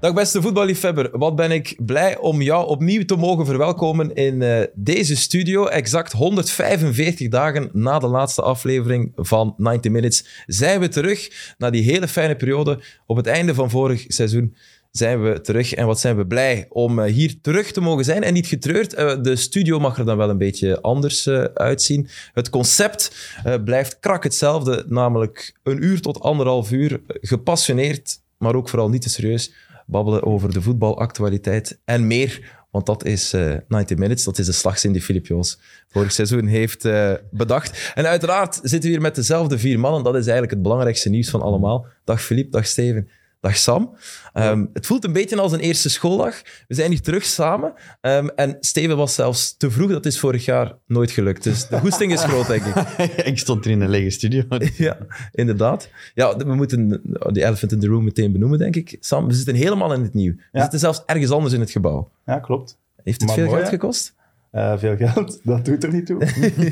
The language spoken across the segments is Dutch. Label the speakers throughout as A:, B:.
A: Dag beste voetballiefhebber, wat ben ik blij om jou opnieuw te mogen verwelkomen in eh, deze studio. Exact 145 dagen na de laatste aflevering van 90 Minutes zijn we terug. Na die hele fijne periode op het einde van vorig seizoen zijn we terug. En wat zijn we blij om eh, hier terug te mogen zijn en niet getreurd. Eh, de studio mag er dan wel een beetje anders eh, uitzien. Het concept eh, blijft krak hetzelfde, namelijk een uur tot anderhalf uur eh, gepassioneerd, maar ook vooral niet te serieus babbelen over de voetbalactualiteit en meer. Want dat is eh 90 Minutes, dat is de slagzin die Filip Joos vorig seizoen heeft eh, bedacht. En uiteraard zitten we hier met dezelfde vier mannen. Dat is eigenlijk het belangrijkste nieuws van allemaal. Dag Filip, dag Steven, dag Sam. Ehm, Het voelt een beetje als een eerste schooldag. We zijn hier terug samen. Ehm, en Steven was zelfs te vroeg, dat is vorig jaar nooit gelukt. Dus de goesting is groot, denk ik.
B: ik stond er in een lege studio.
A: Ja, inderdaad. Ja, we moeten de elephant in the room meteen benoemen, denk ik. Sam, we zitten helemaal in het nieuw. We
C: Ja.
A: zitten zelfs ergens anders in het gebouw.
C: Ja, klopt.
A: Heeft het
C: Maar
A: veel
C: mooi,
A: geld
C: hè?
A: gekost?
C: Eh, veel geld, dat doet er niet toe.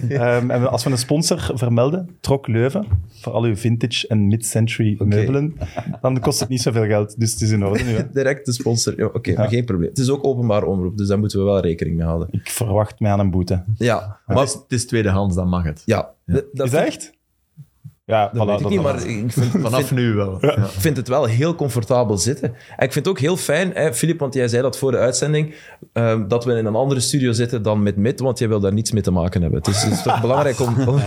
C: Ehm, en we- als we een sponsor vermelden, Trok Leuven, voor al uw vintage en mid-century meubelen, dan kost het niet zoveel geld. Dus het is in orde nu. Hè?
A: Direct de sponsor. Ja, Oké, maar geen probleem. Het is ook openbaar omroep, dus daar moeten we wel rekening mee houden.
C: Ik verwacht mij aan een boete.
A: Ja,
B: Maar
A: maar...
B: het is, het is tweedehands, dan mag het.
A: Ja, d- dat,
C: Is dat echt? Ja,
A: dat
C: voilà,
A: weet ik niet,
C: dat-
A: maar ik vind,
B: Vanaf
A: vind-
B: nu wel. Ja.
A: Ik vind het wel heel comfortabel zitten. En ik vind het ook heel fijn, hè, Filip, want jij zei dat voor de uitzending, ehm, dat we in een andere studio zitten dan met MIT, want jij wil daar niets mee te maken hebben. Dus het is toch belangrijk om... om-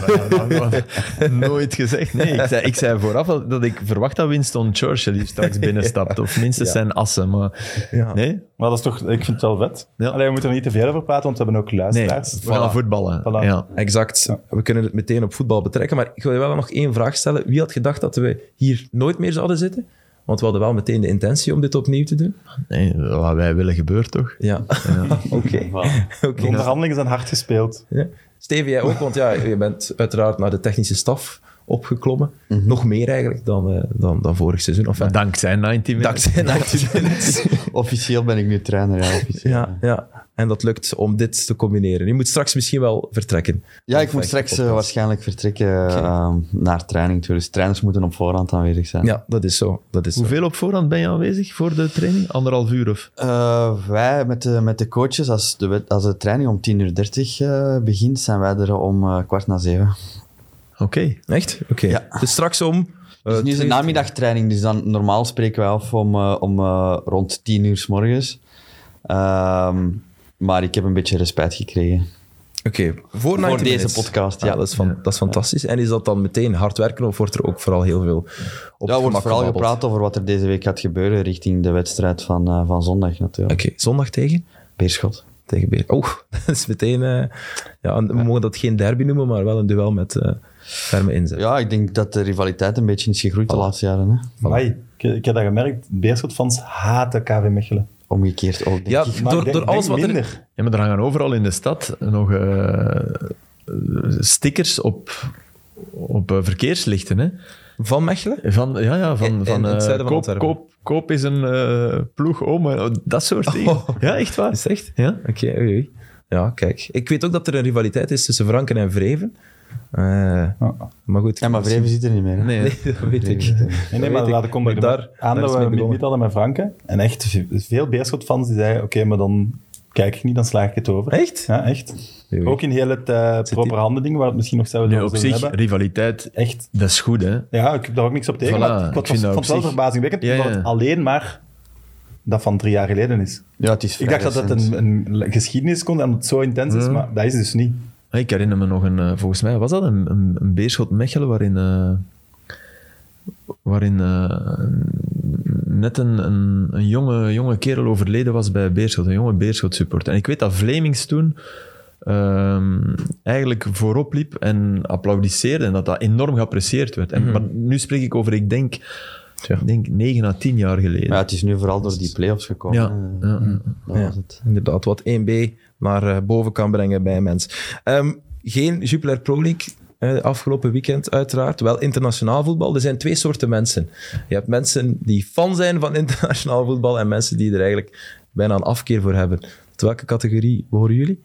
B: Nooit gezegd. Nee, ik zei, ik zei vooraf al dat ik verwacht dat Winston Churchill hier straks binnenstapt. Of minstens
A: Ja.
B: zijn assen. Maar
A: Ja.
B: nee,
C: Maar dat is toch, ik vind het wel vet.
B: Ja.
C: Alleen we moeten er niet te veel over praten, want we hebben ook
B: nee.
C: luisteraars.
B: We gaan
C: Voilà.
B: voetballen.
C: Voilà.
B: Ja.
A: Exact. We kunnen het meteen op voetbal betrekken. Maar ik wil je wel nog één vraag stellen. Wie had gedacht dat we hier nooit meer zouden zitten? Want we hadden wel meteen de intentie om dit opnieuw te doen.
B: Nee, wat wij willen gebeurt toch?
A: Ja. Oké.
C: De
A: Oké.
C: onderhandelingen zijn hard gespeeld.
A: Ja. Steven, jij ook? Want ja, je bent uiteraard naar de technische staf opgeklommen.
D: Mhm.
A: Nog meer eigenlijk dan, eh, dan, dan vorig seizoen. Of eh,
B: Maar dankzij 90 minutes.
A: dankzij 90 minutes.
D: Officieel ben ik nu trainer, ja. Officieel.
A: Ja, ja. En dat lukt om dit te combineren. Je moet straks misschien wel vertrekken.
D: Ja, ik
A: Perfecte
D: moet straks eh,
A: podcast.
D: waarschijnlijk vertrekken ehm, naar training toe. Dus trainers moeten op voorhand aanwezig zijn.
A: Ja, dat is zo. Dat is zo.
B: Hoeveel op voorhand ben je aanwezig voor de training? Anderhalf uur of?
D: Eh, wij met de, met de coaches, als de, wed- als de training om 10.30 uur eh, begint, zijn wij er om eh, kwart na zeven.
B: Oké.
A: Echt? Oké. Dus straks om... eh,
D: Dus nu is het
A: twee-
D: namiddagtraining, dus dan normaal spreken wij af om, eh, om eh, rond 10 uur s morgens. Ehm, maar ik heb een beetje respect gekregen.
A: Oké, voor, 90
D: deze
A: minutes. Ah,
D: podcast, ja.
A: dat, is van, dat is fantastisch. En is dat dan meteen hard werken of wordt er ook vooral heel veel op
D: Ja, er
A: het
D: wordt
A: gemak
D: vooral
A: gebabbeld?
D: gepraat over wat er deze week gaat gebeuren richting de wedstrijd van, eh, van zondag natuurlijk.
A: Oké, zondag tegen?
D: Beerschot.
A: Tegen Beer. Oeh, dat is meteen... eh, ja, en we mogen dat geen derby noemen, maar wel een duel met eh, ferme inzet.
D: Ja, ik denk dat de rivaliteit een beetje is gegroeid de laatste jaren. Hè?
C: Amai, ik, ik heb dat gemerkt. Beerschotfans haten KV Mechelen.
D: Omgekeerd ook. Denk
A: Ja,
D: ik.
C: Maar ik
A: Ah, door,
C: denk-
A: door alles
C: denk
A: wat er...
C: minder.
B: Ja, maar er hangen overal in de stad nog eh, stickers op, op eh, verkeerslichten. Hè?
A: Van Mechelen?
B: Van, ja, ja, van,
A: In- in
B: van,
A: het
B: eh,
A: zuiden van
B: koop,
A: Antwerpen.
B: koop, koop is een eh, ploeg om. eh, Dat soort dingen.
A: Oh.
B: Ja, echt waar.
A: Is het echt?
B: Ja?
A: Oké, oei, oei. Ja, kijk. Ik weet ook dat er een rivaliteit is tussen Franken en Vreven. Eh,
C: Ah.
A: Maar goed.
D: Ja, maar Vreven zit er niet meer. hè.
B: Nee.
A: Nee, dat weet ik.
C: Nee, nee,
A: Dat
C: maar
A: weet
C: laat
A: ik.
C: ik komen
A: Maar
C: daar, aan
A: daar is mee
C: dat we het
A: begonnen.
C: niet hadden met Franken. En echt ve- veel Beerschot-fans die zeiden, oké, maar dan kijk ik niet, dan sla ik het over.
A: Echt?
C: Ja, echt.
A: Oei, oei.
C: Ook in heel het eh proper handending, waar we het misschien nog zouden
B: Nee,
C: over
B: op
C: zullen
B: zich,
C: hebben.
B: rivaliteit,
C: Echt.
B: dat is goed. Hè?
C: Ja, ik heb daar ook niks op tegen,
B: Voilà,
C: maar ik,
B: ik
C: vond-
B: vind dat
C: vond
B: op
C: het wel
B: zich-
C: verbazingwekkend
B: Ja,
C: dat
B: ja.
C: het alleen maar dat van drie jaar geleden is.
D: Ja, het is
C: Ik dacht dat dat een, een geschiedenis kon en dat het zo intens is, maar dat is dus niet.
B: Maar Ah, Ik herinner me nog een, eh, volgens mij was dat een, een, een beerschot Mechelen waarin, eh, waarin eh, net een, een, een jonge, jonge kerel overleden was bij Beerschot, een jonge Beerschot supporter. En ik weet dat Vlemings toen ehm, eigenlijk voorop liep en applaudisseerde en dat dat enorm geapprecieerd werd. En, Maar nu spreek ik over, ik denk, ik denk 9 à 10 jaar geleden.
D: Maar ja, Mm. het is nu vooral door die play-offs gekomen.
B: Ja,
D: hè.
B: ja, mm. ja.
D: Dat
A: Ja,
D: was het.
A: Inderdaad, wat 1B naar eh, boven kan brengen bij een mens. Ehm, geen Jupiler Pro League eh, afgelopen weekend, uiteraard. Wel internationaal voetbal. Er zijn twee soorten mensen. Je hebt mensen die fan zijn van internationaal voetbal en mensen die er eigenlijk bijna een afkeer voor hebben. Tot welke categorie behoren jullie?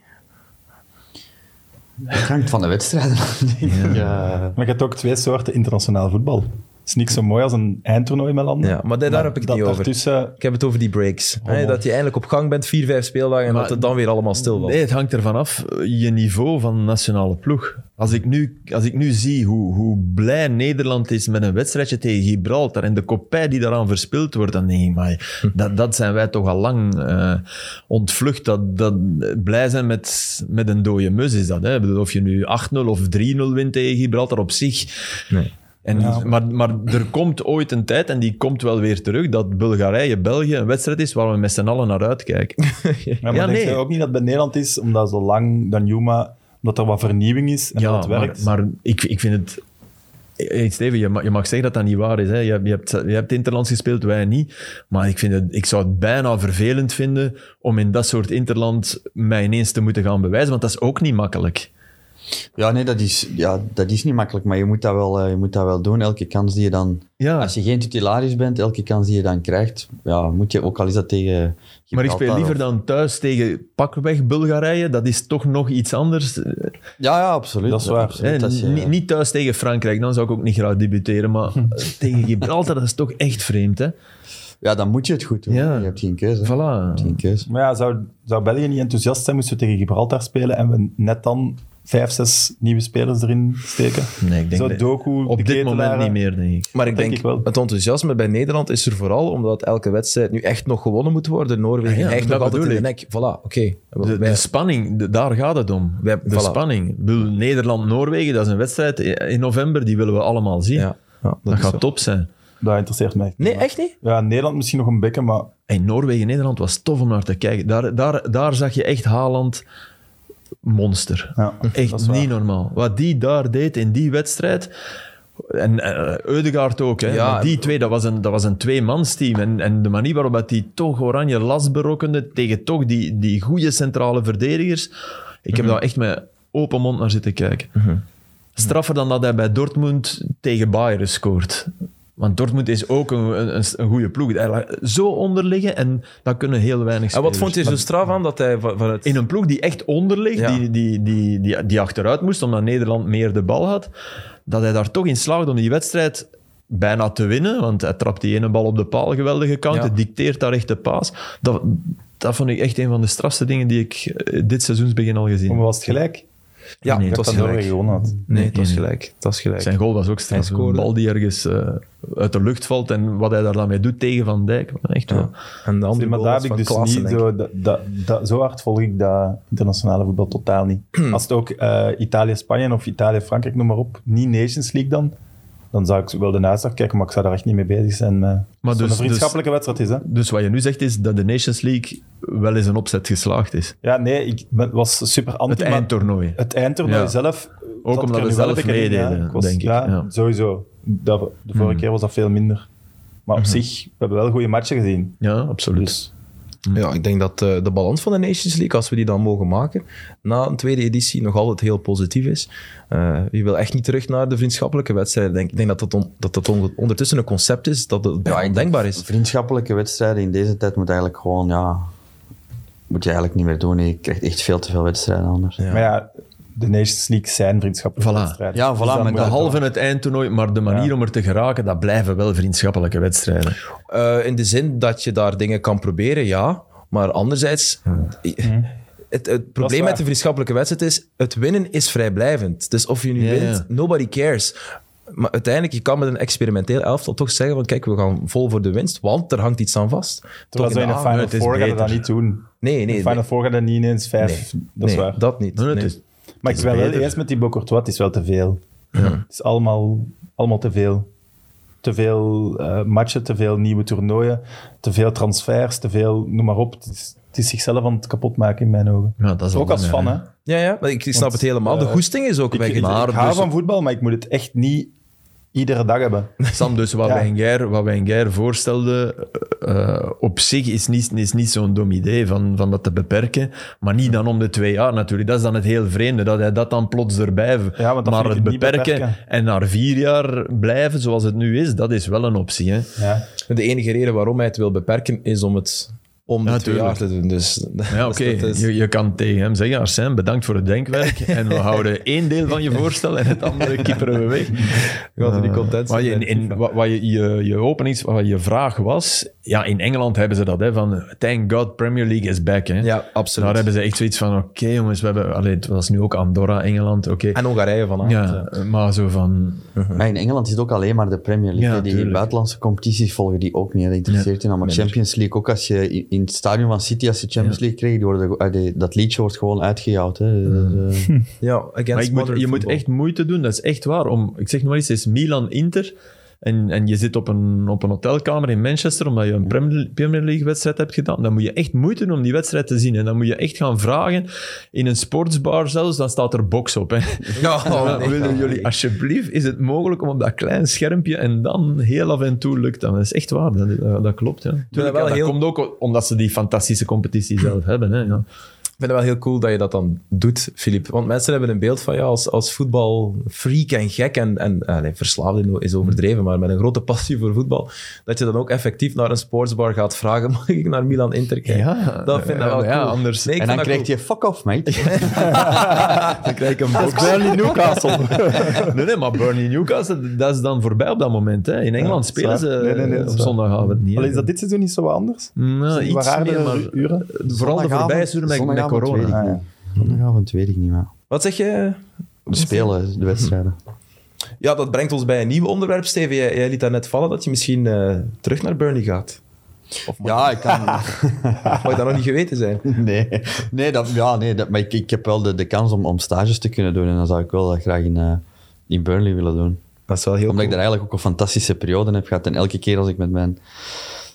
D: Het hangt van de wedstrijden af, denk ik. Ja.
C: Maar je hebt ook twee soorten internationaal voetbal. is niks zo mooi als een eindtoernooi met landen.
A: Ja, maar daar heb ik het
C: dat
A: niet over.
C: Daartussen,
A: Ik heb het over die breaks. Hè, dat je eindelijk op gang bent, vier, vijf speeldagen, en
B: Oh, Maar-
A: dat het dan weer allemaal stil was.
B: Nee, het hangt ervan af eh, je niveau van nationale ploeg. Als ik nu, als ik nu zie hoe, hoe blij Nederland is met een wedstrijdje tegen Gibraltar en de kopij die daaraan verspild wordt, dan nee, maar dat, dat zijn wij toch al lang eh, ontvlucht. Dat, dat, blij zijn met, met een dode mus is dat. Hè? Ik bedoel, Of je nu 8-0 of 3-0 wint tegen Gibraltar op zich. En,
C: Ja.
B: maar, maar er komt ooit een tijd, en die komt wel weer terug, dat Bulgarije-België een wedstrijd is waar we met z'n allen naar uitkijken.
C: ja, maar denk
B: nee.
C: je ook niet dat het bij Nederland is, omdat zo lang Danjuma, omdat er wat vernieuwing is en dat het
B: maar,
C: werkt.
B: Maar ik, ik vind het. Hey, Steven, je mag, je mag zeggen dat dat niet waar is. Hè. Je, je, hebt, je hebt interlands gespeeld, wij niet. Maar ik, vind het, ik zou het bijna vervelend vinden om in dat soort interland mij ineens te moeten gaan bewijzen, want dat is ook niet makkelijk.
D: Ja, nee, dat is, ja, dat is niet makkelijk, maar je moet, dat wel, eh, je moet dat wel doen. Elke kans die je dan...
B: Ja.
D: Als je geen titularis bent, elke kans die je dan krijgt, ja, moet je ook al is dat tegen...
B: Maar ik speel
D: Gibraltar
B: liever
D: of-
B: dan thuis tegen pakweg Bulgarije. Dat is toch nog iets anders. eh,
D: Ja, ja, absoluut.
C: Dat is eh, waar.
D: Absoluut,
B: hè.
D: als je-
B: Niet- Niet thuis tegen Frankrijk, dan zou ik ook niet graag debuteren. Maar tegen Gibraltar, dat is toch echt vreemd. Hè?
D: Ja, dan moet je het goed doen.
B: Ja.
D: Je hebt geen keuze. Je
B: Voilà.
D: hebt geen keuze.
C: Maar ja, zou, zou België niet enthousiast zijn moesten we tegen Gibraltar spelen en we net dan vijf, zes nieuwe spelers erin steken?
B: Nee, ik denk
C: Zo
B: dat-
C: Doku, de
B: Op dit moment
C: Ketelaren.
B: niet meer, denk ik.
A: Maar ik
C: Denk
A: denk,
C: ik wel.
A: het enthousiasme bij Nederland is er vooral omdat elke wedstrijd nu echt nog gewonnen moet worden. Noorwegen
B: Ah ja,
A: hijgt
B: dat
A: nog altijd in
B: bedoel
A: de nek. Voilà, oké.
B: De,
A: Wij-
B: de spanning, de- daar gaat het om.
A: Wij-
B: de
A: voilà.
B: spanning. Ik bedoel, Nederland-Noorwegen, dat is een wedstrijd in november, die willen we allemaal zien.
A: ja, ja, dat
B: dat
A: is
B: gaat
A: zo.
B: top zijn.
C: Dat interesseert mij.
A: Nee, echt niet?
C: Ja, Nederland misschien nog een bekken, maar
B: En Noorwegen-Nederland was tof om naar te kijken. Daar, daar, daar zag je echt Haaland monster.
C: Ja, dat is
B: echt
C: waar.
B: niet normaal. Wat die daar deed in die wedstrijd. En eh Eudegaard ook. Hè.
A: Ja.
B: Maar die twee, dat was een, dat was een tweemansteam. En, en de manier waarop dat die toch oranje last berokkende tegen toch die, die goede centrale verdedigers. Ik heb
A: Mhm.
B: daar echt met open mond naar zitten kijken. Straffer dan dat hij bij Dortmund tegen Bayern scoort. Want Dortmund is ook een, een, een- een goede ploeg. Hij laat zo onderliggen en dat kunnen heel weinig
A: En wat
B: spelers.
A: vond je zo straf aan dat hij van, vanuit...
B: In een ploeg die echt onder ligt,
A: Ja.
B: die, die, die, die, die achteruit moest omdat Nederland meer de bal had, dat hij daar toch in slaagde om die wedstrijd bijna te winnen. Want hij trapt die ene bal op de paal, geweldige kant,
A: Ja.
B: hij dicteert daar echt de paas. Dat, dat vond ik echt een van de strafste dingen die ik eh, dit seizoensbegin al gezien
C: maar
B: heb.
C: was het gelijk?
A: Ja,
B: Nee,
A: het
C: Dat
A: was
C: dan Noorwegen
A: gelijk.
C: gewonnen had.
B: Mm.
A: Nee, het was
B: Nee, nee.
A: gelijk. Het was gelijk.
B: Zijn goal was ook straf.
A: Hij
B: Een
A: scoorde.
B: bal die ergens eh, uit de lucht valt en wat hij daar dan mee doet tegen Van Dijk. Echt wel.
A: Ja. En de andere
C: maar
A: goal
C: daar
A: was
C: heb ik
A: van
C: dus
A: Klaassen,
C: niet
A: denk ik.
C: zo, dat, dat, dat- zo hard volg ik dat internationale voetbal totaal niet.
B: Hmm.
C: Als het ook eh, Italië-Spanje of Italië-Frankrijk, noem maar op, niet Nations League dan, dan zou ik wel de uitslag kijken, maar ik zou daar echt niet mee bezig zijn. Met, maar
B: dus-
C: een
B: dus-
C: vriendschappelijke wedstrijd is, hè?
B: Dus wat je nu zegt is dat de Nations League wel eens een opzet geslaagd is.
C: Ja, nee, ik ben- was super anti.
B: Het
C: maar
B: eindtoernooi.
C: Het eindtoernooi
B: Ja.
C: zelf... eh, zat
B: omdat
C: ik er
B: we
C: nu wel
B: zelf
C: een beetje in, ja.
B: meededen,
C: Ik was-
B: denk ik,
C: Ja,
B: ja. Hmm.
C: sowieso. Dat, de vorige keer was dat veel minder. Maar op zich, we hebben wel goede matchen gezien.
B: Ja, absoluut.
C: Dus
A: Ja, ik denk dat eh, de balans van de Nations League, als we die dan mogen maken, na een tweede editie nog altijd heel positief is. Eh, je wil echt niet terug naar de vriendschappelijke wedstrijden. Ik denk, ik denk dat dat, on- dat, dat on- ondertussen een concept is dat het
D: Ja,
A: bijna
D: ik denk
A: ondenkbaar is.
D: Vriendschappelijke wedstrijden in deze tijd moet eigenlijk gewoon, ja... Moet je eigenlijk niet meer doen. Je krijgt echt veel te veel wedstrijden anders.
A: Ja.
C: Maar ja, de Nations League zijn vriendschappelijke
B: Voilà.
C: wedstrijden.
D: Ja, voilà,
C: dan
D: met
C: moet
B: De
C: je-
B: halve en het eindtoernooi, maar de manier om er te geraken, dat blijven wel vriendschappelijke wedstrijden.
A: Eh, in de zin dat je daar dingen kan proberen, ja. Maar anderzijds, het, het probleem
C: Hm. waar.
A: met de vriendschappelijke wedstrijd is, het winnen is vrijblijvend. Dus of je nu
B: Ja,
A: wint,
B: ja.
A: nobody cares. Maar uiteindelijk, je kan met een experimenteel elftal toch zeggen van kijk, we gaan vol voor de winst, want er hangt iets aan vast. Toch
C: Terwijl zo in de
A: avond-
C: Final
B: het is
C: Four gaat je
B: beter.
C: dat niet doen.
A: Nee,
C: In
A: nee.
C: de Final
A: nee.
C: Four gaat dat niet ineens vijf.
A: Nee.
C: Dat is
A: Nee,
C: waar.
A: dat niet.
B: Nee, het
A: nee.
B: is-
C: maar ik ben wel
B: beter.
C: eens met die Bokortwa, het is wel te veel. Het is allemaal, allemaal te veel. Te veel eh, matchen, te veel nieuwe toernooien, te veel transfers, te veel, noem maar op. Het is, het is zichzelf aan het kapotmaken in mijn ogen.
B: Ja, dat is al
C: Ook als
B: langer,
C: fan,
B: hè.
C: hè.
A: Ja, ja, maar ik ik snap
C: Want,
A: het helemaal. De
C: eh,
A: goesting is ook
C: Ik, ik, ik
A: weggedaan.
C: hou van voetbal, maar ik moet het echt niet iedere dag hebben.
B: Sam, dus wat
C: Ja.
B: Wenger, wat Wenger voorstelde, eh, eh, op zich is niet, is niet zo'n dom idee van, van dat te beperken. Maar niet dan om de twee jaar natuurlijk. Dat is dan het heel vreemde, dat hij dat dan plots erbij...
C: Ja, want dan
B: maar
C: vind
B: het
C: ik het niet
B: beperken,
C: beperken.
B: en naar vier jaar blijven zoals het nu is, dat is wel een optie. Hè?
C: Ja.
A: dus De enige reden waarom hij het wil beperken is om het om de
B: Ja,
A: twee jaar
B: tuurlijk.
A: te doen. Dus
B: Ja,
A: dus
B: oké.
A: dat is-
B: Je, je kan tegen hem zeggen, Arsène, bedankt voor het denkwerk. En we houden één deel van je voorstel en het andere kieperen we weg.
A: Gaat hij Eh, niet content
B: Wat, je,
A: zijn,
B: in, in- wat, wat je, je, je openings, wat je vraag was... Ja, in Engeland hebben ze dat, hè, van... Thank God, Premier League is back, hè.
A: Ja, absoluut.
B: Daar hebben ze echt zoiets van, oké jongens, we hebben... Allee, het was nu ook Andorra, Engeland, oké.
A: En Hongarije vanavond.
B: Ja, maar zo van...
D: Maar in Engeland is het ook alleen maar de Premier League.
B: Ja,
D: hè. die
B: tuurlijk.
D: buitenlandse competities volgen die ook niet. hè. Dat interesseert je nou. Maar Champions League, ook als je in, in het stadion van City, als je Champions League kreeg, die worden, eh, die- dat liedje wordt gewoon uitgejouwd. Hè. Dus, eh,
A: Ja, against
B: Maar ik moet,
A: modern
B: je moet
A: football.
B: echt moeite doen, dat is echt waar. Om, ik zeg nog maar eens, het is Milan-Inter en, en je zit op een, op een hotelkamer in Manchester omdat je een Prem- Premier League-wedstrijd hebt gedaan. Dan moet je echt moeite doen om die wedstrijd te zien. En dan moet je echt gaan vragen, in een sportsbar zelfs, dan staat er box op. Hè.
A: Ja, oh, nee.
B: Willen jullie alsjeblieft, is het mogelijk om op dat klein schermpje en dan heel af en toe lukt dat. Dat is echt waar, dat, dat, dat klopt. Ja. Tuurlijk,
A: wel
B: ja, dat
A: heel-
B: komt ook omdat ze die fantastische competitie zelf hebben. Hè, ja.
A: Ik vind het wel heel cool dat je dat dan doet, Filip. Want mensen hebben een beeld van jou als, als voetbalfreak en gek. En, en eh, nee, verslaafd is overdreven, maar met een grote passie voor voetbal. Dat je dan ook effectief naar een sportsbar gaat vragen: mag ik naar Milan Inter kijken?
B: Ja,
A: dat vind ik
B: ja,
A: wel
B: maar ja,
A: cool.
B: anders-
A: Nee, ik
D: en dan
A: vind dat
D: krijgt je fuck off, mate.
B: Dan krijg ik een box.
C: Burnley Newcastle.
B: Nee, nee, maar Burnley Newcastle, dat is dan voorbij op dat moment. Hè. In Engeland
C: Ja,
B: spelen
C: zwaar.
B: ze
C: Nee, nee, nee,
B: op
C: zwaar.
B: zondagavond niet. hè.
C: Allee, is dat dit seizoen niet zo wat anders?
B: Nou,
C: Zijn die wat
B: iets meer,
C: raardere
B: maar
C: uren?
B: vooral de voorbije uren met, met
D: Zondagavond
B: corona.
D: weet ik
C: Ah, ja.
D: niet. Zondagavond weet ik niet meer.
A: cool. Wat zeg je?
D: We spelen de wedstrijden.
A: Ja, dat brengt ons bij een nieuw onderwerp, Steven. Jij, jij liet daar net vallen dat je misschien eh, terug naar Burnley gaat.
D: Ja, ik kan...
A: Of mag je dat nog niet geweten zijn?
D: Nee, nee, dat, ja, nee dat, maar ik, ik heb wel de, de kans om, om stages te kunnen doen. En dan zou ik wel dat graag in, eh, in Burnley willen doen.
A: Dat is wel heel
D: Omdat
A: cool.
D: ik daar eigenlijk ook een fantastische periode heb gehad. En elke keer als ik met mijn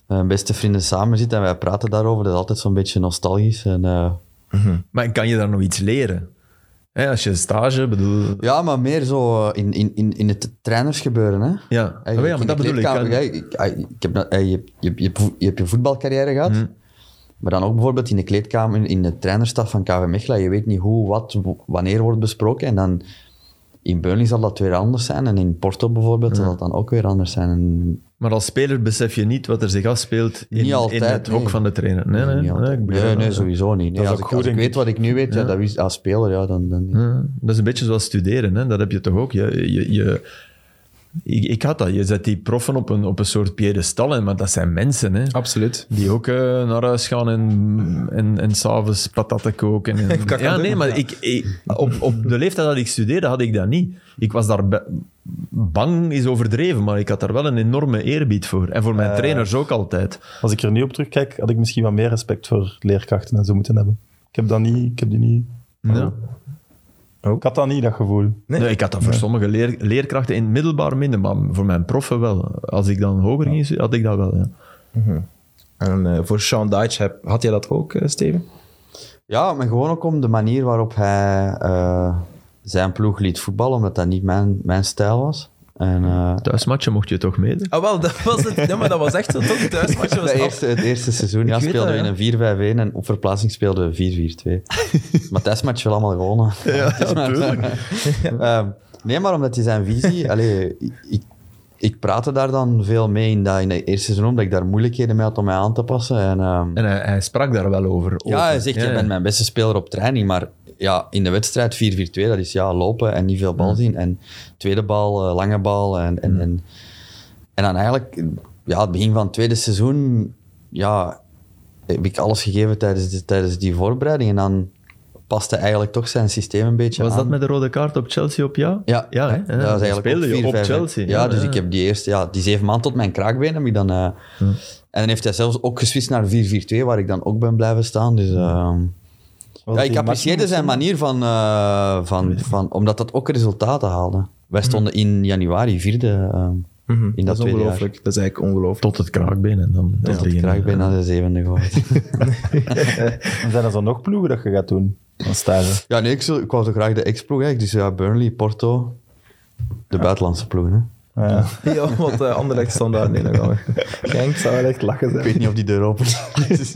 D: eh, beste vrienden samen zit en wij praten daarover, dat is altijd zo'n beetje nostalgisch. En, eh,
B: Mhm. Maar kan je daar nog iets leren? Hè, als je stage, bedoel...
D: ja, maar meer zo eh, in, in, in, in het trainersgebeuren. Hè?
B: Ah, Ja,
D: Eigenlijk
B: ja maar
D: in
B: dat
D: de
B: bedoel ik.
D: kleedkamer,
B: Kan-
D: hè. Ik- ah, ik heb, dat- eh, je, je, je, hebt- je hebt je voetbalcarrière gehad,
B: Hm.
D: maar dan ook bijvoorbeeld in de kleedkamer, in de trainerstaf van KV Mechelen. Je weet niet hoe, wat, w- wanneer wordt besproken. En dan in Burnley zal dat weer anders zijn. En in Porto bijvoorbeeld zal dat dan ook weer anders zijn. En
B: Maar als speler besef je niet wat er zich afspeelt in,
D: Niet altijd,
B: in het hok
D: nee.
B: van de trainer. Nee, nee,
D: niet
B: nee,
D: altijd.
B: ik begrijp
D: nee,
B: dat,
D: nee,
B: ja.
D: sowieso niet. Nee,
C: is
D: als
C: ook
D: ik,
C: goed,
D: als ik
C: denk
D: weet wat ik nu weet, ja. dat wist, als speler, ja, dan... dan
B: Ja, dat is een beetje zoals studeren, hè? dat heb je toch ook. Je, je, je, ik, ik had dat, je zet die proffen op een, op een soort piedestal, hè, maar dat zijn mensen. Hè?
A: Absoluut.
B: Die ook eh, naar huis gaan en, en, en s'avonds patatten koken. en-
A: Kakadu.
B: ja, nee, maar ik, ik- op, op de leeftijd dat ik studeerde, had ik dat niet. Ik was daar be- bang, is overdreven, maar ik had daar wel een enorme eerbied voor. En voor mijn trainers ook altijd.
C: Als ik er nu op terugkijk, had ik misschien wat meer respect voor leerkrachten en zo moeten hebben. Ik heb dat niet, ik heb die niet.
B: Ja.
C: Ik had dat niet, dat gevoel.
A: Nee.
B: Oh. Nee. ik had dat voor sommige leer- leerkrachten in het middelbaar minder, maar voor mijn proffen wel. Als ik dan hoger ging, stu- had ik dat wel. Ja.
A: En eh, voor Sean Dyche, heb- had jij dat ook, eh, Steven?
D: Ja, maar gewoon ook om de manier waarop hij eh, zijn ploeg liet voetballen, omdat dat niet mijn, mijn stijl was. En, eh,
B: Thuismatchen mocht je toch meedoen?
A: Ah, wel, dat was het. Ja, maar dat was echt zo. Toch een thuismatch was
D: Het
A: af-
D: eerste, het eerste seizoen ja,
A: Ik weet
D: speelden
A: dat, ja.
D: we in een 4-5-1 en op verplaatsing speelden we 4-4-2. maar thuismatch wel allemaal gewonnen. Ja, Ehm, nee, maar omdat hij zijn visie... allee, ik, ik praatte daar dan veel mee in dat, in dat eerste seizoen, omdat ik daar moeilijkheden mee had om mij aan te passen. En, ehm,
B: En hij, hij sprak daar wel over.
D: ja, hij zegt, je bent mijn beste speler op training, maar ja, in de wedstrijd 4-4-2, dat is ja, lopen en niet veel bal zien. En tweede bal, eh, lange bal. En, en, en, en dan eigenlijk, ja, het begin van het tweede seizoen, ja, heb ik alles gegeven tijdens, die- tijdens die voorbereiding. En dan paste eigenlijk toch zijn systeem een beetje
B: Was
D: aan.
B: dat met de rode kaart op Chelsea op jou?
D: Ja,
B: ja, hè?
D: dat was eigenlijk
B: speelde
D: ook
B: je
D: 4,
B: op
D: 5, hè.
B: Chelsea.
D: Ja, dus ik heb die eerste, ja, die zeven maanden tot mijn kraakbeen heb ik dan. eh, En dan heeft hij zelfs ook geswitcht naar 4-4-2, waar ik dan ook ben blijven staan. Dus ehm, ja, ik apprecieerde zijn manier van, eh, van, van, omdat dat ook resultaten haalde. Wij
B: Mhm.
D: stonden in januari vierde ehm,
A: Mhm.
D: in dat,
A: is
D: tweede jaar.
A: ongelooflijk. Dat is eigenlijk ongelooflijk.
B: Tot het kraakbeen en dan...
D: Tot ik kraakbeen
B: eh,
D: naar de zevende geworden.
C: En zijn er zo nog ploegen dat je gaat doen? Als stage.
D: ja, nee, ik, zou- ik wou zo graag de ex-ploeg eigenlijk. Dus ja, Burnley, Porto, de buitenlandse ploegen. hè.
C: Ja.
A: Ja, want eh Anderlecht stond daar nu nog aan. Genk zou wel echt lachen
D: Ik
A: zijn.
D: weet niet of die deur open is.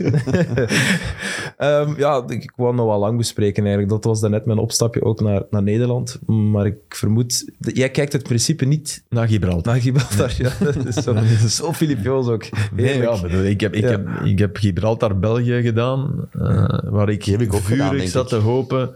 A: Ehm, ja, ik ik wou nog wel lang bespreken eigenlijk. Dat was daarnet mijn opstapje ook naar, naar Nederland. Maar ik vermoed... dat- Jij kijkt het principe niet
B: Na Gibraltar.
A: naar Gibraltar. Ja, dat is zo, zo Filip Joos ook.
B: Nee,
A: Heerlijk.
B: ja, bedoel, ik, heb, ik,
A: Ja.
B: heb, ik heb Gibraltar België gedaan, eh, waar ik,
D: heb ik ook
B: vurig
D: gedaan, denk
B: zat
D: ik.
B: te hopen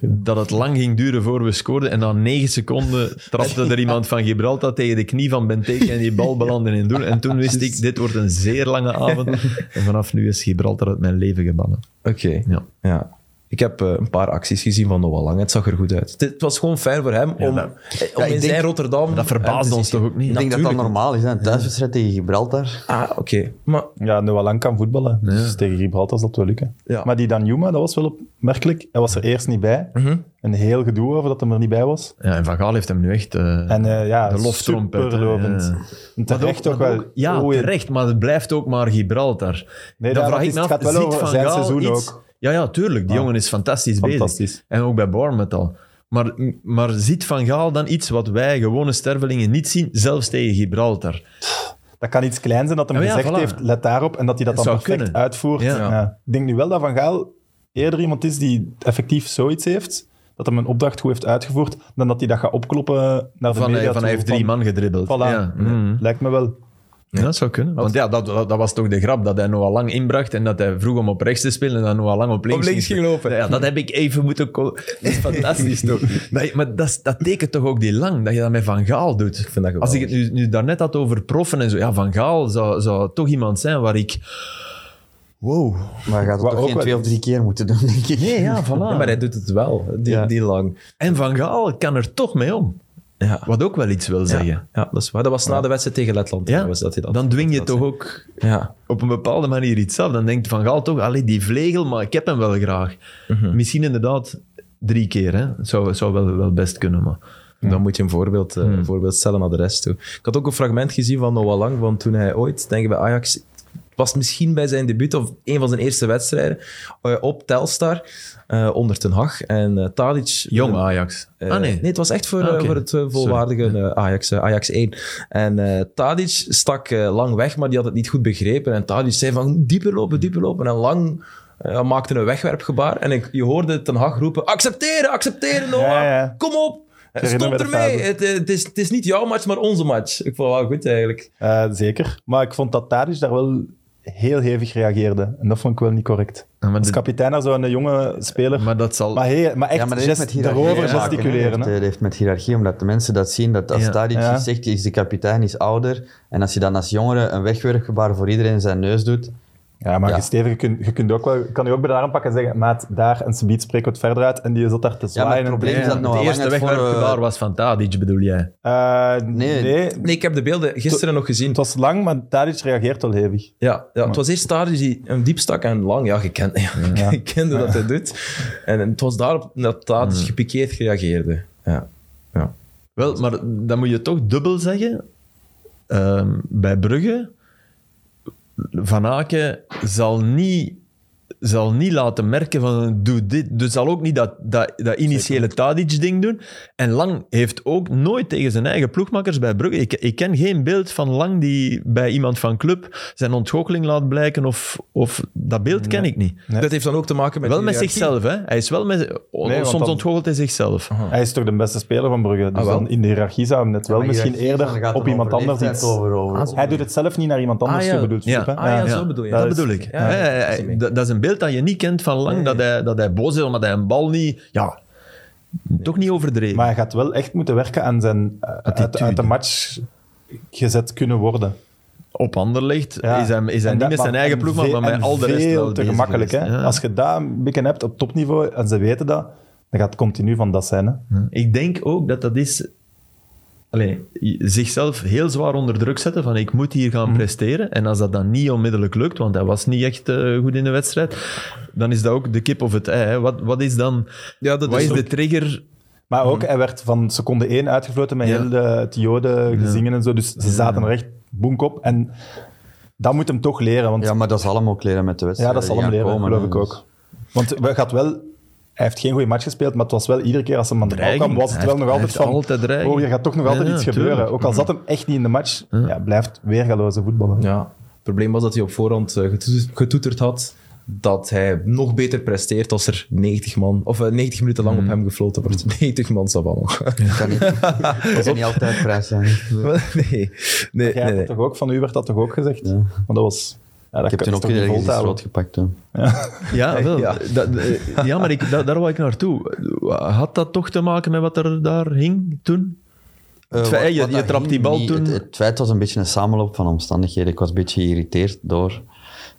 B: dat het lang ging duren voor we scoorden. En na negen seconden trapte er iemand van Gibraltar tegen de knie van Benteke en die bal belandde in het doel. En toen wist ik, dit wordt een zeer lange avond. En vanaf nu is Gibraltar uit mijn leven gebannen.
A: Oké.
B: Ja.
A: Ja. Ik heb eh, een paar acties gezien van Noah Lang. Het zag er goed uit. Het- Het was gewoon fijn voor hem om,
B: dat-
A: eh, om
D: Ja, ik
A: in
D: denk-
A: zijn Rotterdam...
B: Dat verbaast
A: eh, te
B: ons
A: zien.
B: toch ook niet?
D: Ik denk dat dat
A: Natuurlijk.
D: normaal is. Hè. Een thuiswedstrijd tegen Gibraltar.
A: Ah, oké. Maar
C: Ja, Noah Lang kan voetballen. Dus tegen Gibraltar zal het wel lukken.
A: Ja.
C: Maar die Danjuma, dat was wel opmerkelijk. Hij was er eerst niet bij. Een heel gedoe over dat hij er niet bij was.
B: Ja, en Van Gaal heeft hem nu echt... eh,
C: En eh, ja,
B: De loftrompet,
C: superlovend.
B: hè, ja.
C: En terecht
B: Maar
C: ook,
B: ook-
C: wel.
B: maar ook- ja,
C: Oei,
B: terecht, maar het blijft ook maar Gibraltar.
C: Nee,
B: Dan
C: ja,
B: vraag
C: dat
B: ik
C: is-
B: me
C: het
B: af,
C: gaat wel
B: ziet
C: over
B: Van
C: zijn
B: Gaal
C: seizoen
B: iets?
C: ook.
B: Ja, ja, tuurlijk. Die
C: Ja.
B: jongen is fantastisch,
C: Fantastisch.
B: bezig. En ook bij Bournemouth al. Maar, maar ziet Van Gaal dan iets wat wij gewone stervelingen niet zien, zelfs tegen Gibraltar?
C: Dat kan iets klein zijn dat hem
B: Ja, ja,
C: gezegd
B: voilà.
C: heeft, let daarop, en dat hij dat dan
B: zou
C: perfect
B: kunnen.
C: uitvoert.
B: Ja.
C: Ja. Ik denk nu wel dat Van Gaal eerder iemand is die effectief zoiets heeft, dat hem een opdracht goed heeft uitgevoerd, dan dat hij dat gaat opkloppen naar de
B: Van,
C: media
B: hij- van
C: toe,
B: hij heeft drie
C: van-
B: man gedribbeld.
C: Voilà.
B: Ja. Mm.
C: Lijkt me wel.
B: Ja, dat zou kunnen. Want ja, dat, dat dat was toch de grap, dat hij Noah Lang inbracht en dat hij vroeg om op rechts te spelen en dan Noah Lang op links,
A: Op links ging lopen.
B: Ja, dat heb ik even moeten... ko- Dat is fantastisch, toch? Dat, maar dat, is- dat tekent toch ook die Lang, dat je dat met Van Gaal doet.
A: vind dat
B: Als ik het nu, nu daarnet had over proffen en zo, ja, Van Gaal zou, zou toch iemand zijn waar ik... Wow.
D: Maar je gaat
C: Wat
D: het toch
C: ook
D: geen
C: wel-
D: twee of drie keer moeten doen, denk ik.
B: Nee, ja, voilà.
A: Ja, maar hij doet het wel, die,
D: Ja.
A: die lang.
B: En Van Gaal kan er toch mee om.
A: Ja.
B: Wat ook wel iets wil
A: Ja,
B: zeggen.
A: ja, dat is waar. Dat was na de wedstrijd tegen Letland.
B: Ja,
A: trouwens, dat hij dat
B: dan dwing je
A: dat
B: toch
A: zei.
B: ook
A: Ja.
B: op een bepaalde manier iets af. Dan denkt Van Gaal toch, allee, die vlegel, maar ik heb hem wel graag. Misschien inderdaad drie keer. Hè. Het zou, het zou wel, wel best kunnen, maar...
A: Dan moet je een voorbeeld, eh, een voorbeeld stellen naar de rest toe. Ik had ook een fragment gezien van Noah Lang, want toen hij ooit, denk ik bij Ajax, het was misschien bij zijn debuut of een van zijn eerste wedstrijden, eh, op Telstar, eh, onder Ten Hag. En eh, Tadic...
B: Jong Ajax.
A: Eh,
B: ah,
A: nee.
B: nee.
A: het was echt voor,
B: Ah,
A: eh,
B: oké.
A: voor het eh, volwaardige eh, Ajax, eh, Ajax 1. En eh, Tadic stak eh, lang weg, maar die had het niet goed begrepen. En Tadic zei van dieper lopen, dieper lopen. En lang eh, maakte een wegwerpgebaar. En ik, je hoorde Ten Hag roepen, accepteren, accepteren Noah,
C: Ja, ja.
A: kom op.
C: herinner me
A: Stop
C: de
A: ermee.
C: fase.
A: Het, eh, het, is, het is niet jouw match, maar onze match. Ik vond het wel goed eigenlijk.
C: Eh, zeker. Maar ik vond dat Tadic daar wel heel hevig reageerde. En dat vond ik wel niet correct.
B: Ah, maar,
C: Als
B: dit-
C: kapitein naar zo'n jonge speler. Maar,
B: maar dat zal...
C: heel- maar echt
D: Ja, maar dat heeft
C: gest,
D: met hiërarchie
C: erover
D: te maken, hè.
C: gesticuleren.
D: Dat
C: hè.
D: heeft- dat heeft met hiërarchie, omdat de mensen dat zien, dat als
B: Ja.
D: Tadic
C: Ja.
D: iets zegt, is de kapitein is ouder. En als je dan als jongere een wegwerpgebaar voor iedereen in zijn neus doet,
C: Ja, maar
D: Ja.
C: je Steven, je, kunt, je kunt ook wel, je kan je ook bij de arm pakken en zeggen, maat, daar, en Sabiet spreekt wat verder uit. En die zat daar te
D: Ja, maar
C: zwaaien.
D: het probleem
C: en-
D: is dat
B: het
D: Noah Lang
B: eerste
D: het voor...
B: wegwerpgebaar
D: eh,
B: was van Tadic, bedoel jij?
C: Eh, nee.
D: Nee.
A: Nee, ik heb de beelden gisteren nog gezien.
C: Het was lang, maar Tadic reageert wel hevig.
A: Ja, ja, het was eerst Tadic die hem diep stak en lang. Ja, je, kent, ja, je kende dat hij doet. En het was daarop dat Tadic
B: Hmm.
A: gepikeerd gereageerd. Ja. ja.
B: Wel, maar dan moet je toch dubbel zeggen. Ehm, bij Brugge, Van Aken zal niet, zal niet laten merken van doe dit. Dus zal ook niet dat, dat, dat initiële Tadic-ding doen. En Lang heeft ook nooit tegen zijn eigen ploegmakkers bij Brugge... Ik, ik ken geen beeld van Lang die bij iemand van club zijn ontgoocheling laat blijken of... of dat beeld ken ik niet.
C: Nee.
A: Dat heeft dan ook te maken met...
B: Wel met
A: hiërarchie.
B: zichzelf, hè. Hij is wel met...
C: want
B: soms
C: dan-
B: ontgoochelt hij zichzelf.
C: Hij is toch de beste speler van Brugge. Dus
A: Ah, wel.
C: dan in de hiërarchie zou hem net wel
D: maar
C: misschien
D: hiërarchie, dan
C: eerder
D: gaat
C: op
D: het
C: iemand
D: over
C: anders
D: leeftijd
C: iets... Ah,
D: Over, over, over.
C: Hij doet het zelf niet naar iemand anders
A: Ah, ja.
C: toe, bedoelt
B: Ja.
C: Filip, hè?
A: Ah, ja,
C: Ja.
A: zo bedoel je.
B: Dat,
A: Dat
C: is-
B: bedoel ik.
A: ja, ja,
B: Hè,
A: ja,
B: hij-
A: dat is mee.
B: dat, dat is een beeld dat je niet kent van lang, Dat, hij, dat hij boos is omdat hij een bal niet... Ja, toch niet overdreven.
C: Maar hij gaat wel echt moeten werken aan zijn eh, uit,
B: Attitude.
C: uit de match gezet kunnen worden.
B: Op ander ligt
C: Ja.
B: is hij, is hij
C: En
B: niet
C: dat-
B: met zijn
C: maar-
B: eigen
C: en
B: ploeg, maar,
C: ve-
B: maar met
C: en
B: al de rest
C: veel
B: wel
C: te
B: bezig
C: gemakkelijk. Hè?
B: geweest. Ja.
C: Als je daar een beetje hebt op topniveau en ze weten dat, dan gaat het continu van dat zijn. Hè?
B: Ik denk ook dat dat is... Allee, zichzelf heel zwaar onder druk zetten van ik moet hier
C: Mhm.
B: gaan presteren. En als dat dan niet onmiddellijk lukt, want hij was niet echt eh, goed in de wedstrijd, dan is dat ook de kip of het ei. Hè. Wat, wat is dan...
A: Ja, dat
B: wat
A: is
B: is
A: ook-
B: de trigger
C: Maar ook, hij werd van seconde 1 uitgefloten met
B: Ja.
C: heel de, het jodengezingen en zo. Dus ze zaten er echt boenk op. En dat moet hem toch leren. Want
D: Ja,
C: ja,
D: maar dat zal hem ook leren met de wedstrijd.
C: dat zal hem leren, geloof ik ook. Want we gaat wel Hij heeft geen goede match gespeeld, maar het was wel iedere keer als hem aan de bal
B: Dreiging.
C: kwam, was het
B: Hij
C: wel
B: heeft- hij
C: nog altijd
B: heeft
C: van...
B: altijd dreiging.
C: oh, hier gaat toch nog
B: Ja,
C: altijd
B: ja,
C: iets
B: tuurlijk. Mhm.
C: gebeuren. Ook al zat hem echt niet in de match, ja, blijft weergaloze voetballen.
A: Ja. Het probleem was dat hij op voorhand eh, getoeterd- getoeterd had dat hij nog beter presteert als er 90 man, of eh, 90 minuten lang
B: Hmm.
A: op hem gefloten wordt. 90 man, dat
D: Dat kan niet, dat kan niet altijd prijs zijn.
A: Nee, nee,
C: Jij
A: nee.
C: had
A: nee.
C: dat toch ook, van u werd dat toch ook gezegd? Want dat was... Ja, dat
D: Ik heb
C: kan-
D: toen
C: is toch
D: ook
C: niet
D: iedereen
C: vol te
D: eens
C: houden?
D: rood gepakt. hè.
B: Ja, wel.
A: Ja.
B: Dat, eh, ja maar ik, da- daar wou ik naartoe. Had dat toch te maken met wat er daar hing toen?
D: Eh,
B: Het feit-
D: wat-
B: je-
D: wat
B: je
D: dat
B: trapt
D: ging,
B: die bal
D: niet.
B: toen.
D: Het, het feit was een beetje een samenloop van omstandigheden. Ik was een beetje geïrriteerd door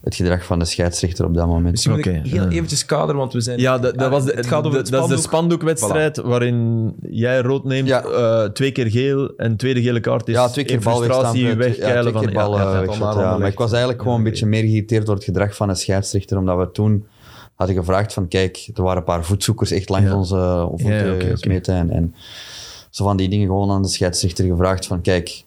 D: het gedrag van de scheidsrechter op dat
B: Dus
D: moment.
A: Misschien Dus moet ik
B: Oké,
A: heel
B: ja.
A: eventjes kaderen, want we zijn... Ah,
B: Ja, dat, dat was de,
A: het gaat over het
B: dat is de
A: spandoek.
B: spandoekwedstrijd waarin jij rood neemt,
D: Ja.
B: eh, twee keer geel en tweede gele kaart is
D: ja, twee keer
B: in
D: bal
B: frustratie
D: wegstampen, twee- ja,
B: wegkeilen
D: twee
B: van...
D: keer bal
B: ja, ja.
D: eh, wegstampen,
A: allemaal
D: ja. Maar
A: onderlegd.
D: ik was eigenlijk gewoon een beetje meer geïrriteerd door het gedrag van de scheidsrechter, omdat we toen hadden gevraagd van, kijk, er waren een paar voetzoekers echt langs onze voeten
B: Ja, ja, oké, oké.
D: gesmeten en, en zo van die dingen gewoon aan de scheidsrechter gevraagd van, kijk,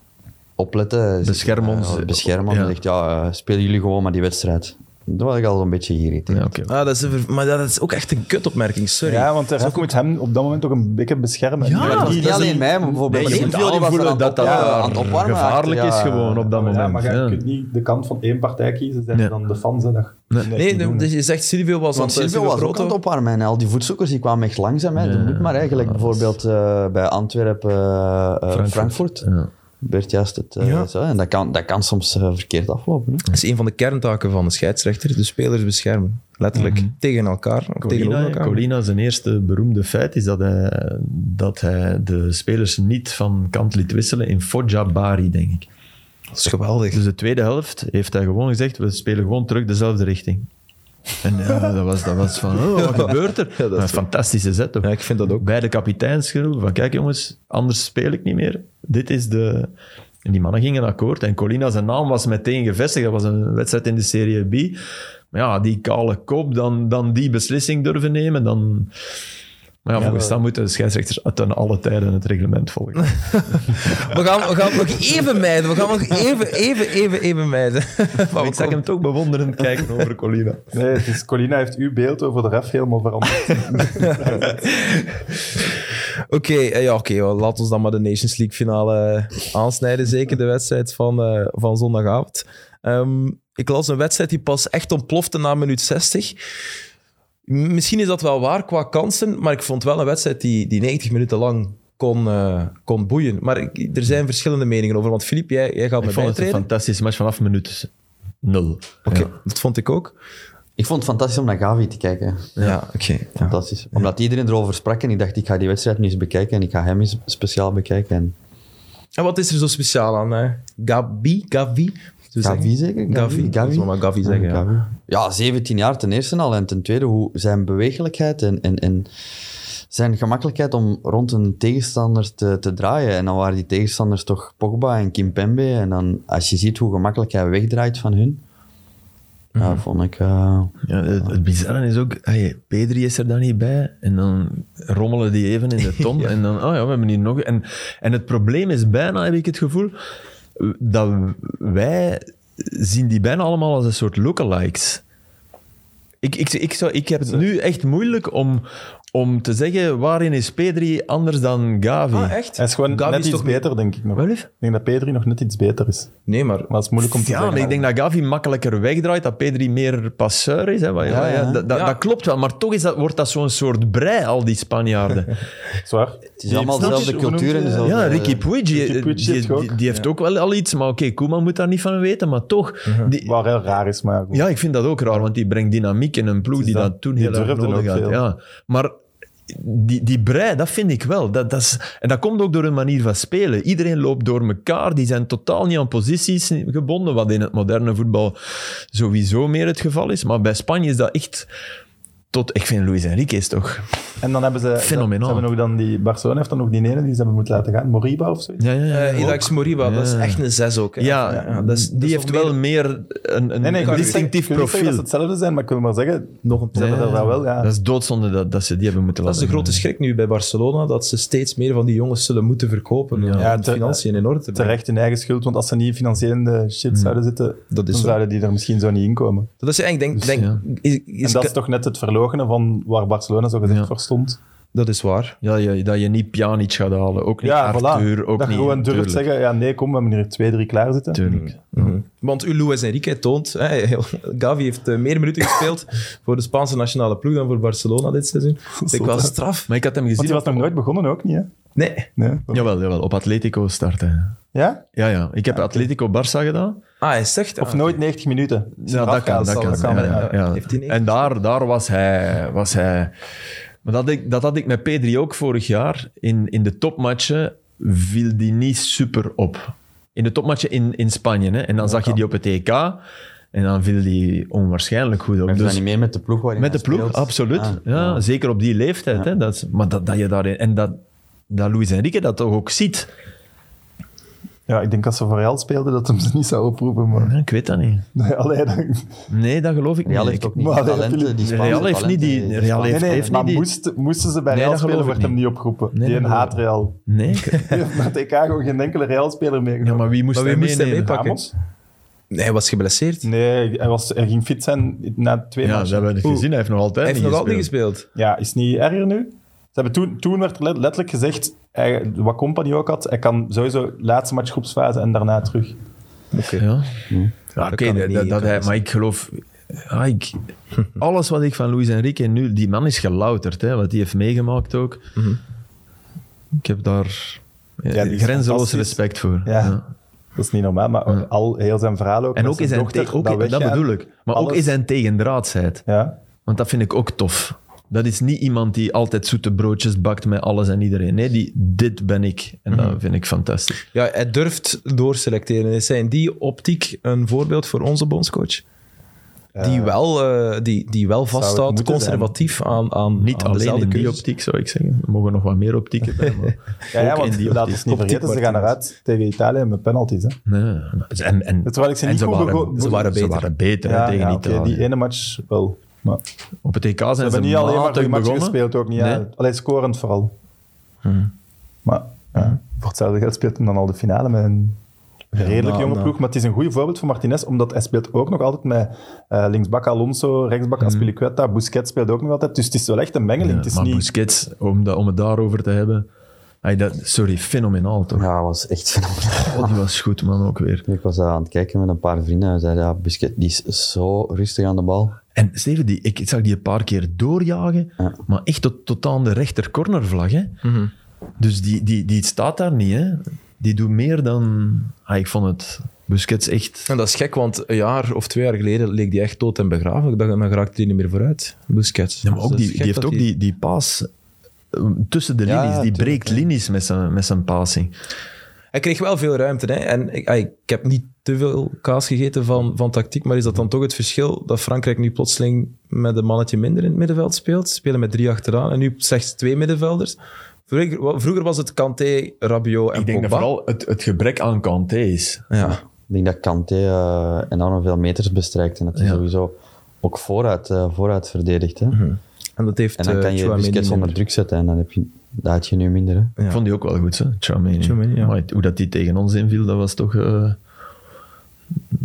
D: opletten.
B: Bescherm
D: Eh,
B: ons.
D: bescherm ons.
B: Ja.
D: En zegt, ja, eh, spelen jullie gewoon maar die wedstrijd. Toen was ik al een beetje geïrriteerd.
B: Ja, oké.
A: Ah, dat is een ver- maar dat is ook echt een kutopmerking, sorry.
C: Ja, want de ref moet hem op dat moment toch een beetje beschermen.
B: Ja,
C: maar
D: Maar het was
C: die-
D: Oh, niet alleen mij, maar bijvoorbeeld
B: Nee, je moet
D: Sint-Jan
B: wel
D: was er
B: voelen
D: aan
B: dat
D: het op-
B: dat
D: ja,
B: daar
D: aan het opwarmen
B: gevaarlijk
D: achter,
B: is
D: ja.
B: gewoon op dat
C: Ja,
B: moment.
C: maar je
B: ja.
C: kunt niet de kant van één partij kiezen, zijn
B: Nee.
C: dan de fans. Hè, dat- dat
A: Nee,
C: niet doen,
A: nee,
C: hè.
A: dus je zegt Silvio was aan
D: Want eh, Silvio was ook aan het opwarmen en al die voetzoekers die kwamen echt langzaam. Hè. Dat moet maar eigenlijk bijvoorbeeld eh, bij Antwerpen, eh, eh, Frankfurt,
B: Ja.
D: werd juist het... eh,
A: Ja.
D: zo, en dat kan, dat kan soms eh, verkeerd aflopen. Hè.
A: Dat is een van de kerntaken van de scheidsrechter, de spelers beschermen. Letterlijk, tegen elkaar, of
D: Ah,
A: tegen
B: Colina,
A: elkaar.
B: Colina, zijn eerste beroemde feit is dat hij, dat hij de spelers niet van kant liet wisselen in Foggia Bari, denk ik.
A: Dat is geweldig.
B: Dus de tweede helft heeft hij gewoon gezegd, we spelen gewoon terug dezelfde richting. En ja, dat, was, dat was van, oh, wat gebeurt er?
A: dat is
B: een
A: zo.
B: fantastische zet. toch?
A: Ja, ik vind dat ook.
B: Bij de kapitein schreeuwen van, kijk jongens, anders speel ik niet meer. Dit is de... En die mannen gingen akkoord. En Colina, zijn naam was meteen gevestigd. Dat was een wedstrijd in de Serie B. Maar ja, die kale kop, dan, dan die beslissing durven nemen, dan... Maar ja, volgens dat moeten de scheidsrechters ten alle tijden het reglement volgen.
A: We gaan, we gaan het nog even mijden. We gaan het nog even, even, even, even mijden. Maar
B: ik zag hem toch bewonderend kijken over Colina.
C: Nee, het is, Colina heeft uw beeld over de ref helemaal veranderd.
A: Oké, eh, ja, oké. wel, laat ons dan maar de Nations League finale eh, aansnijden. Zeker de wedstrijd van, eh, van zondagavond. Ehm, ik las een wedstrijd die pas echt ontplofte na minuut 60. M- Misschien is dat wel waar qua kansen, maar ik vond wel een wedstrijd die, die 90 minuten lang kon, eh, kon boeien. Maar ik- er zijn verschillende meningen over. Want Filip, jij, jij gaat me
B: Ik vond het een
A: bijtreden.
B: fantastische match vanaf minuut nul.
A: Oké,
B: Ja.
A: dat vond ik ook.
D: Ik vond het fantastisch om naar Gavi te kijken.
A: Ja, oké. ja.
D: Fantastisch. Omdat iedereen erover sprak en ik dacht, ik ga die wedstrijd nu eens bekijken en ik ga hem eens speciaal bekijken. En
A: En wat is er zo speciaal aan? Hè? Gabi? Gavi? Zullen we
D: Gavi
A: zeggen?
D: zeker?
A: Gavi.
D: Gavi.
A: Zullen we maar Gavi zeggen, ja.
D: Gavi. Ja, 17 jaar ten eerste al. En ten tweede, hoe zijn bewegelijkheid en, en, en zijn gemakkelijkheid om rond een tegenstander te, te draaien. En dan waren die tegenstanders toch Pogba en Kimpembe. En dan, als je ziet hoe gemakkelijk hij wegdraait van hun,
A: Mhm.
D: ja, vond ik... eh,
B: Ja, het, het bizarre is ook, hey, Pedri is er dan niet bij. En dan rommelen die even in de ton. En dan, oh ja, we hebben hier nog... En, en het probleem is bijna, heb ik het gevoel, dat wij zien die bijna allemaal als een soort lookalikes. Ik, ik, ik, zou, ik heb het nu echt moeilijk om, om te zeggen waarin is Pedri anders dan Gavi.
A: Ah, echt?
C: Hij is gewoon
A: Gavi
C: net
A: is
C: iets
A: toch-
C: beter, denk ik nog.
B: Wel, lief?
C: ik denk dat Pedri nog net iets beter is.
A: Nee, maar...
C: Maar het is moeilijk om te
B: ja,
C: zeggen.
B: maar ik denk dat Gavi makkelijker wegdraait, dat Pedri meer passeur is. Hè? Maar ja,
D: Ja, ja.
B: Dat, dat,
A: Ja.
B: dat klopt wel, maar toch is dat, wordt dat zo'n soort brei, al die Spanjaarden.
C: Zwaar.
D: het is allemaal dezelfde cultuur en dezelfde... eh,
B: ja, Ricky Puig, die,
C: Ricky Puig
B: die,
C: zit er ook.
B: die- die heeft ook wel al iets, maar oké, Koeman moet daar niet van weten, maar toch. die-
C: Waar heel raar is, maar goed.
B: ja, ik vind dat ook raar, want die brengt dynamiek in een ploeg die
C: dat.
B: dat toen
C: Die
B: heel erg
C: durfden
B: nodig
C: ook
B: had.
C: veel.
B: Ja. Maar die, die brei, dat vind ik wel. Dat, dat is, en dat komt ook door hun manier van spelen. Iedereen loopt door elkaar, die zijn totaal niet aan posities gebonden, wat in het moderne voetbal sowieso meer het geval is. Maar bij Spanje is dat echt... Tot, ik vind Luis Enrique is toch...
C: En dan hebben ze...
B: Fenomenaal.
C: Ze hebben ook dan die... Barcelona heeft dan ook die ene die ze hebben moeten laten gaan. Moriba of zoiets.
B: Ja, ja, ja.
A: eh Ilax Moriba, dat is echt een zes ook. Hè.
B: Ja,
A: dat is,
B: die
A: dat is
B: heeft
A: nog
B: wel
A: meer-
B: meer een, een,
C: ik
B: een
C: wil niet zeggen-
B: distinctief
C: ik wil niet zeggen
B: profiel.
C: dat ze hetzelfde zijn, maar ik wil maar zeggen... Nog een
B: Ja, ja, ja.
C: wel, ja.
B: Dat is doodzonde dat, dat ze die hebben moeten
A: Dat is de
B: laten
A: grote schrik nu bij Barcelona, dat ze steeds meer van die jongens zullen moeten verkopen om
C: Ja,
A: de
C: te-
A: financiën in orde te brengen.
C: Terecht in eigen schuld, want als ze niet in financiële
B: Mm.
C: shit zouden zitten,
A: Dat is
C: dan
A: zo.
C: zouden die er misschien zo niet inkomen.
A: Dat is eigenlijk, denk,
B: Dus,
A: denk, is, is-
C: En dat is toch net het verloop verloochenen van waar Barcelona zo gezegd
B: Ja.
C: voor stond.
A: Dat is waar.
B: Ja, je, dat je niet Pjanic gaat halen. Ook niet
C: Ja, voilà.
B: Arthur. Ook
C: dat je
B: niet,
C: gewoon durft
B: tuurlijk,
C: zeggen, ja nee, kom, we hebben hier twee, drie klaar zitten.
B: Tuurlijk.
A: Mhm. Want uw Luis Enrique toont, hè, heel- Gavi heeft eh, meer minuten gespeeld voor de Spaanse nationale ploeg dan voor Barcelona dit seizoen. Vind ik wel
C: Zot, hè?
A: straf.
B: Maar ik had hem gezien.
C: Want die was nog nooit begonnen ook niet, hè?
A: Nee.
C: Nee.
B: Jawel, jawel, op Atletico starten.
C: Ja?
B: Ja, ja. Ik heb Atletico Barça gedaan.
A: Ah, hij zegt...
C: Of nooit 90 minuten.
B: Ja, dat kan. Dat kan.
A: kan,
B: ja,
A: ja.
B: ja, ja.
A: Heeft hij niet
B: En daar, daar was, hij, was hij. Maar dat, ik, dat had ik met P3 ook vorig jaar. In, in de topmatchen viel die niet super op. In de topmatchen in, in Spanje. Hè. En dan zag je die op het EK. En dan viel die onwaarschijnlijk goed op.
D: Heeft dat
B: Dus-
D: niet meer met de ploeg waarin
B: Met de
D: hij
B: ploeg,
D: speelt?
B: absoluut.
D: Ah,
B: ja, Zeker op die leeftijd. Hè, dat is, maar dat, dat je daarin... En dat, dat Luis Enrique dat toch ook ziet.
C: Ja, ik denk als ze voor Real speelden, dat hem ze niet zou oproepen. Maar...
B: Ja, Ik weet dat niet.
C: Nee, allee, dan...
B: Nee, dat geloof ik
D: Real
B: niet.
D: heeft ook
B: Ik-
D: niet
C: Maar
D: die
C: dat
D: talenten, die
C: jullie-
D: Spaanse
B: Real heeft niet die-
D: talenten,
B: Real
D: Spaanse
C: Nee,
B: heeft-
C: nee,
B: heeft
C: maar
B: niet die-
C: moest, moesten ze bij
B: Nee,
C: Real
B: dat geloof
C: spelen,
B: ik
C: werd hem
B: niet.
C: niet opgeroepen.
B: Nee,
C: die
B: dat
C: een
B: geloof
C: haat
B: ik.
C: Real.
B: Nee. ik-
C: Die heeft naar het EK gewoon geen enkele Real-speler
B: Ja,
C: meegenomen.
B: maar wie moest
A: Maar wie
B: hij
A: moest hij
B: meenemen?
A: meepakken?
C: Ramos?
A: Nee, hij was geblesseerd.
C: Nee, hij, was, hij ging fit zijn na twee
B: Ja, dat
C: matchen.
B: hebben we
A: Oeh.
B: gezien. Hij heeft nog altijd
A: Hij heeft
B: niet
A: nog altijd niet
B: gespeeld.
A: gespeeld.
C: Ja, is het niet erger nu? Ze hebben toen, toen werd er let- letterlijk gezegd, hij, wat Company ook had, hij kan sowieso laatste match groepsfase en daarna terug.
B: Ja.
A: Dat
B: Ja, Oké,
A: kan
B: dat-
A: ik niet,
B: dat-
A: dat
B: dat hij-
A: is-
B: maar ik geloof... ja, ik, alles wat ik van Luis Enrique nu... Die man is gelouterd, hè, wat hij heeft meegemaakt ook. Ik heb daar
C: Ja, die is
B: Eh, grenzeloos
C: fantastisch.
B: respect voor.
C: Ja. Dat is niet normaal, maar
B: Ja.
C: al heel zijn verhaal ook.
B: En
C: met
B: ook in zijn...
C: dochter,
B: te- ook in- dat
C: weggaan.
B: bedoel ik. Maar ook
C: Alles.
B: in zijn tegendraadsheid.
C: Ja,
B: Want dat vind ik ook tof. Dat is niet iemand die altijd zoete broodjes bakt met alles en iedereen. Nee, die, dit ben ik. En dat vind ik fantastisch.
A: Ja, hij durft doorselecteren. Is hij in die optiek een voorbeeld voor onze bondscoach? Die wel, eh, die, die wel
C: het
A: vasthoudt,
C: moeten
A: conservatief aan, aan,
B: Niet
A: aan
B: alleen
A: dezelfde
B: in die
A: keuzes.
B: optiek, zou ik zeggen. Er mogen nog wat meer optieken bij, maar
C: ja, ja
B: ook
C: want
B: in die
C: laat
B: optiek.
C: ons niet vergeten, ze gaan eruit tegen Italië met penalties. Hè.
B: Nee. En, en,
C: Terwijl ik ze
B: en
C: niet
B: ze,
C: goed
B: waren,
C: bego-
B: ze waren
A: ze waren
B: beter. hè,
C: Ja,
B: tegen
C: ja, oké,
B: Italië.
C: die ene match wel. Maar ze
B: Op het EK zijn ze,
C: hebben niet alleen maar
B: matig
C: goede matchen
B: begonnen.
C: gespeeld, ook niet. ja.
B: Nee.
C: Alleen scorend vooral. Maar ja, voor hetzelfde geld speelt hem dan al de finale met een redelijk
A: nou,
C: jonge
A: nou.
C: ploeg. Maar het is een goed voorbeeld voor Martinez, omdat hij speelt ook nog altijd met eh, linksbak Alonso, rechtsbak Aspilicueta, Busquets speelt ook nog altijd. Dus het is wel echt een mengeling. het is
B: maar
C: niet...
B: Busquets, om, dat, om het daarover te hebben... Ay, dat, sorry, fenomenaal toch?
D: Ja, was echt fenomenaal.
B: Oh, die was goed, man, ook weer.
D: Ik was daar aan het kijken met een paar vrienden en zeiden, ja, Busquets, die is zo rustig aan de bal.
B: En Steven, die, ik, ik zag die een paar keer doorjagen,
D: Ja.
B: maar echt tot, tot aan de rechter cornervlag. Hè?
A: Mhm.
B: Dus die, die, die staat daar niet. Hè? Die doet meer dan... Ah, ik vond het Busquets echt...
A: En dat is gek, want een jaar of twee jaar geleden leek die echt dood en begraven. Ik dacht, dan raakte die niet meer vooruit. Busquets.
B: Ja, maar
A: Dus
B: ook
A: dat is
B: die,
A: gek
B: die heeft
A: dat
B: ook die, die paas eh, tussen de
D: Ja,
B: linies. die
D: tuurlijk,
B: breekt linies met zijn, met zijn passing.
A: Hij kreeg wel veel ruimte. Hè? En ik, ah, ik heb niet te veel kaas gegeten van, van tactiek, maar is dat dan toch het verschil dat Frankrijk nu plotseling met een mannetje minder in het middenveld speelt? Ze Spelen met drie achteraan en nu slechts twee middenvelders. Vroeger, wa- vroeger was het Kanté, Rabiot en Pogba.
B: het, het gebrek aan Kanté is.
A: Ja.
D: Ik denk dat Kanté eh, enorm veel meters bestrijkt en dat hij
B: Ja.
D: sowieso ook vooruit, eh, vooruit verdedigt. Hè.
A: Mhm. En dat heeft
D: En dan
A: eh,
D: kan je
A: Tchouaméni
D: Busquets onder
A: minder.
D: druk zetten en dan heb je, dat had je nu minder. Hè.
A: Ja.
B: Ik vond die ook wel goed, hè? Tchouameni.
A: Tchouameni, ja.
B: Maar hoe dat die tegen ons inviel, dat was toch... eh,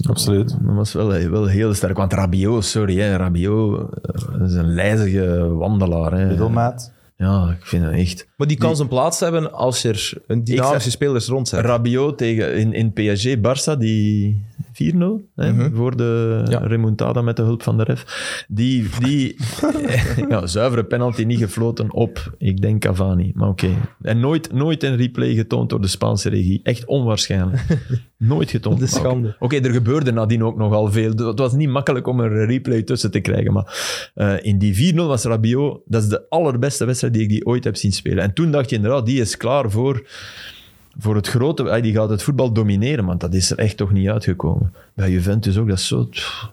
C: Absoluut.
B: Dat was wel, eh, wel heel sterk. Want Rabiot, sorry, hè, Rabiot eh, is een lijzige wandelaar. Hè.
C: Middelmaat.
B: Ja, ik vind het echt.
A: Maar die kan zijn plaats hebben als je er een dynamische
B: Ik zeg-
A: spelers rond hebt.
B: Rabiot tegen, in, in PSG, Barça, die 4-0 hè, voor de
A: Ja.
B: remontada met de hulp van de ref. Die, die ja, zuivere penalty niet gefloten op, ik denk Cavani. Maar oké. En nooit, nooit een replay getoond door de Spaanse regie. Echt onwaarschijnlijk. Nooit getoond.
A: Dat is
B: Maar oké.
A: schande.
B: Oké, er gebeurde nadien ook nogal veel. Het was niet makkelijk om er een replay tussen te krijgen. Maar eh, in die 4-0 was Rabiot, dat is de allerbeste wedstrijd die ik die ooit heb zien spelen. En toen dacht je inderdaad, die is klaar voor, voor het grote. eh, Die gaat het voetbal domineren, want dat is er echt toch niet uitgekomen. Bij Juventus ook, dat is zo. pff,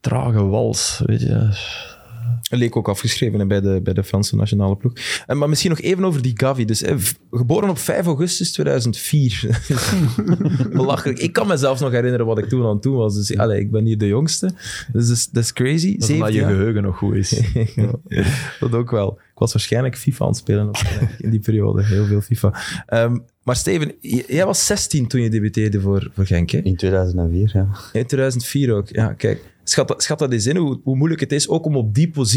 B: Trage wals, weet je.
A: Leek ook afgeschreven hè, bij de, bij de Franse nationale ploeg. En, maar misschien nog even over die Gavi. Dus, hè, v- geboren op 5 augustus 2004. Belachelijk. Ik kan mezelf nog herinneren wat ik toen aan toen was. Dus allee, ik ben hier de jongste. Dus dat is- dat is crazy.
B: Dat is omdat je
A: Zeventien jaar.
B: geheugen nog goed is.
A: dat ook wel. Ik was waarschijnlijk FIFA aan het spelen op- in die periode. Heel veel FIFA. Ehm, maar Steven, j- jij was 16 toen je debuteerde voor, voor Genk. Hè?
D: In 2004, ja.
A: In 2004 ook. Ja, kijk. Schat, dat- schat dat eens in, hoe, hoe moeilijk het is, ook om op die positie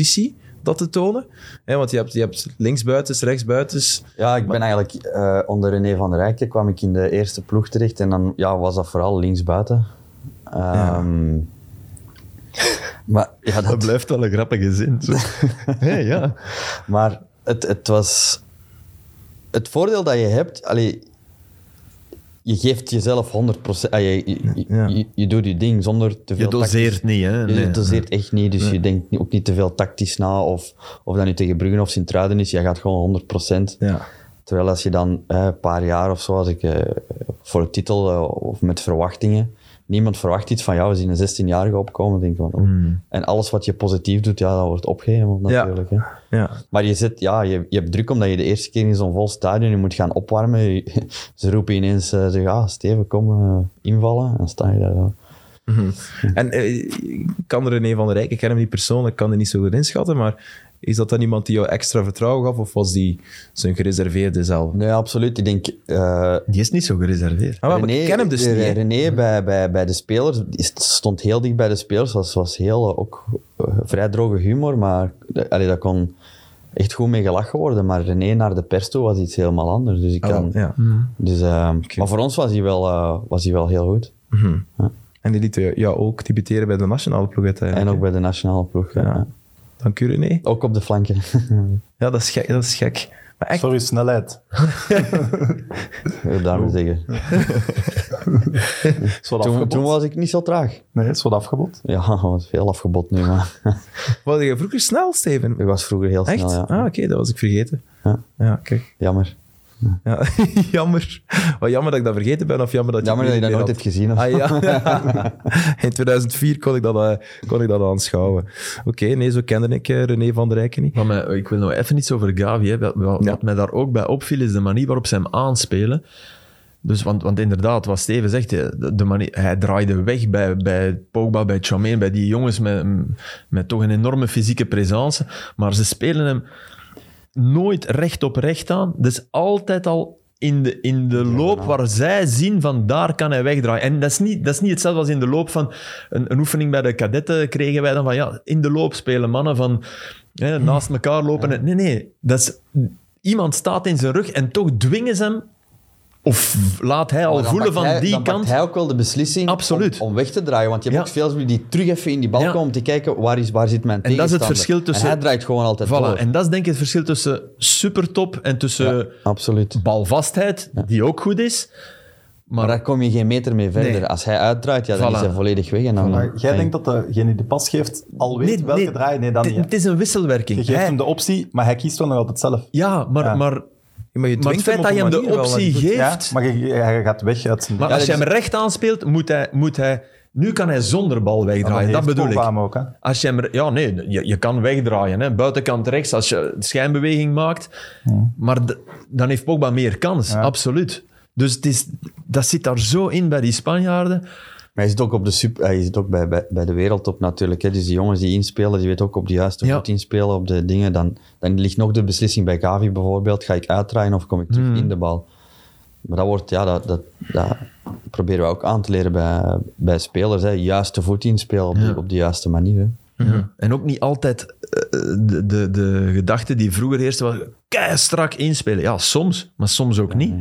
A: dat te tonen. Hè, want je hebt, je hebt linksbuitens, rechtsbuitens.
D: Ja, ik ben eigenlijk eh, onder René van der Rijken kwam ik in de eerste ploeg terecht en dan ja, was dat vooral linksbuiten. Ehm, Maar, ja, dat,
B: Dat blijft wel een grappige zin. Zo. Hé, ja.
D: maar het, het was. Het voordeel dat je hebt, allee, je geeft jezelf 100%. ah, je, je,
A: Ja.
D: je, je doet je ding zonder te veel.
B: Je doseert
D: tactisch-
B: niet, hè?
D: Je
B: Nee.
D: doseert echt niet, dus je denkt niet- ook niet te veel tactisch na. Of, of dat nu tegen Bruggen of Sint-Truiden is, je gaat gewoon 100%.
A: Ja.
D: Terwijl als je dan eh, een paar jaar of zo, als ik eh, voor de titel eh, of met verwachtingen, niemand verwacht iets van jou, we zien een 16-jarige opkomen, denk ik van, oh.
B: Hmm.
D: En alles wat je positief doet, ja, dat wordt opgehemeld
A: Ja.
D: natuurlijk. Hè.
A: Ja.
D: Maar je, zit, ja, je, je hebt druk omdat je de eerste keer in zo'n vol stadion je moet gaan opwarmen. Je- ze roepen ineens, eh, ze ja, Steven, kom eh, invallen. En dan sta je daar. zo.
A: En eh, ik kan René van der Rijk, ik ken hem niet persoonlijk, kan er niet zo goed inschatten, maar is dat dan iemand die jou extra vertrouwen gaf of was die zijn gereserveerde zelf?
D: Nee, absoluut. Ik denk, eh,
B: Die is niet zo gereserveerd.
A: Ah, wel, maar ik ken hem dus
D: de-
A: niet. hè.
D: René bij, bij, bij de spelers is- stond heel dicht bij de spelers. Was, was heel eh, ook eh, vrij droge humor, maar eh, allee, dat kon echt goed mee gelachen worden. Maar René naar de pers toe was iets helemaal anders. Dus ik
A: Ah, wel,
D: kan,
A: ja.
D: dus, eh, Maar voor ons was hij wel, eh, was hij wel heel goed.
A: En die liet jou jou ook debuteren bij de nationale ploeg uiteindelijk.
D: En ook bij de nationale ploeg. ja.
A: Ja. Dank u, René.
D: Ook op de flanken.
A: Ja, dat is gek. Dat is gek. Maar echt,
C: Sorry, snelheid.
D: Daarom zeggen.
C: Is wat
D: Toen,
C: afgebod.
D: toen was ik niet zo traag.
C: Nee, is wat afgebod.
D: Ja, was veel afgebod nu, maar
A: was je vroeger snel, Steven?
D: ik was vroeger heel
A: Echt?
D: snel.
A: Ah, oké,
D: Ja.
A: dat was ik vergeten.
D: Ja.
A: Ja, kijk.
D: Jammer.
A: Ja, jammer. Wat jammer dat ik dat vergeten ben, of jammer dat je
D: Jammer dat je dat nooit hebt
A: het
D: gezien. of-
A: Ah, ja. In 2004 kon ik dat, eh, kon ik dat aanschouwen. Oké, nee, zo kende ik eh, René van der Rijken niet.
B: Maar mij- ik wil nog even iets over Gavi. Hè. Wat, wat-
A: Ja.
B: wat mij daar ook bij opviel, is de manier waarop ze hem aanspelen. Dus, want, want inderdaad, wat Steven zegt, de, de manier, hij draaide weg bij, bij Pogba, bij Chameen, bij die jongens met, met toch een enorme fysieke présence. Maar ze spelen hem nooit recht op recht aan. Dus altijd al in de, in de loop waar zij zien van daar kan hij wegdraaien. En dat is niet, dat is niet hetzelfde als in de loop van een, een oefening bij de kadetten kregen wij dan van ja, in de loop spelen mannen van hè,
D: Mm.
B: naast elkaar lopen. Nee, nee. Dat is, iemand staat in zijn rug en toch dwingen ze hem of laat hij al
D: Maar dan
B: voelen
D: pakt
B: van
D: hij-
B: die
D: dan pakt
B: kant.
D: hij ook wel de beslissing
B: Absoluut.
D: Om, om weg te draaien. Want je hebt
B: Ja.
D: ook veel spelers die terug even in die bal
B: Ja.
D: komen om te kijken waar, is, waar zit mijn
B: dat is het
D: tegenstander.
B: verschil tussen-
D: En hij draait gewoon altijd
B: Voilà.
D: door.
B: En eh, dat is denk ik het verschil tussen supertop en tussen
D: Absoluut.
B: balvastheid, die ook goed is.
D: Maar daar kom je geen meter mee verder.
B: Nee.
D: Als hij uitdraait, ja, dan
B: Voilà.
D: is hij volledig weg. En dan,
C: Maar jij
D: dan-
C: denkt dat degene die de pas geeft al weet welke draai? Nee, dan
B: het-
C: niet.
B: Het is een wisselwerking.
C: Je geeft
B: Hij-
C: hem de optie, maar hij kiest wel nog altijd zelf.
B: Ja, maar,
C: Ja.
B: maar,
A: Maar, je
B: maar het
A: dwingt
B: feit
A: op
B: dat je
A: een
B: hem de
A: manier wel,
B: optie
A: want-
B: geeft...
C: Ja, dus
B: maar
C: maar je- je- hij gaat weg uit zijn...
D: Ja,
B: als je
D: dat
B: hem
D: is-
B: recht aanspeelt, moet hij, moet hij... Nu kan hij zonder bal wegdraaien, dat bedoel ik.
C: Obama ook, hè.
B: Als je hem... re- Ja, nee, je, je kan wegdraaien. Hè. Buitenkant rechts, als je schijnbeweging maakt. Maar d- dan heeft Pogba meer kans, absoluut. Dus het is, dat zit daar zo in bij die Spanjaarden.
D: Maar hij zit ook, op de super, hij zit ook bij, bij, bij de wereldtop natuurlijk. Hè. Dus die jongens die inspelen, die weten ook op de juiste
B: Ja.
D: voet inspelen, op de dingen. Dan, dan ligt nog de beslissing bij Gavi bijvoorbeeld. Ga ik uitdraaien of kom ik
B: Hmm.
D: terug in de bal? Maar dat, wordt, ja, dat, dat, dat proberen we ook aan te leren bij, bij spelers. Hè. Juiste voet inspelen op, de, op de juiste manier. Hè.
B: En ook niet altijd eh, de, de, de gedachte die vroeger heerste was... Kei strak inspelen. Ja, soms, maar soms ook niet.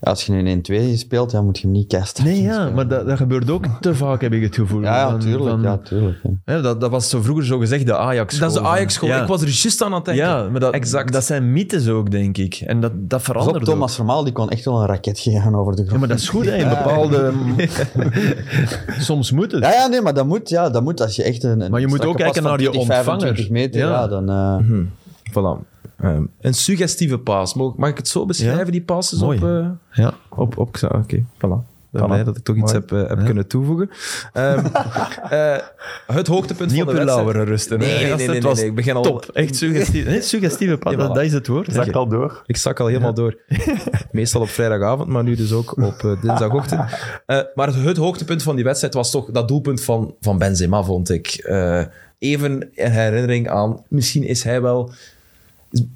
D: Ja, als je nu in 1-2 speelt, dan moet je hem niet kasten.
B: Nee, ja, maar dat, dat gebeurt ook te vaak, heb ik het gevoel.
D: Ja, ja,
B: Van-
D: tuurlijk.
B: van-
D: ja, tuurlijk hè.
B: hè, dat, dat was zo vroeger zo gezegd de Ajax.
A: Dat is de Ajax-school.
B: Ja.
A: Ik was er juist aan aan het denken.
B: Ja, maar dat,
A: exact.
B: dat zijn mythes ook, denk ik. En dat, dat
D: Pas op,
B: verandert ook.
D: Thomas Vermaal die kon echt wel een raket geven over de grond.
B: Ja, maar dat is goed, hè. In bepaalde... Soms moet het.
D: Ja, ja, nee, maar dat moet, ja, dat moet als je echt een. een
B: Maar je moet
D: strakke
B: ook
D: pas
B: kijken
D: van
B: naar je
D: 20, 25
B: ontvanger.
D: meter,
B: Ja. Mhm.
D: ja, dan. eh,
A: Voilà. Ehm, een suggestieve paas. Mag, mag ik het zo beschrijven,
B: Ja.
A: die passes
B: Mooi.
A: op... eh,
B: Ja.
A: Op, op Xa- oké, voilà. Ik ben
C: Voilà.
A: blij dat ik toch iets
C: Mooi.
A: heb, eh, heb kunnen toevoegen. Ehm, eh, het hoogtepunt
B: Niet
A: van
B: op
A: de
B: je
A: wedstrijd...
B: lauweren rusten.
A: Nee,
B: hè.
A: nee,
B: Gasten,
A: nee, nee,
B: het was
A: nee, ik begin al-
B: Top. Echt suggestieve, nee, suggestieve pad,
A: Ja,
B: dat,
A: voilà.
B: dat is het woord.
C: Zakt al door.
A: Ik zak al helemaal door. Meestal op vrijdagavond, maar nu dus ook op eh, dinsdagochtend. Eh, maar het, het hoogtepunt van die wedstrijd was toch dat doelpunt van, van Benzema, vond ik. Eh, even in herinnering aan, misschien is hij wel Ik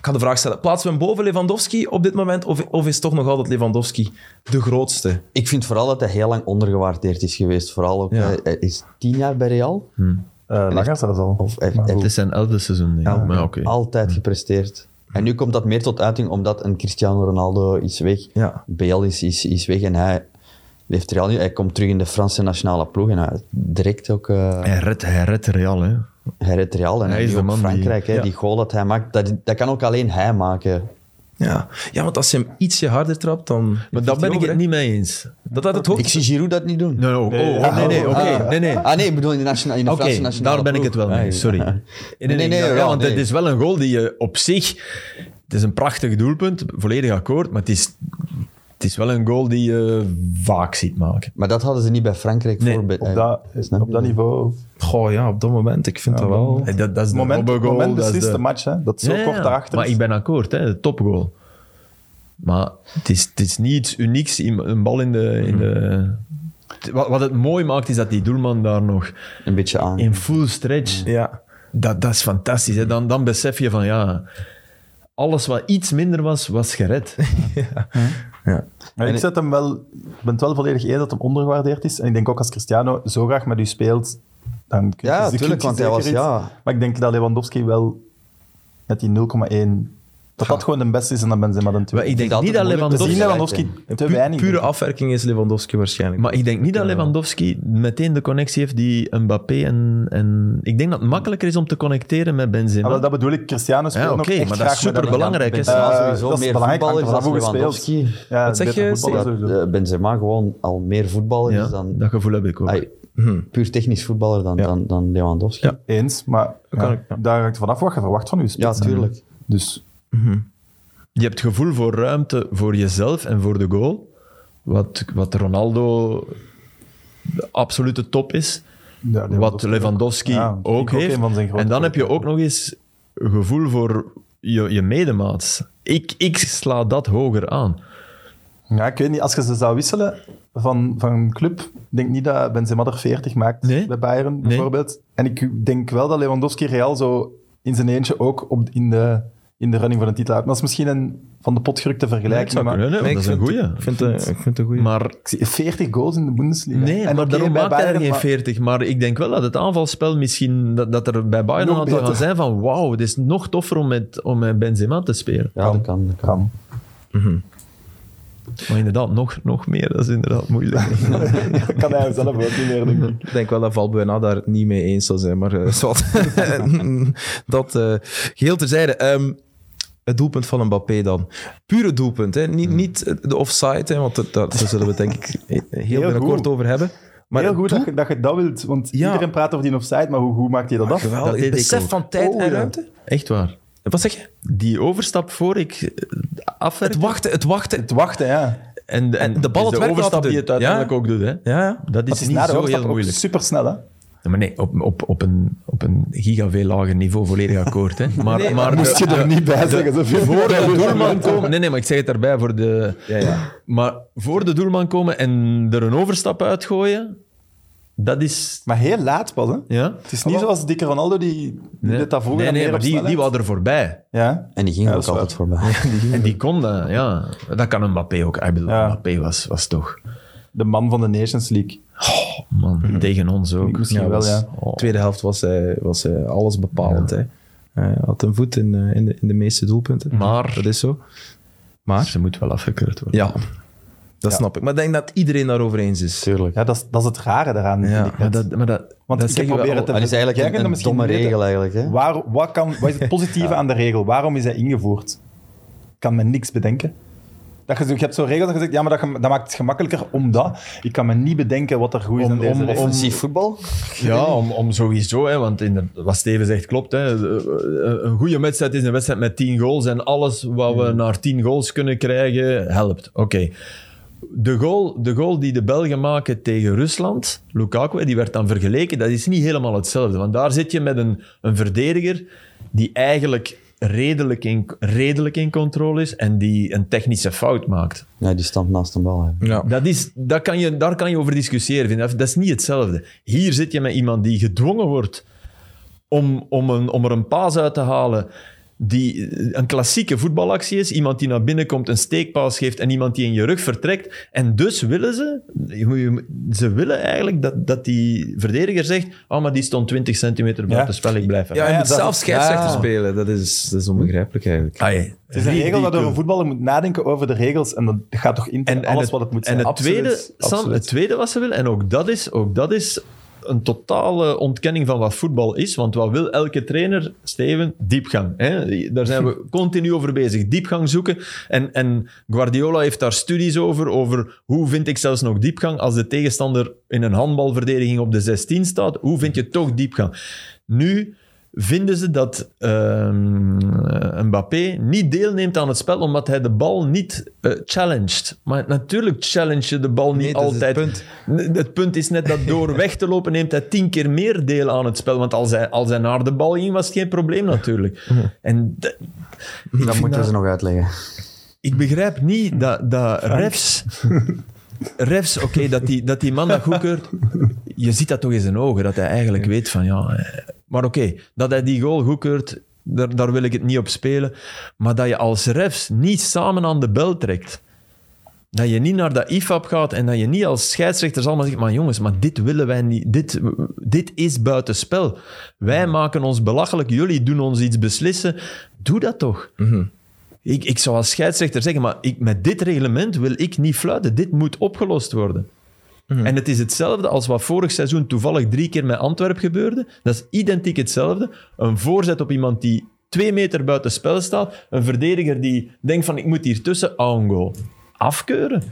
A: ga de vraag stellen. Plaatsen we hem boven Lewandowski op dit moment? Of, of is toch nog altijd Lewandowski de grootste?
D: Ik vind vooral dat hij heel lang ondergewaardeerd is geweest. Vooral ook,
A: Ja.
D: hij- hij is tien jaar bij Real.
B: Mhm.
C: Eh langer zelfs al.
D: Of hij-
C: Maar
D: hij-
B: Het is zijn elfde seizoen, ja. maar oké. Mhm.
D: Altijd gepresteerd. En nu komt dat meer tot uiting omdat een Cristiano Ronaldo is weg.
A: Ja.
D: Bale is, is, is weg en hij heeft Real niet. Hij komt terug in de Franse nationale ploeg en hij direct ook... eh,
B: Hij redt, hij redt Real, hè.
D: Hij redt Real en
B: Hij
D: hij
B: is
D: is
B: de man die-
D: Frankrijk. hè,
A: ja.
D: Die goal dat hij maakt, dat, dat kan ook alleen hij maken.
A: Ja. ja, want als je hem ietsje harder trapt, dan...
B: Maar daar ben ik het niet mee eens.
A: Dat had het hoofd...
D: Ik zie Giroud dat niet doen.
B: Nee, oh,
C: Nee,
B: oh, oh, nee, nee, oké.
D: Ah.
B: Nee, nee.
D: Ah nee, ik bedoel in de, nationa- in de
B: Oké,
D: Franse nationale
B: daar ben ik
D: ploeg.
B: het wel mee,
D: Ah,
B: sorry.
D: ja. Nee, nee, nee,
B: ja,
D: ja,
B: want
D: nee.
B: het is wel een goal die je op zich... Het is een prachtig doelpunt, volledig akkoord, maar het is, het is wel een goal die je vaak ziet maken.
D: Maar dat hadden ze niet bij Frankrijk eh,
B: Nee,
D: voorbereid.
C: Op dat,
D: Snap je?
C: op dat niveau.
A: Goh, ja, op dat moment. Ik vind
C: Ja,
A: dat wel...
C: dan-
B: En dat, dat is
C: Het moment,
B: de
C: het
B: Robben goal,
C: moment
B: dat is
C: beslist de...
B: de-
C: match. Hè? Dat zo
B: Ja,
C: kort
B: ja,
C: daarachter
B: Maar
C: is.
B: ik ben akkoord, hè, de topgoal. Maar het is, het is niet iets unieks, in- een bal in de... In de t- wat, wat het mooi maakt, is dat die doelman daar nog
D: Een beetje aan.
B: in full stretch...
A: Ja.
B: Dat, dat is fantastisch. Hè? Dan, dan besef je van ja, alles wat iets minder was, was gered.
A: ja.
C: Maar ik,
D: En-
C: zet hem wel, ik ben het wel volledig eens dat hem ondergewaardeerd is. En ik denk ook als Cristiano zo graag met u speelt, dan kun je
D: Ja,
C: dus de
D: tuurlijk,
C: kritiek
D: want hij
C: zeker
D: was-
C: iets.
D: ja.
C: Maar ik denk dat Lewandowski wel met die 0,1, dat dat gewoon de beste is en dan Benzema de
B: Maar
C: tweede.
B: ik
D: vind
B: denk
D: het
B: niet
D: altijd
B: dat
D: moeilijk
C: We zien
B: Lewandowski...
D: te
C: Lewandowski
A: Een
C: te
A: pu-
C: weinig.
A: pure afwerking is Lewandowski waarschijnlijk.
B: Maar ik denk niet dat Lewandowski meteen de connectie heeft die Mbappé en... en ik denk dat het makkelijker is om te connecteren met
C: Ah,
B: Benzema.
C: wel, dat bedoel ik, Cristiano speelt
B: Ja,
C: nog
B: oké, maar
C: echt
B: dat
C: graag
B: is
C: met hem.
B: superbelangrijk, hè.
D: Benzema
C: Eh,
D: sowieso
C: dat is
D: meer
C: belangrijk,
D: voetballer is
C: hangt
D: dan
C: er vanaf hoe
D: Lewandowski.
C: Ja,
A: Wat zeg
C: beter
A: je,
C: voetballer
D: Dat
C: sowieso.
D: eh, Benzema gewoon al meer voetballer
B: ja,
D: is dan...
B: Dat gevoel heb ik ook. Hm.
D: Ai, puur technisch voetballer dan, dan, dan Lewandowski.
A: Ja.
C: Eens, maar
A: kan
C: ja,
A: ik, ja.
C: daar hangt vanaf wat je verwacht van u.
D: Ja, tuurlijk.
C: Dus
B: Je hebt het gevoel voor ruimte voor jezelf en voor de goal. Wat, wat Ronaldo de absolute top is.
C: ja,
B: wat Lewandowski
C: Ja,
B: ook,
C: vind ik ook
B: heeft.
C: een van zijn grote
B: en dan heb je
C: voordelen.
B: ook nog eens een gevoel voor je, je medemaats. Ik, ik sla dat hoger aan.
C: Ja, ik weet niet. Als je ze zou wisselen van, van club, ik denk niet dat Benzema er 40 maakt
B: Nee.
C: bij Bayern bijvoorbeeld. En ik denk wel dat Lewandowski Real zo in zijn eentje ook op, in, de, in de running voor een titel houdt. Maar dat is misschien een van de pot gerukte
B: Gelijk,
C: vergelijking. maar
B: kunnen,
A: Nee,
B: hè, want dat is
A: ik
B: een goeie.
A: vind- eh, Ik vind het- ik vind het een goeie.
B: Maar,
C: ik zie 40 goals in de Bundesliga.
B: nee,
C: en
B: maar
C: oké,
B: daarom
C: bij
B: maakt hij er
C: Bayern,
B: geen
C: maar-
B: 40. Maar ik denk wel dat het aanvalspel misschien... Dat, dat er bij Bayern
C: Nog
B: een aantal gaan
C: beter.
B: zijn van... Wauw, het is nog toffer om met, om met Benzema te spelen.
D: Ja, dat kan. Dat kan.
C: Kan.
B: Maar inderdaad, nog, nog meer. Dat is inderdaad moeilijk.
C: Dat kan hij zelf ook niet meer, denk ik.
A: Ik denk wel dat Valbuena daar niet mee eens zal zijn, maar eh, zwart. dat eh geheel terzijde. Ehm, het doelpunt van Mbappé dan. Pure doelpunt, hè?
B: Hmm.
A: Niet, niet de offside, hè? want dat- dat- daar zullen we het denk ik heel, binnenkort
C: goed.
A: over hebben. Maar
C: Heel goed
A: het
C: dat je, dat je dat wilt, want
A: Ja.
C: iedereen praat over die offside, maar hoe, hoe maakt hij dat af?
A: doel- geweldig.
B: dat deed
A: het
B: ik
A: besef
B: ook.
A: van tijd
C: Oh,
A: en
C: ja.
A: ruimte.
B: Echt waar.
A: Wat zeg je?
B: Die overstap voor ik
A: Het
B: afwerk...
A: wachten, het wachten.
C: Het wachten, ja.
B: En, en,
A: de bal het
B: is
A: werk
B: de
A: laten
B: overstap
A: doen.
B: die het uiteindelijk
A: Ja.
B: ook doet. Hè?
A: Ja, ja.
B: Dat is,
C: Het is
B: niet
C: na de
B: zo heel
C: overstap ook
B: moeilijk.
C: supersnel, hè.
B: Ja, maar nee, op, op, op, een, op een giga veel lager niveau volledig akkoord. Hè. Maar,
A: Nee,
B: maar
C: Moest je er niet bij zeggen, zoveel
B: voor de doelman komen... Nee, nee, maar ik zeg het daarbij. Voor de,
A: Ja, ja.
B: Maar voor de doelman komen en er een overstap uitgooien, dat is...
C: Maar heel laat pas, hè?
B: Ja?
C: Het is niet zoals Dikke Ronaldo, die, die deed dat
B: nee,
C: vroeger dan
B: nee,
C: meer
B: maar
C: op
B: die, die
C: snelheid.
B: wou er voorbij.
C: Ja.
D: En die ging
C: Ja, dat
D: ook
C: is waar.
D: altijd voor mij.
B: En die kon dat, ja. Dat kan een Mbappé ook. Ik bedoel,
C: Ja.
B: Mbappé was, was toch...
C: De man van de Nations League.
B: Oh, man, tegen ons ook.
C: Mhm. Misschien
A: Ja,
C: wel,
A: was-
C: ja.
B: Oh.
A: Tweede helft was, hij was hij alles bepalend. Hè. Hij had een voet in, eh, in, de, in de meeste doelpunten.
B: Maar-
A: Dat is zo. Maar...
B: Ze moet wel afgekeurd worden.
A: Ja, dat snap ik. Maar ik denk dat iedereen daarover eens is.
D: Tuurlijk.
C: Ja, dat is, dat is het rare daaraan.
A: Ja,
C: vind ik
B: Maar
C: net.
B: dat, maar dat,
C: Want
B: dat
C: ik
B: zeggen we
C: probeer
B: al-
C: het te
D: Dat is
C: Jij
D: eigenlijk
C: kunt dat
D: een, een
C: misschien
D: domme
C: weten.
D: regel eigenlijk. Hè?
C: Waar, wat, kan, wat is het positieve aan de regel? Waarom is hij ingevoerd? Ik kan me niks bedenken. Dat je, zo- je hebt zo'n regel dat je zegt, ja, maar dat, ge- dat maakt het gemakkelijker omdat... Ik kan me niet bedenken wat er goed is
B: Om-
C: aan deze
B: om-
C: regel.
D: Offensief voetbal?
B: Ja, om, om sowieso, hè, want in de, wat Steven zegt klopt. Hè, Eh, een goede wedstrijd is een wedstrijd met 10 goals en alles wat we naar 10 goals kunnen krijgen helpt. Oké. De, goal, de goal die de Belgen maken tegen Rusland, Lukaku, hè, die werd dan vergeleken, dat is niet helemaal hetzelfde. Want daar zit je met een, een verdediger die eigenlijk redelijk in, redelijk in controle is en die een technische fout maakt.
D: Ja, die stamt naast een bal. hè.
A: Ja.
B: Dat is, dat kan je, daar kan je over discussiëren. Vind. ik. Dat is niet hetzelfde. Hier zit je met iemand die gedwongen wordt om, om, een, om er een paas uit te halen die een klassieke voetbalactie is. Iemand die naar binnen komt, een steekpaas geeft en iemand die in je rug vertrekt. En dus willen ze, hoe je- ze willen eigenlijk dat, dat die verdediger zegt, oh, maar die stond 20 centimeter buiten spel, ik blijf
A: Ja,
B: erbij.
A: je
C: ja,
A: moet
C: dat-
A: zelf scheidsrechter
C: ja.
A: spelen. Dat is, dat is onbegrijpelijk eigenlijk.
B: Ai,
C: Het is
B: die-
C: een regel
B: die
C: waardoor
B: kunnen-
C: een voetballer moet nadenken over de regels en dat gaat toch in tegen alles wat het moet zijn.
B: En het,
C: Absoluut,
B: tweede, Sam,
C: absoluut.
B: het tweede wat ze willen, en ook dat, is, ook dat is een totale ontkenning van wat voetbal is. Want wat wil elke trainer, Steven? Diepgang. Hè? Daar zijn we continu over bezig. Diepgang zoeken. En, en Guardiola heeft daar studies over, over hoe vind ik zelfs nog diepgang als de tegenstander in een handbalverdediging op de 16 staat. Hoe vind je toch diepgang? Nu vinden ze dat ehm, eh, Mbappé niet deelneemt aan het spel omdat hij de bal niet eh, challenged. Maar natuurlijk challenge je de bal niet
A: Nee, dat is het
B: altijd.
A: punt.
B: N- het punt is net dat door weg te lopen neemt hij tien keer meer deel aan het spel. Want als hij, als hij naar de bal ging, was het geen probleem natuurlijk. En d- ik,
D: Dat
B: vind
D: moeten
B: dat-
D: ze nog uitleggen.
B: ik begrijp niet dat, dat refs... Refs, oké, dat, die, dat die man dat goedkeurt... Je ziet dat toch in zijn ogen, dat hij eigenlijk weet van ja... eh, Maar oké, dat hij die goal goedkeurt, daar, daar wil ik het niet op spelen. Maar dat je als refs niet samen aan de bel trekt... Dat je niet naar dat IFAB gaat en dat je niet als scheidsrechter allemaal zegt: maar jongens, maar dit willen wij niet. Dit, dit is buitenspel. Wij maken ons belachelijk, jullie doen ons iets beslissen. Doe dat toch? Ik, ik zou als scheidsrechter zeggen: maar ik, met dit reglement wil ik niet fluiten. Dit moet opgelost worden. En het is hetzelfde als wat vorig seizoen toevallig drie keer met Antwerpen gebeurde. Dat is identiek hetzelfde. Een voorzet op iemand die twee meter buiten spel staat. Een verdediger die denkt van ik moet hier tussen, aan goal. Afkeuren.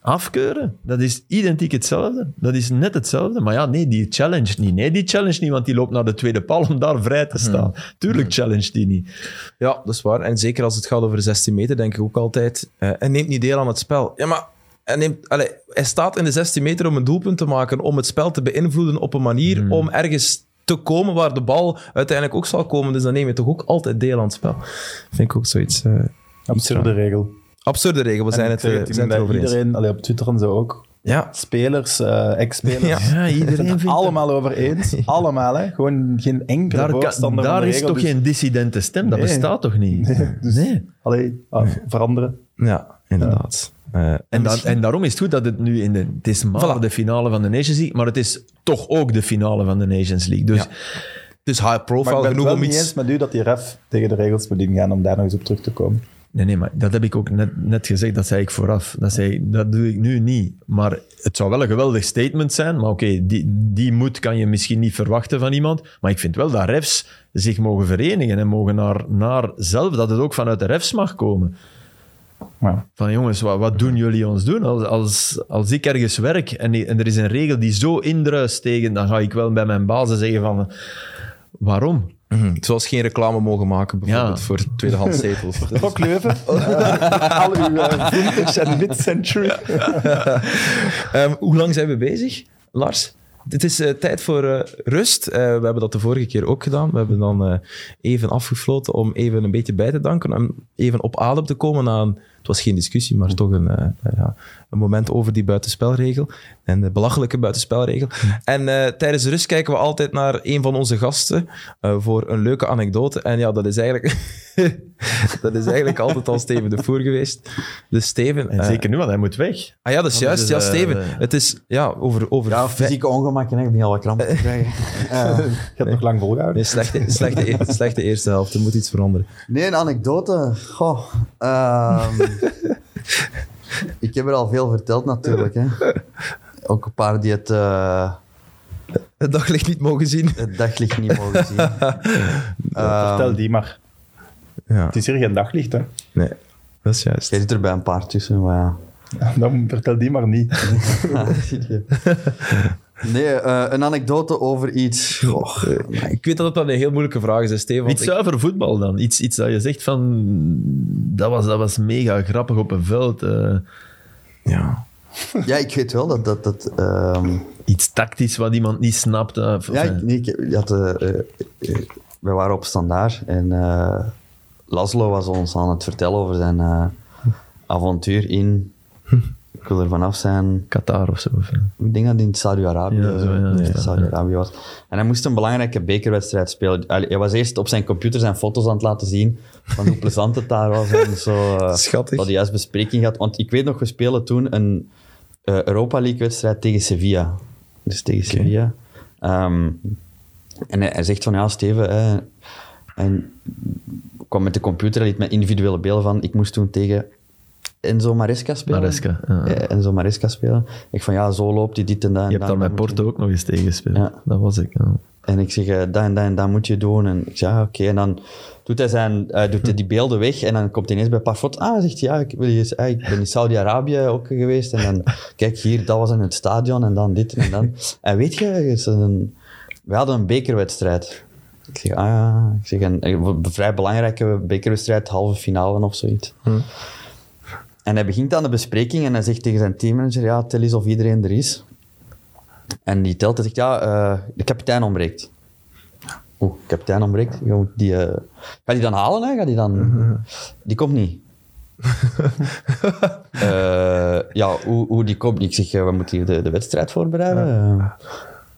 B: Afkeuren. Dat is identiek hetzelfde. Dat is net hetzelfde. Maar ja, nee, die challenge niet. Nee, die challenge niet, want die loopt naar de tweede paal om daar vrij te staan. Tuurlijk challenge die niet.
A: Ja, dat is waar. En zeker als het gaat over 16 meter, denk ik ook altijd. eh, hij neemt niet deel aan het spel. Ja, maar hij, neemt, allee, hij staat in de 16 meter om een doelpunt te maken, om het spel te beïnvloeden op een manier om ergens te komen waar de bal uiteindelijk ook zal komen. Dus dan neem je toch ook altijd deel aan het spel. Vind ik ook zoiets. eh,
C: Absurde regel.
A: absurde regel, we zijn
C: En
A: het,
C: ik zeg
A: eh, we zijn het
C: bij
A: erover eens.
C: iedereen, allee, op Twitter en zo ook.
A: Ja,
C: Spelers, eh, ex-spelers.
A: Ja.
B: Ja, iedereen vindt
C: Allemaal over eens. Allemaal, hè. Gewoon geen enkele
B: Daar, kan,
C: voorstander van
B: daar
C: de
B: is
C: regel,
B: toch
C: dus-
B: geen dissidente stem? Dat
C: Nee. dus-
B: bestaat toch niet? nee.
C: Allee, ah, veranderen.
A: ja inderdaad. Eh,
B: En, dan- en daarom is het goed dat het nu in de... Het is maar
A: Voilà.
B: de finale van de Nations League, maar het is toch ook de finale van de Nations League. Dus
A: Ja. dus high
C: Maar ik
A: profile
C: ben het
A: genoeg
C: wel
A: om
C: niet
A: iets...
C: eens met u dat die ref tegen de regels moet ingaan om daar nog eens op terug te komen.
B: Nee, nee, maar dat heb ik ook net, net gezegd, dat zei ik vooraf. Dat, zei, ik- dat doe ik nu niet. Maar het zou wel een geweldig statement zijn. Maar oké, die, die moed kan je misschien niet verwachten van iemand. Maar ik vind wel dat refs zich mogen verenigen en mogen naar, naar zelf, dat het ook vanuit de refs mag komen.
C: Maar
B: Van jongens, wat, wat doen jullie ons doen? Als, als, als ik ergens werk en, die- en er is een regel die zo indruist tegen, dan ga ik wel bij mijn bazen zeggen van waarom?
A: Mhm. Zoals geen reclame mogen maken, bijvoorbeeld,
B: Ja.
A: voor tweedehands zetels. Dat is-
C: Rock Leuven, eh, al uw eh, vintage en mid-century.
A: Ehm, hoe lang zijn we bezig, Lars? Het is eh, tijd voor eh, rust. Eh, we hebben dat de vorige keer ook gedaan. We hebben dan eh, even afgefloten om even een beetje bij te danken. En even op adem te komen aan... Het was geen discussie, maar toch een, eh, eh, ja, een moment over die buitenspelregel. En de belachelijke buitenspelregel. En eh, tijdens de rust kijken we altijd naar een van onze gasten eh, voor een leuke anekdote. En ja, dat is eigenlijk, dat is eigenlijk altijd al Steven de Voer geweest. Dus Steven...
B: En
A: eh,
B: zeker nu, want hij moet weg.
A: Ah ja, dat is
B: Anders
A: juist.
B: is,
A: ja,
B: eh,
A: Steven.
B: eh,
A: het is ja, over, over
D: Ja,
A: vij-
D: fysieke ongemakken, hè. ik ben al wat kramp te krijgen. Eh,
C: Je hebt nog lang volgehouden.
A: Nee, slechte, slechte, eer- slechte eerste helft. Er moet iets veranderen.
D: nee, een anekdote. Goh. ehm, ik heb er al veel verteld natuurlijk. Hè. Ook een paar die het, eh,
A: Het daglicht niet mogen zien.
D: het daglicht niet mogen zien. Ehm.
C: Vertel die maar.
A: Ja,
C: Het is hier geen daglicht, hè.
A: nee, dat is juist.
D: Je zit er bij een paar tussen, maar ja.
C: Dan vertel die maar niet.
D: Nee, eh, een anekdote over iets. Goh,
A: Eh, ik weet dat het wel een heel moeilijke vraag is, hè, Steven. want
B: Iets zuiver voetbal dan. Iets, iets dat je zegt van... Dat was, dat was mega grappig op een veld. eh,
A: ik, ja.
D: Ja, ik weet wel dat dat. dat ehm,
B: iets tactisch wat iemand niet snapt. eh, of-
D: ja, ik, nee, ik, ik had, eh, eh, eh, we waren op standaard en eh Laszlo was ons aan het vertellen over zijn eh, avontuur in ik wil er vanaf zijn.
B: Qatar of zo. of, eh.
D: Ik denk dat hij in Saudi-Arabië
B: Ja, zo, ja,
D: in
B: ja.
D: Saudi-Arabië was. En hij moest een belangrijke bekerwedstrijd spelen. Allee, Hij was eerst op zijn computer zijn foto's aan het laten zien van hoe plezant het daar was. En zo, eh,
A: Schattig.
D: Dat hij juist bespreking had. Want ik weet nog, we spelen toen een eh, Europa League-wedstrijd tegen Sevilla. Dus tegen Sevilla. Ehm, en hij, hij zegt van, ja, Steven... eh, en kwam met de computer, hij liet met individuele beelden van... Ik moest toen tegen Enzo Maresca spelen.
B: Maresca, ja.
D: Eh, Enzo Maresca spelen. Ik van, ja, zo loopt hij dit en dat. en
B: Je hebt
D: dat,
B: daar met
D: dat moet je-
B: Porto ook nog eens tegen gespeeld.
D: Ja.
B: Dat was ik. Ja.
D: en ik zeg, eh, dat en dat en dat moet je doen. En ik zeg, ah, oké. En dan doet hij, zijn, eh, doet hij die beelden weg. En dan komt hij ineens bij Parfot. Ah, zegt hij, ja, ik, wil je eens- ah, ik ben in Saudi-Arabië ook geweest. En dan, kijk hier, dat was in het stadion. En dan dit en dan. En weet je, er is een, we hadden een bekerwedstrijd. Ik zeg, ah ja. Ik zeg, een, een vrij belangrijke bekerwedstrijd, halve finale of zoiets. En hij begint aan de bespreking en hij zegt tegen zijn teammanager, ja, tel eens of iedereen er is. En die telt en zegt, ja, eh, de kapitein ontbreekt. Oeh, kapitein ontbreekt. Je moet die, eh, Gaat die dan halen? Hè? Gaat die, dan... die komt niet. Eh, ja, hoe, hoe die komt niet. Ik zeg, eh, we moeten hier de, de wedstrijd voorbereiden.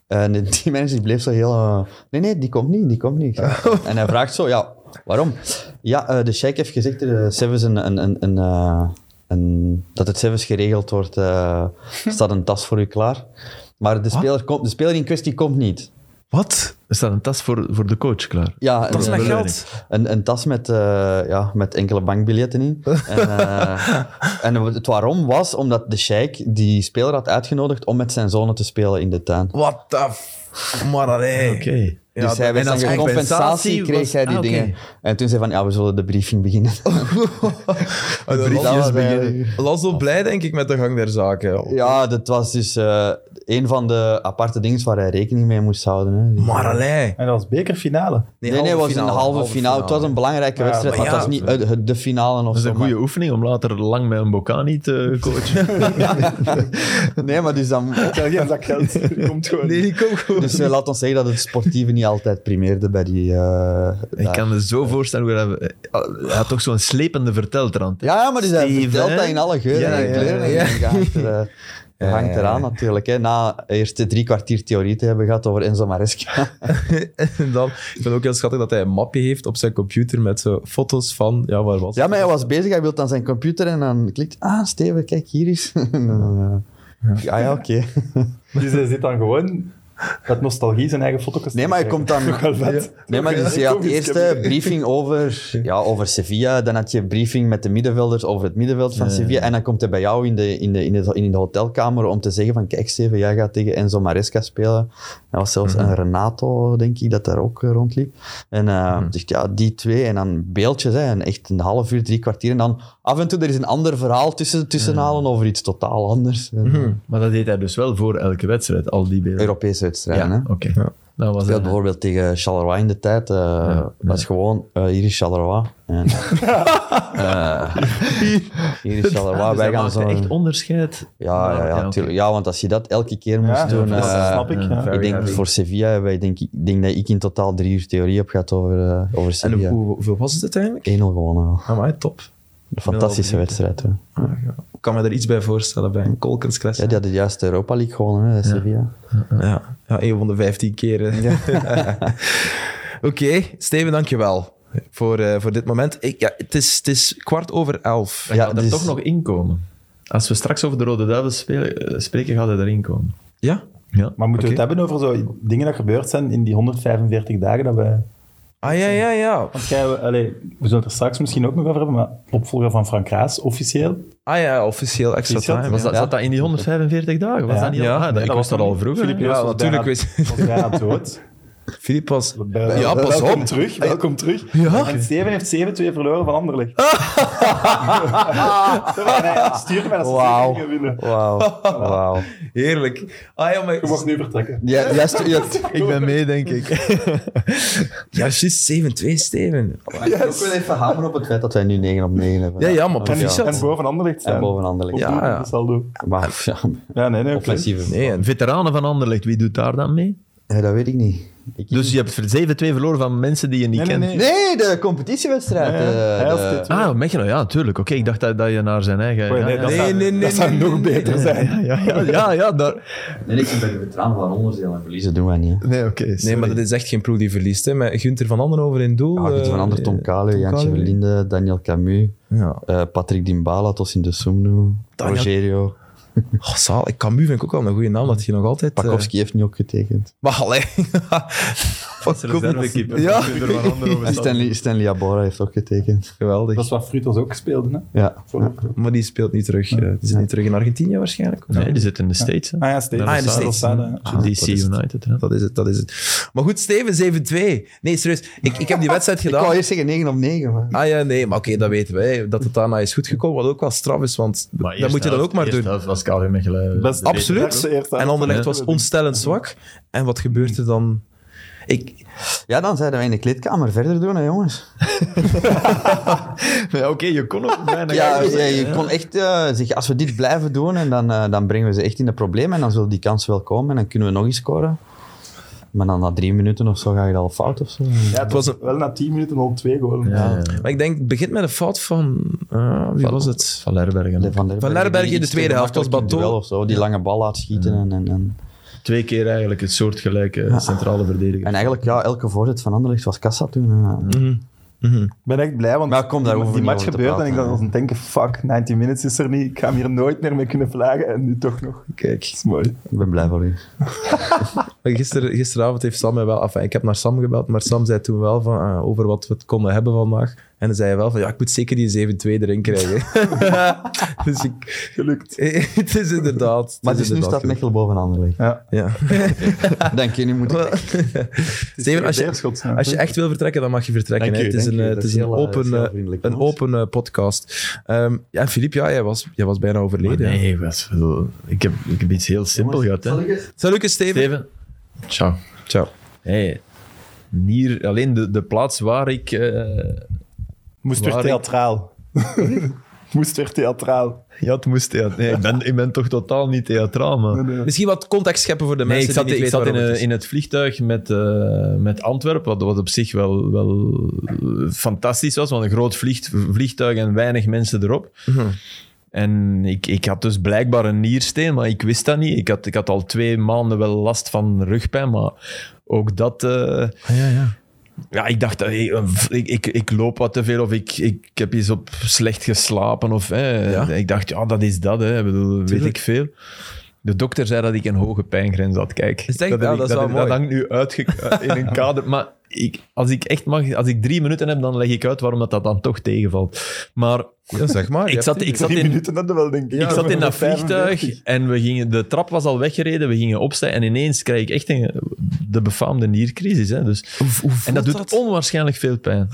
D: Eh, en die manager die bleef zo heel... eh, nee, nee, die komt niet, die komt niet. Ik zeg, En hij vraagt zo, ja, waarom? Ja, eh, de sheik heeft gezegd dat de Sevens een... een, een, een, eh, een- dat het Sevens geregeld wordt. eh, staat een tas voor u klaar. Maar de speler, komt, de speler in kwestie komt niet.
A: Wat?
B: Er staat een tas voor, voor de coach klaar.
D: Ja,
A: Dat is
D: een-
A: mijn
B: dat weet
A: geld.
D: Een, een tas met, eh, ja, met enkele bankbiljetten in. En, eh, en het waarom was omdat de sheik die speler had uitgenodigd om met zijn zonen te spelen in de tuin.
A: What the f... Maar allee.
B: Oké.
A: Ja,
D: dus hij werd
A: en als
D: dan ge- compensatie
A: compensatie
D: kreeg
A: was-
D: hij die
B: ah, oké.
D: dingen. En toen zei hij van, ja, we zullen de briefing beginnen.
A: Een
D: Dat
A: briefje.
D: was
A: is bij-
D: bij-
A: Laszlo blij, denk ik, met de gang der zaken.
D: Ja, dat was dus eh, een van de aparte dingen waar hij rekening mee moest houden. Hè. Dus-
A: Maar allee.
C: En dat was bekerfinale.
D: Nee, nee, het was een halve, finale. Het was een belangrijke
C: Ja,
D: wedstrijd, maar,
A: maar
D: het was
A: ja.
D: niet eh, de- de finale of
B: Dat is
D: zo.
B: een
D: maar-
B: goede oefening om later lang met een Bocani te coachen.
D: Nee, maar dus dan...
C: Tel geen zak geld. Die komt gewoon.
A: Nee, die komt goed.
D: Dus eh, laat ons zeggen dat het sportieve niet altijd primeerde bij die... eh,
B: ik
D: daar.
B: kan me zo voorstellen hoe hij... Hij had toch zo'n slepende verteltrand.
D: Ja, ja, maar dus hij
B: Steve,
D: vertelt
B: hè?
D: dat in alle geuren
B: Ja,
D: en
B: ja,
D: kleuren.
A: ja.
D: En ik denk, hangt er, eh,
A: Ja,
D: hangt
A: ja,
D: eraan
A: ja.
D: natuurlijk. Hè. Na eerst drie kwartier theorie te hebben gehad over Enzo Maresca.
A: En dan, ik vind het ook heel schattig dat hij een mapje heeft op zijn computer met zo foto's van... Ja, waar was
D: Ja, maar hij was bezig. Hij wilde aan zijn computer en dan klikt... Ah, Steven, kijk, hier is... En dan, eh, Ah ja, oké.
C: Dus hij zit dan gewoon met nostalgie zijn eigen foto's
D: Nee, maar hij komt dan...
C: Toch wel vet.
D: Nee, maar dus je had eerst eh, briefing over, ja, over Sevilla, dan had je briefing met de middenvelders over het middenveld van Sevilla, en dan komt hij bij jou in de, in de, in de, in de hotelkamer om te zeggen van, kijk Steven, jij gaat tegen Enzo Maresca spelen. Er was zelfs een Renato, denk ik, dat daar ook eh, rondliep. En eh dus ja, die twee, en dan beeldjes, hè, en echt een half uur, drie kwartier, en dan af en toe er is een ander verhaal tussen, tussenhalen over iets totaal anders. En,
B: Maar dat deed hij dus wel voor elke wedstrijd, al die beelden.
D: Europese wedstrijden, hè.
B: oké. Dat was
D: speelt
B: hij.
D: bijvoorbeeld tegen Charleroi in de tijd. eh, Dat is gewoon, eh, hier is Charleroi. En, eh, hier is Charleroi.
B: Ah, dus
D: Wij
B: hij
D: gaan
B: maakte
D: zo...
B: echt onderscheid. Ah,
D: Ja, ja, ja,
B: oké.
D: tuurlijk. ja, want als je dat elke keer moest
C: Ja,
D: doen...
C: dat
D: eh,
C: snap ik.
B: ja.
C: Ja.
D: ik denk voor Sevilla, hebben wij, denk, ik ik denk dat ik in totaal drie uur theorie heb gehad over, eh, over
A: En
D: Sevilla. 1-0
A: hoe, hoeveel was het uiteindelijk?
D: gewonnen wel.
A: Amai, top.
D: Een fantastische wedstrijd. hoor.
A: Ah, ja. Ik kan me er iets bij voorstellen bij een Kolkenskles.
D: Ja, die hadden juist de Europa League gewonnen, hè, Sevilla.
A: Ja, ja een van de 15 keren. Oké, Steven, dankjewel voor, eh, voor dit moment. Ik, ja, het, is, het is kwart over elf.
B: Ja,
D: Ja,
B: gaat er
D: dus-
B: toch nog inkomen. Als we straks over de Rode Duivels spelen, eh, spreken, gaat hij erin komen.
A: Ja?
B: Ja.
C: Maar moeten we het hebben over zo dingen dat gebeurd zijn in die 145 dagen dat wij...
A: Ah ja, ja, ja.
C: Want jij, allee, we zullen het er straks misschien ook nog over hebben, maar opvolger van Frank Raas, officieel.
A: Ah ja, officieel extra
C: Is dat-
A: time.
B: Was
A: ja.
B: dat, zat dat in die 145 dagen? Was
C: Ja.
B: dat niet al?
A: Ja.
B: ah, dat,
A: Nee,
B: ik
C: dat
B: was
C: was
B: dat al
C: niet.
B: vroeger.
C: Filip
B: hè?
A: Ja,
C: Joos was
A: natuurlijk
C: bijna-
A: wist-
C: was bijna dood.
A: Filip was...
C: Bij-
A: Ja, pas
C: welkom
A: op.
C: terug, welkom terug.
A: Ja?
C: En Steven heeft 7-2 verloren van Anderlecht. Zo van, hij stuurde mij dat ze
D: Wauw.
C: zeker gingen winnen.
D: Wauw. Wauw.
A: Heerlijk. Ah ja,
C: Je mag
A: maar...
C: nu vertrekken.
D: Ja, juist, juist.
B: Ik ben mee, denk ik.
A: Ja, juist 7-2, Steven.
D: Ik wil ook wel even hameren op het feit dat wij nu 9 op 9 hebben.
A: Ja, ja, maar
D: En-
C: En,
A: proficiat.
C: en boven Anderlecht staan.
D: En boven Anderlecht.
A: Ja,
C: Ja,
A: ja.
C: ja.
D: Maar, ja,
C: Ja, nee, nee. oké.
D: offensieve.
A: Nee, en
B: Veteranen van Anderlecht, wie doet daar dan mee?
D: Ja, dat weet ik niet. Ik-
B: Dus je hebt 7-2 verloren van mensen die je niet
C: Nee, nee,
B: kent.
C: nee.
D: Nee, de competitiewedstrijd.
C: Ja, ja.
D: eh,
C: Hij
D: de-
C: had dit.
B: Ah, Mechelen, ja, natuurlijk. Oké, ik dacht dat, dat je naar zijn eigen...
C: Oei,
B: ja,
C: Oh, nee,
B: ja,
C: dat
B: ja.
A: Nee,
C: zou,
A: nee, nee,
C: dat zou
A: nee,
C: nog beter zijn.
B: Ja, ja, ja, ja, ja, daar...
D: Nee, ik ben de traan van onderdeel en verliezen doen wij niet. hè.
B: Nee, oké.
A: Nee, maar dat is echt geen ploeg die verliest. Hè. Met Gunther van Anden over in doel.
D: Ja, Gunther van
A: eh,
D: Ander, Tom Kale,
A: Tom
D: Jantje
A: Kale.
D: Verlinde, Daniel Camus,
A: Ja.
D: eh, Patrick Dimbala, Tosin de Sumnu,
A: Daniel-
D: Rogerio.
A: Oh, zaal. Ik Camus vind ik ook wel een goede naam, dat hij nog altijd... eh,
D: Pakowski heeft nu ook getekend.
A: Maar allee. Wat
B: Zelfs daar was-
A: Ja.
B: was Gunther van Ander over
D: En Stanley, Stanley Abora heeft ook getekend.
A: Geweldig.
C: Dat is wat Frutos ook speelde. Hè?
D: Ja.
A: Maar die speelt niet terug. eh, die zit niet terug in Argentinië waarschijnlijk.
B: staat. Nee, die zit in de States. hè.
C: Ah ja, Steven.
B: Daar
A: Ah, in de
B: staat-
A: States.
C: Rosada, ja.
A: Ah,
B: DC
A: dat is het.
B: United, ja.
A: Dat is het, dat is het. Maar goed, Steven, 7-2. Nee, serieus. Ik, ik heb die wedstrijd
D: Ik wou
A: gedaan.
D: eerst zeggen 9 op 9, maar...
A: Ah ja, nee, maar oké, dat weten wij. Dat het daarna is goed gekomen, wat ook wel straf is, want dat moet je dan ook maar doen.
B: was KV Mechelen. eh,
C: Best-
B: de
A: Absoluut.
C: Beste eerste helft.
A: En Anderlecht
C: Ja.
A: was onstellend zwak. En wat gebeurt er dan? Ik,
D: Ja, dan zeiden wij in de kleedkamer verder doen, hè, jongens.
B: betere- Ja, Oké, je kon ook bijna
D: Ja,
B: kijken.
D: ja, je kon echt eh, zeggen, als we dit blijven doen, en dan, eh, dan brengen we ze echt in de problemen. En dan zullen die kansen wel komen en dan kunnen we nog eens scoren. Maar dan na drie minuten of zo ga je al fout of zo.
C: Ja, het was
A: was
C: wel na 10 minuten al twee goals.
B: Ja, ja.
A: maar ik denk, het begint met een fout van... eh, wie was het?
B: Van Lerbergen.
D: De Van
A: Van Lerberg in de tweede helft was Bateau.
D: Wel of zo, die lange bal laat schieten. En, en, en,
B: Twee keer eigenlijk het soortgelijke centrale verdediger.
D: en eigenlijk, ja, elke voorzet van Anderlecht was kassa toen. hè.
A: Mm.
C: Ik ben echt blij, want
D: Maar kom, daar
C: die-
D: hoeven
C: die
D: we niet
C: match
D: over te
C: gebeurde en
D: praten,
C: ik dacht
D: hè.
C: als een denken, fuck, 90 minutes is er niet. Ik ga hem hier nooit meer mee kunnen vlagen. En nu toch nog.
A: Kijk.
C: Dat is mooi.
D: Ik ben blij voor u.
A: Maar Gister, gisteravond heeft Sam mij wel... Enfin, ik heb naar Sam gebeld, maar Sam zei toen wel van, ah, over wat we het konden hebben vandaag. En dan zei hij wel van, ja, ik moet zeker die 7-2 erin krijgen. dus ik...
C: Gelukt.
A: het is inderdaad...
D: Maar dus nu
A: inderdaad
D: staat Mechel boven Anderlecht.
C: Ja.
A: Ja.
D: Denk je, nu moet ik...
A: Steven, als je,
C: Beerschot, ja.
A: als je echt wil vertrekken, dan mag je vertrekken.
D: Dank
A: hè.
D: u,
A: Het is
D: dank
A: een,
D: u.
A: eh,
D: Dat
A: het is
D: is
A: een
D: heel, eh,
A: open,
D: heel
A: eh,
D: vriendelijk
A: een
D: van ons.
A: open eh, podcast. Ehm, ja, en Filip, ja, jij was, jij was bijna
B: Maar
A: overleden. hè.
B: nee, was, wel- ik, heb, ik heb iets heel simpel gehad. Hè.
A: Salut, Steven.
B: Steven. Ciao.
A: Ciao.
B: Hey, hier, alleen de, de plaats waar ik... eh,
C: Moest weer
B: Waar ik-
C: theatraal. Moest weer theatraal.
B: ja, het moest theatraal. Nee, ik ben, ik ben toch totaal niet theatraal, maar...
A: Misschien wat context scheppen voor de
B: Nee,
A: mensen
B: ik zat,
A: die niet
B: ik
A: weten
B: zat in,
A: waarover
B: een-
A: het is.
B: in het vliegtuig met, eh, met Antwerpen, wat, wat op zich wel, wel eh, fantastisch was, want een groot vliegt, vliegtuig en weinig mensen erop.
A: Mhm.
B: En ik, ik had dus blijkbaar een niersteen, maar ik wist dat niet. Ik had, ik had al twee maanden wel last van rugpijn, maar ook dat... eh,
A: Ah, ja, ja.
B: ja, ik dacht, hey, eh, ik, ik, ik loop wat te veel of ik, ik, ik heb eens op slecht geslapen. Of, hè.
A: Ja.
B: Ik dacht, ja, dat is dat, hè. Ik bedoel, weet
A: Tuurlijk.
B: ik veel. De dokter zei dat ik een hoge pijngrens had. Kijk,
A: Is dat-
B: heb
A: ja,
B: ik-
A: Dus ah, dat is wel mooi.
B: hangt nu uit in een kader. Maar ik, als ik echt mag, als ik drie minuten heb, dan leg ik uit waarom dat, dat dan toch tegenvalt. Maar
A: Ja, zeg maar.
B: eh, ik zat, ik zat
C: Drie
B: in,
C: minuten hadden we wel, denk ik.
B: ik zat in dat
C: 45.
B: vliegtuig en we gingen, de trap was al weggereden, we gingen opstaan en ineens kreeg ik echt een, de befaamde niercrisis. Hè? Dus, en dat Ah, doet onwaarschijnlijk veel pijn.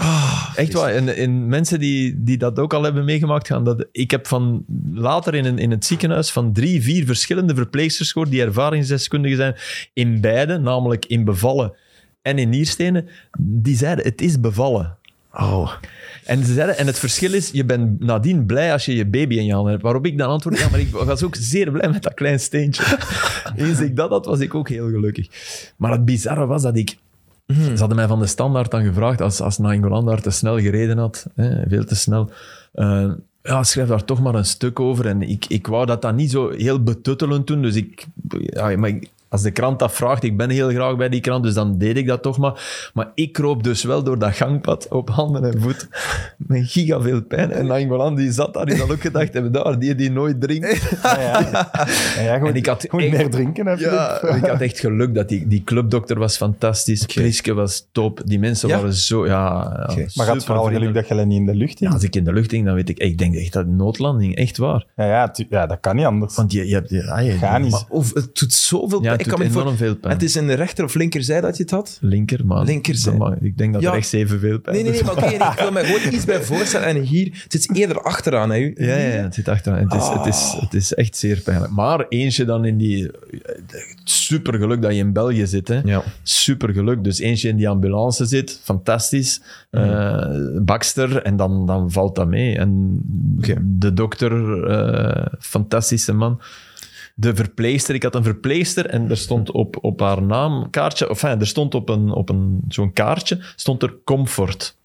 B: echt waar. En, en mensen die, die dat ook al hebben meegemaakt gaan, dat, ik heb van later in, een, in het ziekenhuis van drie, vier verschillende verpleegsters gehoord die ervaringsdeskundigen zijn in beide, namelijk in bevallen en in nierstenen, die zeiden het is bevallen.
A: Oh.
B: En, ze zeiden, en het verschil is, je bent nadien blij als je je baby in je handen hebt. Waarop ik dan antwoord, ja, maar ik was ook zeer blij met dat klein steentje. Eens ik dat had, was ik ook heel gelukkig. Maar het bizarre was dat ik... Ze hadden mij van de standaard dan gevraagd, als, als Nainggolan daar te snel gereden had, hè, veel te snel... eh, ja, schrijf daar toch maar een stuk over. En ik, ik wou dat dan niet zo heel betuttelend doen. Dus ik... Ja, maar ik- als de krant dat vraagt, ik ben heel graag bij die krant, dus dan deed ik dat toch maar. Maar ik kroop dus wel door dat gangpad op handen en voeten met giga veel pijn. En Nainggolan die zat daar, die had ook gedacht, hebben daar, die die nooit drinkt.
C: Ja, ja. Ja, ja, gewoon,
B: En ik had
C: gewoon
B: echt-
C: meer drinken, hè,
B: Ja,
C: Filip.
B: ik had echt geluk dat die, die clubdokter was fantastisch, Priske was top, die mensen
A: Ja?
B: waren zo, ja, ja
C: Maar had vooral geluk
B: supervriendelijk.
C: dat je alleen niet in de
B: Ja,
C: lucht hing.
B: als ik in de lucht ging, dan weet ik, ik denk echt dat noodlanding, echt waar.
C: Ja, ja, tu- ja, dat kan niet anders.
B: Want je, je hebt, ja, je-
C: Ga niet.
B: maar-
A: Of het doet zoveel
B: Ja,
A: pijn.
B: het
A: Ik
B: doet
A: kan me niet voor-
B: enorm veel pijn.
A: Het is in de rechter of linkerzij dat je het had?
B: Linker, maar
A: Linkerzij.
B: maar ik denk dat
A: Ja.
B: rechts evenveel pijn
A: Nee, nee, nee,
B: doet.
A: maar oké, nee, ik wil mij gewoon iets bij voorstellen. En hier, het zit eerder achteraan, hè. u.
B: Ja, ja, ja, het zit achteraan. Het is, het, is, het is echt zeer pijnlijk. Maar eentje dan in die... Super geluk dat je in België zit. Hè.
A: Ja.
B: Super geluk. Dus eentje in die ambulance zit. Fantastisch. Eh, Bakster. En dan, dan valt dat mee. En de dokter, eh, fantastische man. de verpleegster. Ik had een verpleegster en er stond op, op haar naamkaartje, of enfin, er stond op, een, op een, zo'n kaartje, stond er comfort.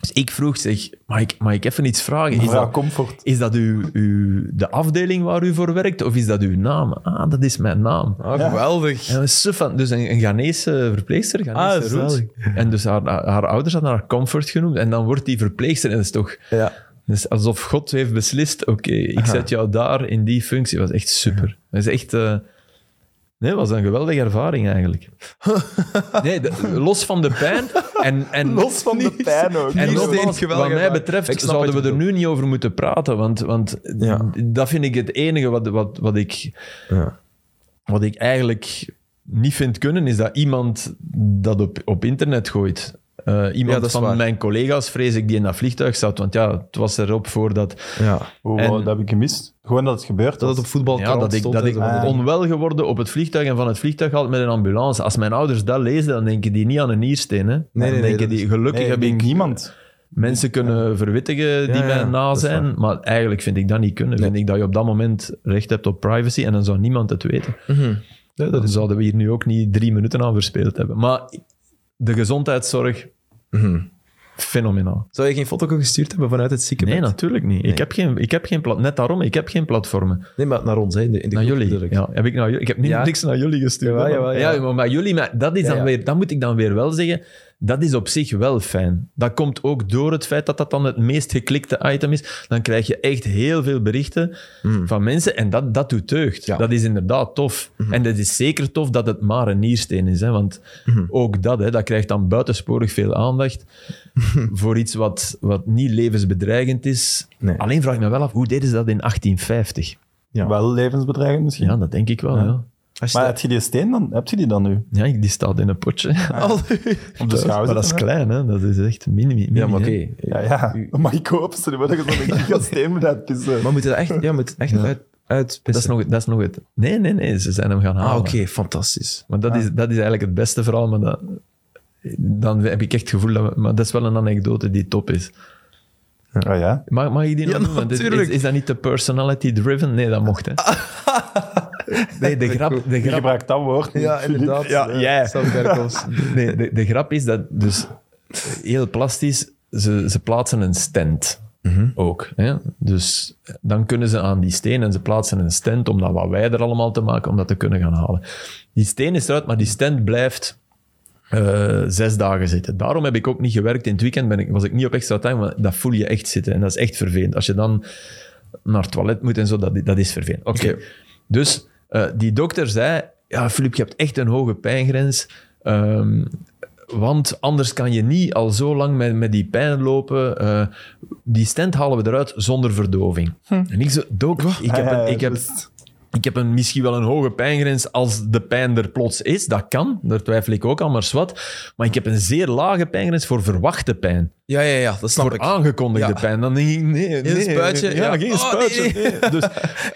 B: Dus ik vroeg, zeg, mag ik, mag ik even iets vragen? Is
C: Mevrouw
B: dat,
C: Comfort.
B: is dat uw, uw, de afdeling waar u voor werkt of is dat uw naam? Ah, dat is mijn naam.
A: Ah, geweldig.
B: En we suf van, dus een, een Ghanese verpleegster,
A: Ah,
B: Ghanese roots. En dus haar, haar ouders hadden haar comfort genoemd. En dan wordt die verpleegster, en dat is toch...
A: Ja.
B: dat is alsof God heeft beslist, oké, ik zet jou daar in die functie. Dat was echt super. Dat is echt... eh, Nee, dat was een geweldige ervaring eigenlijk. Nee, de- los van de pijn. En, en,
C: Los van de pijn ook.
B: en
A: Niet
B: nogmaals,
A: steeds geweldige
B: wat mij
A: vraag.
B: betreft
A: Ik snap
B: zouden
A: wat
B: we
A: je
B: er nu niet over moeten praten, want, want
A: Ja.
B: dat vind ik het enige wat, wat, wat, ik,
A: Ja.
B: wat ik eigenlijk niet vind kunnen, is dat iemand dat op, op internet gooit. Eh,
A: Ja,
B: iemand
A: dat is
B: van
A: waar.
B: mijn collega's, vrees ik, die in dat vliegtuig zat. Want ja, het was erop voor dat,
A: ja.
C: Oh,
B: En-
C: wow, dat heb ik gemist. Gewoon dat het gebeurd
A: Dat
C: was.
A: het op voetbal
B: ja, dat ik,
A: stond.
B: dat
A: en
B: ik
A: zo. Ah,
C: Ah.
B: onwel geworden op het vliegtuig en van het vliegtuig gehaald met een ambulance. Als mijn ouders dat lezen, dan denken die niet aan een niersteen. Hè?
A: nee, nee,
B: dan denken
A: dat
B: die, gelukkig
C: Nee,
B: heb
C: ik denk
B: ik
C: niemand.
B: mensen kunnen verwittigen die
A: Ja, ja,
B: mij na
A: dat is
B: zijn. Maar eigenlijk vind ik dat niet kunnen. Vind ik dat je op dat moment recht hebt op privacy en dan zou niemand het weten.
A: Mhm. ja, dat
B: Dan
A: is...
B: zouden we hier nu ook niet drie minuten aan verspeeld hebben. Maar de gezondheidszorg,
A: Mhm.
B: fenomenaal.
A: Zou je geen foto gestuurd hebben vanuit het ziekenbed?
B: Nee, natuurlijk niet. Ik heb geen, ik heb geen plat, net daarom, ik heb geen platformen.
A: Nee, maar naar ons, hè, in de, in de
B: Naar
A: groep
B: jullie.
A: natuurlijk.
B: Ja, heb ik, naar, jullie- ik heb niet,
A: Ja.
B: niks naar jullie gestuurd.
A: Jawel,
B: hè, maar-
A: jawel, ja.
B: ja, maar, maar jullie, maar dat, is
A: Ja,
B: dan
A: ja.
B: Weer, dat moet ik dan weer wel zeggen. Dat is op zich wel fijn. Dat komt ook door het feit dat dat dan het meest geklikte item is. Dan krijg je echt heel veel berichten van mensen. En dat, dat doet deugd.
A: Mm. Ja. Mm-hmm.
B: Dat is inderdaad tof. En dat is zeker tof dat het maar een niersteen is. Hè? Want
A: Mm-hmm.
B: ook dat, hè, dat krijgt dan buitensporig veel aandacht. voor iets wat, wat niet levensbedreigend is.
A: Nee.
B: Alleen vraag ik me wel af, hoe deden ze dat in 1850?
A: Ja.
C: Wel levensbedreigend misschien.
B: Ja, dat denk ik wel. Ja. Ja.
A: Als je
C: Maar
A: dat-
C: heb je die steen dan? Heb je die dan nu?
B: ik- die staat in een potje.
A: Ah,
C: Op de schouder?
B: maar dat is klein, hè? dat is echt mini. mini
A: Ja, maar oké.
B: hè.
C: Ja, ja. Maar ik hoop ze hebben dat je zo'n gigasteen moet dus, eh, uitpissen.
A: Maar moet je dat echt, ja, moet het echt uit, uitpissen?
B: Dat, is nog, dat is nog het. Nee, nee, nee, ze zijn hem gaan halen.
A: Ah, oké, fantastisch.
B: Maar dat, is, dat is eigenlijk het beste verhaal. Maar dat, dan heb ik echt het gevoel dat. we- Maar dat is wel een anekdote die top is.
C: Ah ja.
B: Mag, mag ik die nog
A: Ja,
B: noemen? Dit-
A: natuurlijk.
B: Is, is dat niet te personality driven? Nee, dat mocht. Hè. Nee, de grap, de
C: Je
B: grap
C: gebruikt dat woord. niet, Filip. Ja,
A: Eh,
B: jij. Nee, de, de grap is dat dus heel plastisch, ze, ze plaatsen een stand ook. Hè? Dus dan kunnen ze aan die steen en ze plaatsen een stand om dat wat wijder allemaal te maken, om dat te kunnen gaan halen. Die steen is eruit, maar die stand blijft eh, zes dagen zitten. Daarom heb ik ook niet gewerkt in het weekend, ben ik, was ik niet op extra time, want dat voel je echt zitten en dat is echt vervelend. Als je dan naar het toilet moet en zo, dat, dat is vervelend. Oké. Dus eh, die dokter zei, ja, Filip, je hebt echt een hoge pijngrens, ehm, want anders kan je niet al zo lang met, met die pijn lopen. eh, die stent halen we eruit zonder verdoving. En ik zo, dok, ik heb,
C: Ah,
B: een,
C: ja,
B: ik heb
C: dus-
B: ik heb een, misschien wel een hoge pijngrens als de pijn er plots is. Dat kan, daar twijfel ik ook aan, maar zwart. Maar ik heb een zeer lage pijngrens voor verwachte pijn.
A: Ja, ja, ja, dat snap
B: voor
A: ik.
B: aangekondigde
A: Ja.
B: pijn. Dan denk ik, nee, nee.
A: spuitje,
B: Ja,
A: ja.
B: geen
A: Oh,
B: spuitje.
A: nee,
B: nee. Dus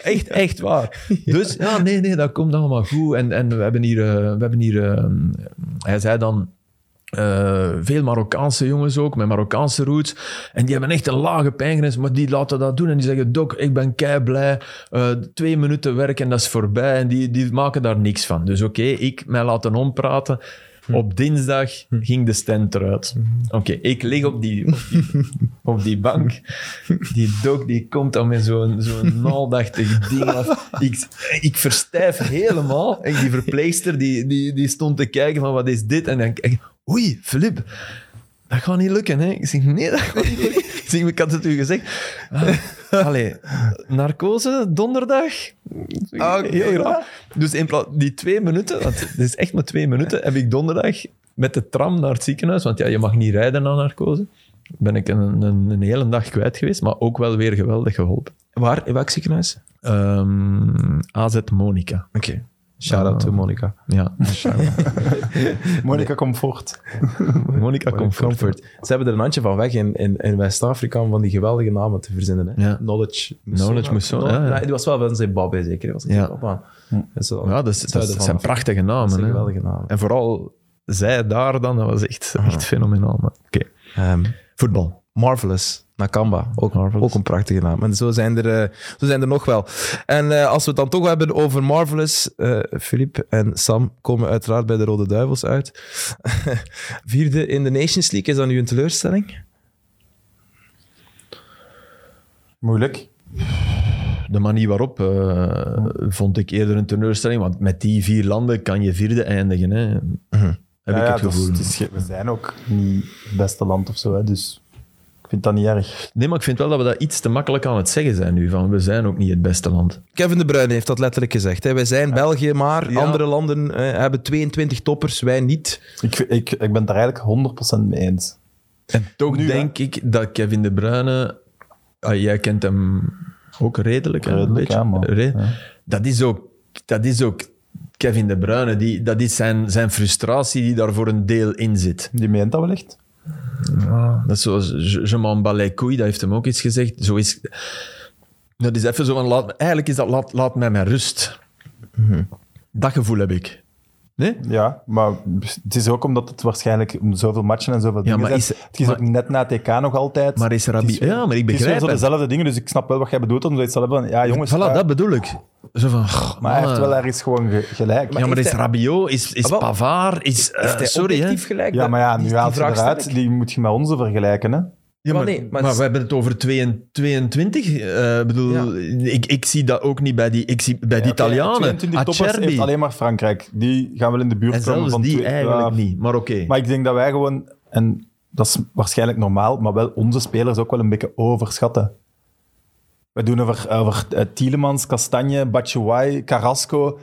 B: echt, echt waar. Dus ja, nee, nee, dat komt allemaal goed. En, en we hebben hier... eh, we hebben hier eh, hij zei dan... eh, veel Marokkaanse jongens ook, met Marokkaanse roots. En die hebben echt een lage pijngrens, maar die laten dat doen. En die zeggen, dok, ik ben kei blij. eh, twee minuten werk en dat is voorbij. En die, die maken daar niks van. Dus oké, ik mij laten ompraten.
A: Hm.
B: Op dinsdag ging de stand eruit. Oké, ik lig op die, op die, op die bank. Die dok die komt dan met zo'n zo'n naaldachtig ding af. Ik, ik verstijf helemaal. En die verpleegster die, die, die stond te kijken van wat is dit? En dan kijk ik, oei, Filip, dat gaat niet lukken. Hè? Ik zeg, nee, dat gaat niet lukken. Ik zeg, ik had het u gezegd. Ah, allee, narcose, donderdag.
A: Ah, oké.
B: Heel graag. Dus in plaats die twee minuten, want het is echt maar twee minuten, heb ik donderdag met de tram naar het ziekenhuis, want ja, je mag niet rijden na narcose, ben ik een, een, een hele dag kwijt geweest, maar ook wel weer geweldig geholpen.
A: Waar? In welk ziekenhuis?
B: Ehm, AZ Monica. Ehm,
A: Oké. Shout-out to Monica.
B: Ja,
C: Monica Comfort.
B: Monica Comfort.
A: Ze hebben er een handje van weg in, in, in West-Afrika om van die geweldige namen te verzinnen. Hè?
B: Ja.
A: Knowledge.
B: Knowledge Moussona, ja, ja.
A: Nee, die was wel van Zimbabwe zeker. Die was in
B: Ja. Hm.
A: Zimbabwe. Dat is wel-
B: Ja, dat, is-
A: het
B: dat
A: zuiden van
B: zijn
A: Afrika.
B: prachtige namen.
A: Dat zijn
B: hè.
A: geweldige Ah. namen.
B: En vooral zij daar dan, dat was echt, echt fenomenaal. Maar, oké.
A: Ehm,
B: Voetbal.
A: Marvelous. Nakamba, ook,
B: Marvelous.
A: ook een prachtige naam. En zo zijn er, eh, zo zijn er nog wel. En eh, als we het dan toch hebben over Marvelous, eh Filip en Sam komen uiteraard bij de Rode Duivels uit. Vierde in de Nations League, is dat nu een teleurstelling?
C: Moeilijk.
B: de manier waarop eh, vond ik eerder een teleurstelling. Want met die vier landen kan je vierde eindigen. Hè. Heb
C: Mhm. Ja,
B: ik
C: ja,
B: het
C: dat is-
B: gevoel.
C: het is ge- we zijn ook niet het beste land of zo, hè, dus ik vind dat niet erg.
B: Nee, maar ik vind wel dat we dat iets te makkelijk aan het zeggen zijn nu. Van, we zijn ook niet het beste land.
A: Kevin De Bruyne heeft dat letterlijk gezegd. Hè. Wij zijn België, maar
B: Ja.
A: andere landen eh, hebben 22 toppers, wij niet.
C: Ik, ik, ik ben het daar eigenlijk 100% mee eens.
B: Toch
C: Nu,
B: denk ik dat Kevin De Bruyne... ah, jij kent hem ook redelijk. hè,
C: Redelijk, ja,
B: een
C: man.
B: beetje. Re-
C: Ja.
B: Dat, is ook, dat is ook Kevin De Bruyne. Die, dat is zijn, zijn frustratie die daar voor een deel in zit.
C: Die meent dat wel echt.
B: Dat is zoals Je, je m'en bats les couilles, dat heeft hem ook eens gezegd. Zo is, dat is even zo van, laat, eigenlijk is dat laat, laat mij mijn rust.
C: Mhm.
B: Dat gevoel heb ik. Nee?
C: Ja, maar het is ook omdat het waarschijnlijk om zoveel matchen en zoveel
B: Ja,
C: dingen
B: maar
C: zijn.
B: is-
C: het is
B: maar-
C: ook net na TK nog altijd.
B: Maar is
C: Het
B: Rabi...
C: weer-
B: Ja, maar ik
C: het is weer
B: begrijp
C: zo
B: het.
C: dezelfde dingen, dus ik snap wel wat jij bedoelt. Omdat je het zelf van, ja jongens,
B: Voilà,
C: ja,
B: dat bedoel ik. Zo van, goh,
C: maar hij heeft
B: mannen.
C: wel ergens gewoon ge- gelijk.
B: Ja, maar
A: heeft
B: is
A: hij-
B: Rabiot, is, is
A: Ah, wel.
B: Pavard, is... eh,
A: Heeft hij
B: sorry, hè.
A: objectief gelijk?
C: ja,
A: Dat-
C: maar ja,
A: die-
C: nu
A: die
C: haalt je
A: vraag stel
C: eruit,
A: ik.
C: die moet je met onze vergelijken. Hè?
B: Ja, maar,
A: Maar nee, maar-
B: maar we hebben het over 22. eh bedoel, ik, ik zie dat ook niet bij die, ik zie, bij die
C: Oké,
B: Italianen.
C: 22 toppers heeft
B: Acerbi.
C: alleen maar Frankrijk. Die gaan wel in de buurt
B: En
C: komen
B: zelfs
C: van
B: die
C: twee-
B: eigenlijk
C: ja,
B: niet. Maar oké.
C: Maar ik denk dat wij gewoon, en dat is waarschijnlijk normaal, maar wel onze spelers ook wel een beetje overschatten. We doen over, over eh, Tielemans, Castagne, Batshuayi, Carrasco.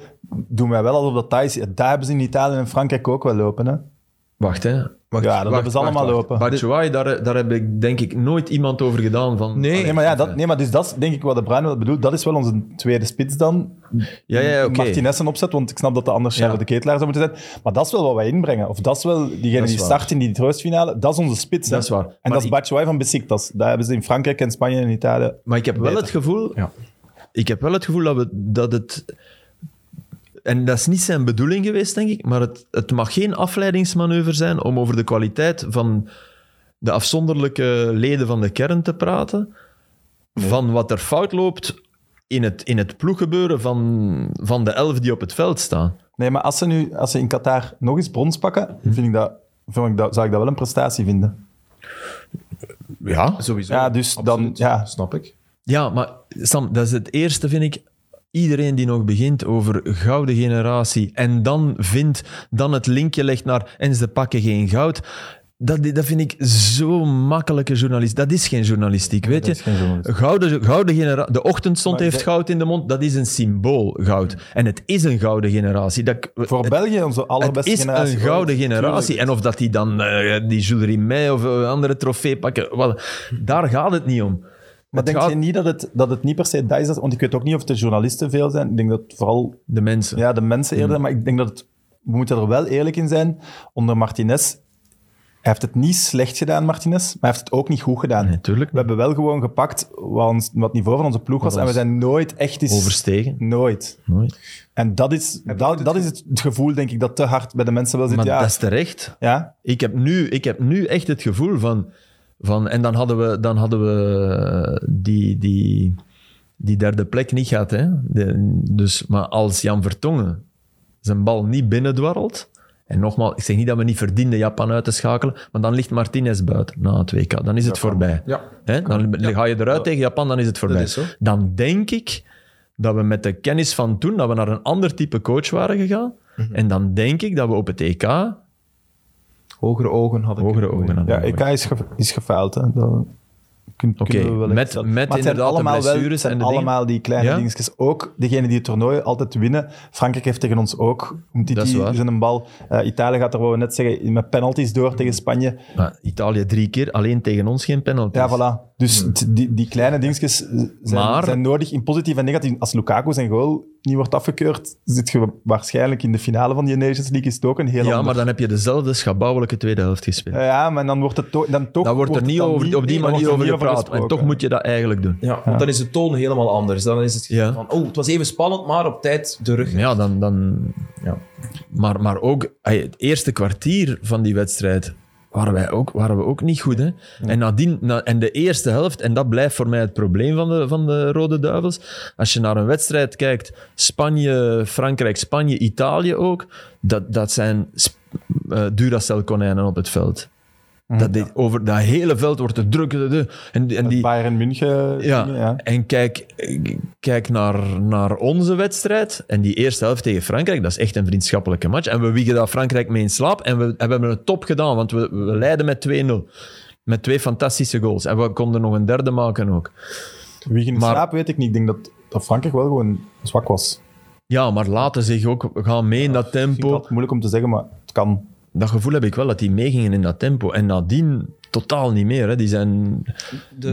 C: Doen wij wel alsof dat daar is. Daar hebben ze in Italië en Frankrijk ook wel lopen. Hè?
B: Wacht, hè.
A: Wacht,
C: ja, dat
A: wacht,
C: Ah, hebben ze
A: wacht,
C: allemaal
A: wacht.
C: lopen.
B: Batshuayi, daar, daar heb ik denk ik nooit iemand over gedaan. Van,
A: Nee.
C: Nee, maar, ja, dat, nee, maar dus dat is denk ik wat de Bruin wel bedoelt. Dat is wel onze tweede spits dan.
B: Ja, ja, oké.
C: Martinez een opzet, want ik snap dat de anders
B: Ja.
C: Charles de Ketelaar zou moeten zijn. Maar dat is wel wat wij inbrengen. Of dat is wel diegene
B: is
C: die
B: waar.
C: start in die troostfinale. Dat is onze spits. hè.
B: Dat is waar.
C: En
B: Maar
C: dat is
B: ik-
C: Batshuayi van Besiktas. Daar hebben ze in Frankrijk en Spanje en Italië.
B: Maar ik heb wel
C: Beter.
B: het gevoel...
A: Ja.
B: Ik heb wel het gevoel dat, we, dat het... En dat is niet zijn bedoeling geweest, denk ik. Maar het, het mag geen afleidingsmanoeuvre zijn om over de kwaliteit van de afzonderlijke leden van de kern te praten. Van wat er fout loopt in het, in het ploeggebeuren van, van de elf die op het veld staan.
C: Nee, maar als ze nu als ze in Qatar nog eens brons pakken,
B: Mhm.
C: vind ik dat, vind ik dat, zou ik dat wel een prestatie vinden.
B: Ja.
A: Sowieso.
C: Ja, dus dan...
A: Absoluut.
C: Ja,
A: Snap ik.
B: Ja, maar Sam, dat is het eerste, vind ik. Iedereen die nog begint over gouden generatie en dan vindt, dan het linkje legt naar en ze pakken geen goud. Dat, dat vind ik zo makkelijke journalist. Dat is geen journalistiek, weet je.
C: is geen journalistiek.
B: Gouden, gouden genera- de ochtendstond
C: Maar
B: heeft
C: dat-
B: goud in de mond. Dat is een symbool, goud. En het is een gouden generatie. Dat,
C: voor
B: het-
C: België onze
B: het
C: allerbeste
B: is
C: generatie.
B: een gouden
C: ooit.
B: generatie. En of dat die dan eh, die Jules Rimet of een andere trofee pakken, wel, daar gaat het niet om.
C: Maar
B: Het
C: denk
B: gaat-
C: je niet dat het, dat het niet per se dat is? dat- Want ik weet ook niet of de journalisten veel zijn. Ik denk dat vooral
B: De mensen.
C: Ja, de mensen
A: Hmm.
C: eerder. Maar ik denk dat het, we moeten er wel eerlijk in zijn. Onder Martinez, hij heeft het niet slecht gedaan, Martinez. Maar hij heeft het ook niet goed gedaan.
B: Natuurlijk.
C: We hebben wel gewoon gepakt wat, ons, wat het niveau van onze ploeg was.
B: Wat
C: En we
B: ons-
C: zijn nooit echt eens...
B: Overstegen.
C: Nooit.
B: Nooit.
C: En dat is, dat, dat is het gevoel, denk ik, dat te hard bij de mensen wel zit.
B: Maar
C: Ja,
B: dat is terecht.
C: ja,
B: Ik heb, nu, ik heb nu echt het gevoel van... van en dan hadden we, dan hadden we eh, die, die, die derde plek niet gehad. Hè? De- dus, maar als Jan Vertongen zijn bal niet binnendwarrelt... En nogmaals, ik zeg niet dat we niet verdienden Japan uit te schakelen, maar dan ligt Martinez buiten na het WK. Dan is het voorbij.
A: Ja.
B: Hè? Dan ga je eruit tegen Japan, dan is het voorbij.
A: is zo.
B: Dan denk ik dat we met de kennis van toen, dat we naar een ander type coach waren gegaan.
A: Mhm.
B: En dan denk ik dat we op het EK
A: Hogere ogen had ik.
B: hogere ogen hadden.
C: ja EK is, ge, is gefaald. hè. Dat kun-
B: Oké,
C: kunnen we wel echt
B: met-
C: stellen.
B: met
C: Maar het
B: inderdaad
C: zijn
B: de
C: allemaal wel-
B: blessures
C: het zijn
B: en de dingen.
C: allemaal die kleine
B: Ja.
C: dingetjes. Ook degene die het toernooi altijd winnen. Frankrijk heeft tegen ons ook.
B: Dat is
C: Umtiti
B: waar.
C: is een bal. Eh, Italië gaat er, wou we net zeggen, met penalties door tegen Spanje.
B: Maar Italië drie keer, alleen tegen ons geen penalty.
C: Ja, voilà. Dus t- die, die kleine dingetjes eh, zijn,
B: Hmm. Maar-
C: zijn nodig in positief en negatief. Als Lukaku zijn goal niet wordt afgekeurd, zit je waarschijnlijk in de finale van die Nations League. Is het ook een heel
B: Ja,
C: ander-
B: maar dan heb je dezelfde schabouwelijke tweede helft gespeeld.
C: Eh, ja, maar dan wordt het to- dan toch...
B: Daar wordt er
C: het
B: niet
C: dan
B: over, op die
C: nee,
B: manier
C: dan wordt
B: over
C: er niet
B: gepraat. En toch
C: gesproken.
B: moet je dat eigenlijk doen.
A: Ja, want dan is de toon helemaal anders. Dan is het
B: Ja.
A: van, oh, het was even spannend, maar op tijd de rug.
B: Ja, dan... dan
A: Ja.
B: Maar, maar ook ey, het eerste kwartier van die wedstrijd waren, wij ook, waren we ook niet goed. Hè? En, nadien, na, en de eerste helft, en dat blijft voor mij het probleem van de, van de Rode Duivels. Als je naar een wedstrijd kijkt, Spanje, Frankrijk, Spanje, Italië ook, dat, dat zijn sp- eh, Duracell-konijnen op het veld. Dat dit, over dat hele veld wordt te druk. de- de- En, die- en die,
C: Bayern München.
B: ja,
C: ja.
B: en kijk, kijk naar, naar onze wedstrijd. En die eerste helft tegen Frankrijk, dat is echt een vriendschappelijke match. En we wiegen dat Frankrijk mee in slaap. En we, en we hebben het top gedaan, want we, we leiden met 2-0. Met twee fantastische goals. En we konden nog een derde maken ook.
C: Wie ging
B: Maar-
C: slaap, weet ik niet. Ik denk dat, dat Frankrijk wel gewoon zwak was.
B: Ja, maar laten zich ook gaan mee in dat
C: Ik vind
B: tempo.
C: dat moeilijk om te zeggen, maar het kan.
B: Dat gevoel heb ik wel, dat die meegingen in dat tempo. En nadien totaal niet meer. Hè. Die zijn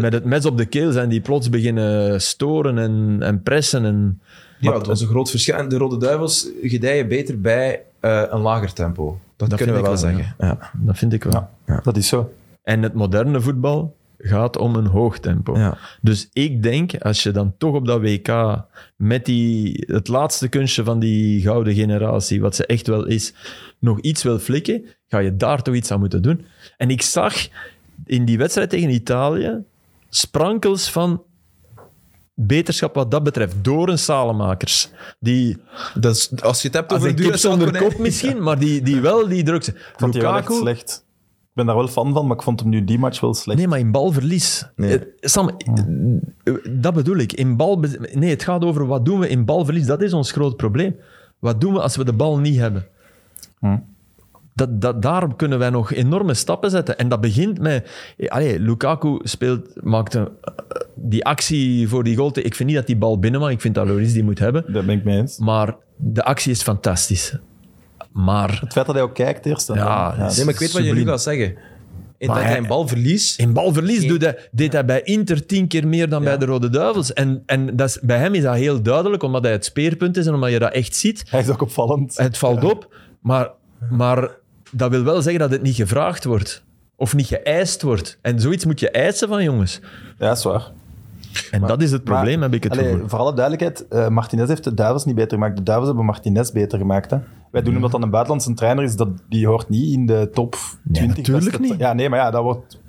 B: met het mes op de keel zijn die plots beginnen storen en, en pressen. En,
A: Ja, dat was een groot verschil. En de Rode Duivels gedijen beter bij eh, een lager tempo. Dat,
B: Dat
A: kunnen we
B: vind
A: wel
B: ik wel,
A: zeggen. Ja.
B: dat vind ik wel.
C: Ja, dat is zo.
B: En het moderne voetbal gaat om een hoog tempo.
A: Ja.
B: Dus ik denk, als je dan toch op dat WK met die, het laatste kunstje van die gouden generatie, wat ze echt wel is, nog iets wil flikken, ga je daar toch iets aan moeten doen. En ik zag in die wedstrijd tegen Italië sprankels van beterschap wat dat betreft, door een Salemakers. Die
A: Dat is, als je het hebt
B: als
A: over
B: een
A: een
B: kip
A: dure
B: zonder kop misschien, maar die, die wel die drukte.
C: Ik vond die wel echt
B: Lukaku-
C: slecht. Ik ben daar wel fan van, maar ik vond hem nu die match wel slecht.
B: Nee, maar in balverlies.
A: Nee.
B: Eh, Sam, eh, dat bedoel ik. In bal... Nee, het gaat over wat doen we in balverlies. Dat is ons groot probleem. Wat doen we als we de bal niet hebben?
C: Hm.
B: Dat, dat, daar kunnen wij nog enorme stappen zetten. En dat begint met... eh, Allee, Lukaku speelt, maakt een, eh, die actie voor die goal. te- Ik vind niet dat die bal binnen mag. Ik vind dat Loris die moet hebben.
C: Daar ben ik mee eens.
B: Maar de actie is fantastisch. Maar
C: Het feit dat hij ook kijkt eerst. en
B: Ja,
C: dan-
B: is-
A: Nee, maar ik weet wat je nu
B: Subliem.
A: gaat zeggen. In
B: Maar
A: dat hij
B: hij-
A: een bal verliest.
B: In balverlies doet hij, deed hij bij Inter tien keer meer dan bij de Rode Duivels. En, en dat is, bij hem is dat heel duidelijk, omdat hij het speerpunt is en omdat je dat echt ziet.
C: Hij is ook opvallend.
B: Het valt op, maar, maar dat wil wel zeggen dat het niet gevraagd wordt. Of niet geëist wordt. En zoiets moet je eisen van jongens.
C: Ja, is waar.
B: En dat is het probleem, heb ik het
C: Allee,
B: gevoel.
C: Voor alle duidelijkheid, eh, Martinez heeft de Duivels niet beter gemaakt. De Duivels hebben Martinez beter gemaakt. Hè. Wij doen omdat dat een buitenlandse trainer is, dat, die hoort niet in de top 20.
B: natuurlijk
C: beste-
B: niet.
C: Ja, nee, maar ja, dat wordt...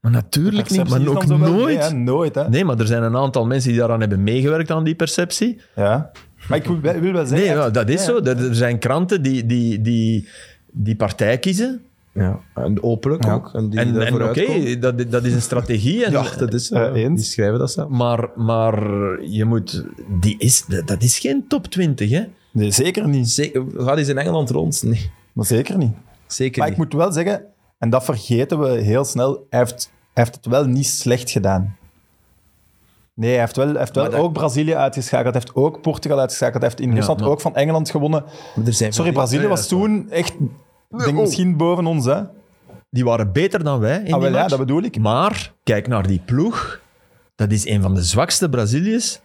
B: Maar natuurlijk niet,
C: perceptie
B: maar
C: is
B: ook
C: dan zo wel-
B: nooit.
C: Nee, hè, nooit, hè.
B: Nee, maar er zijn een aantal mensen die daaraan hebben meegewerkt aan die perceptie.
C: Ja. Maar ik wil, wel- wil wel zeggen...
B: Nee, ja, dat is
C: Ja.
B: zo. Er, er zijn kranten die, die, die, die partij kiezen.
A: Ja. En openlijk
C: Ja.
A: ook. En, die
B: En, en
A: daarvoor
B: oké,
A: uitkomen.
B: dat, dat is een strategie. En,
A: Ja, dat is zo.
C: Eh, eens.
A: Die schrijven dat samen.
B: maar, maar je moet... Die is, dat dat is geen top 20, hè?
C: Nee, zeker niet.
A: Zeker, gaat eens in Engeland rond? Nee,
C: Maar zeker niet.
A: zeker
C: Maar
A: niet.
C: ik moet wel zeggen, en dat vergeten we heel snel, hij heeft, hij heeft het wel niet slecht gedaan. Nee, hij heeft wel, hij heeft wel ook Brazilië uitgeschakeld, hij heeft ook Portugal uitgeschakeld, hij heeft in Rusland
B: maar-
C: ook van Engeland gewonnen.
A: Maar er zijn
C: Sorry,
A: van die-
C: Brazilië
B: Ja, ja,
C: was
B: dat is
C: toen echt, ik denk misschien boven ons, hè.
B: Die waren beter dan wij in die
C: Ah, wel, ja,
B: match.
C: dat bedoel ik.
B: Maar kijk naar die ploeg. Dat is een van de zwakste Braziliërs.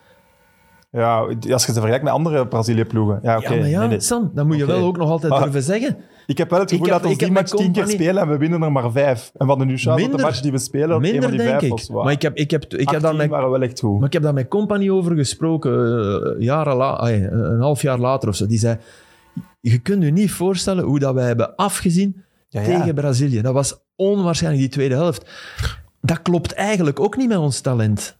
C: Ja, als je ze vergelijkt met andere Brazilië-ploegen. Ja, oké.
B: ja, maar ja,
C: nee, nee.
B: Sam, dat moet je
C: Oké.
B: wel ook nog altijd
C: Maar-
B: durven zeggen.
C: Ik heb wel het
B: Ik
C: gevoel
B: heb- ik
C: dat ons die
B: heb
C: match
B: met
C: tien keer
B: Company-
C: spelen en we winnen er maar vijf. En van de Nuchal, de
B: Minder-
C: match die we spelen, dat een
B: Minder,
C: van die
B: denk
C: vijf
B: ik.
C: was waar.
B: Maar ik heb, ik heb, ik heb
C: Acht,
B: daar
C: tien
B: met
C: waren wel echt goed.
B: Maar ik heb daar met Company over gesproken, eh, jaren la- ah, eh, een half jaar later of zo. Die zei, je kunt je niet voorstellen hoe dat wij hebben afgezien
C: Ja, ja.
B: tegen Brazilië. Dat was onwaarschijnlijk, die tweede helft. Dat klopt eigenlijk ook niet met ons talent.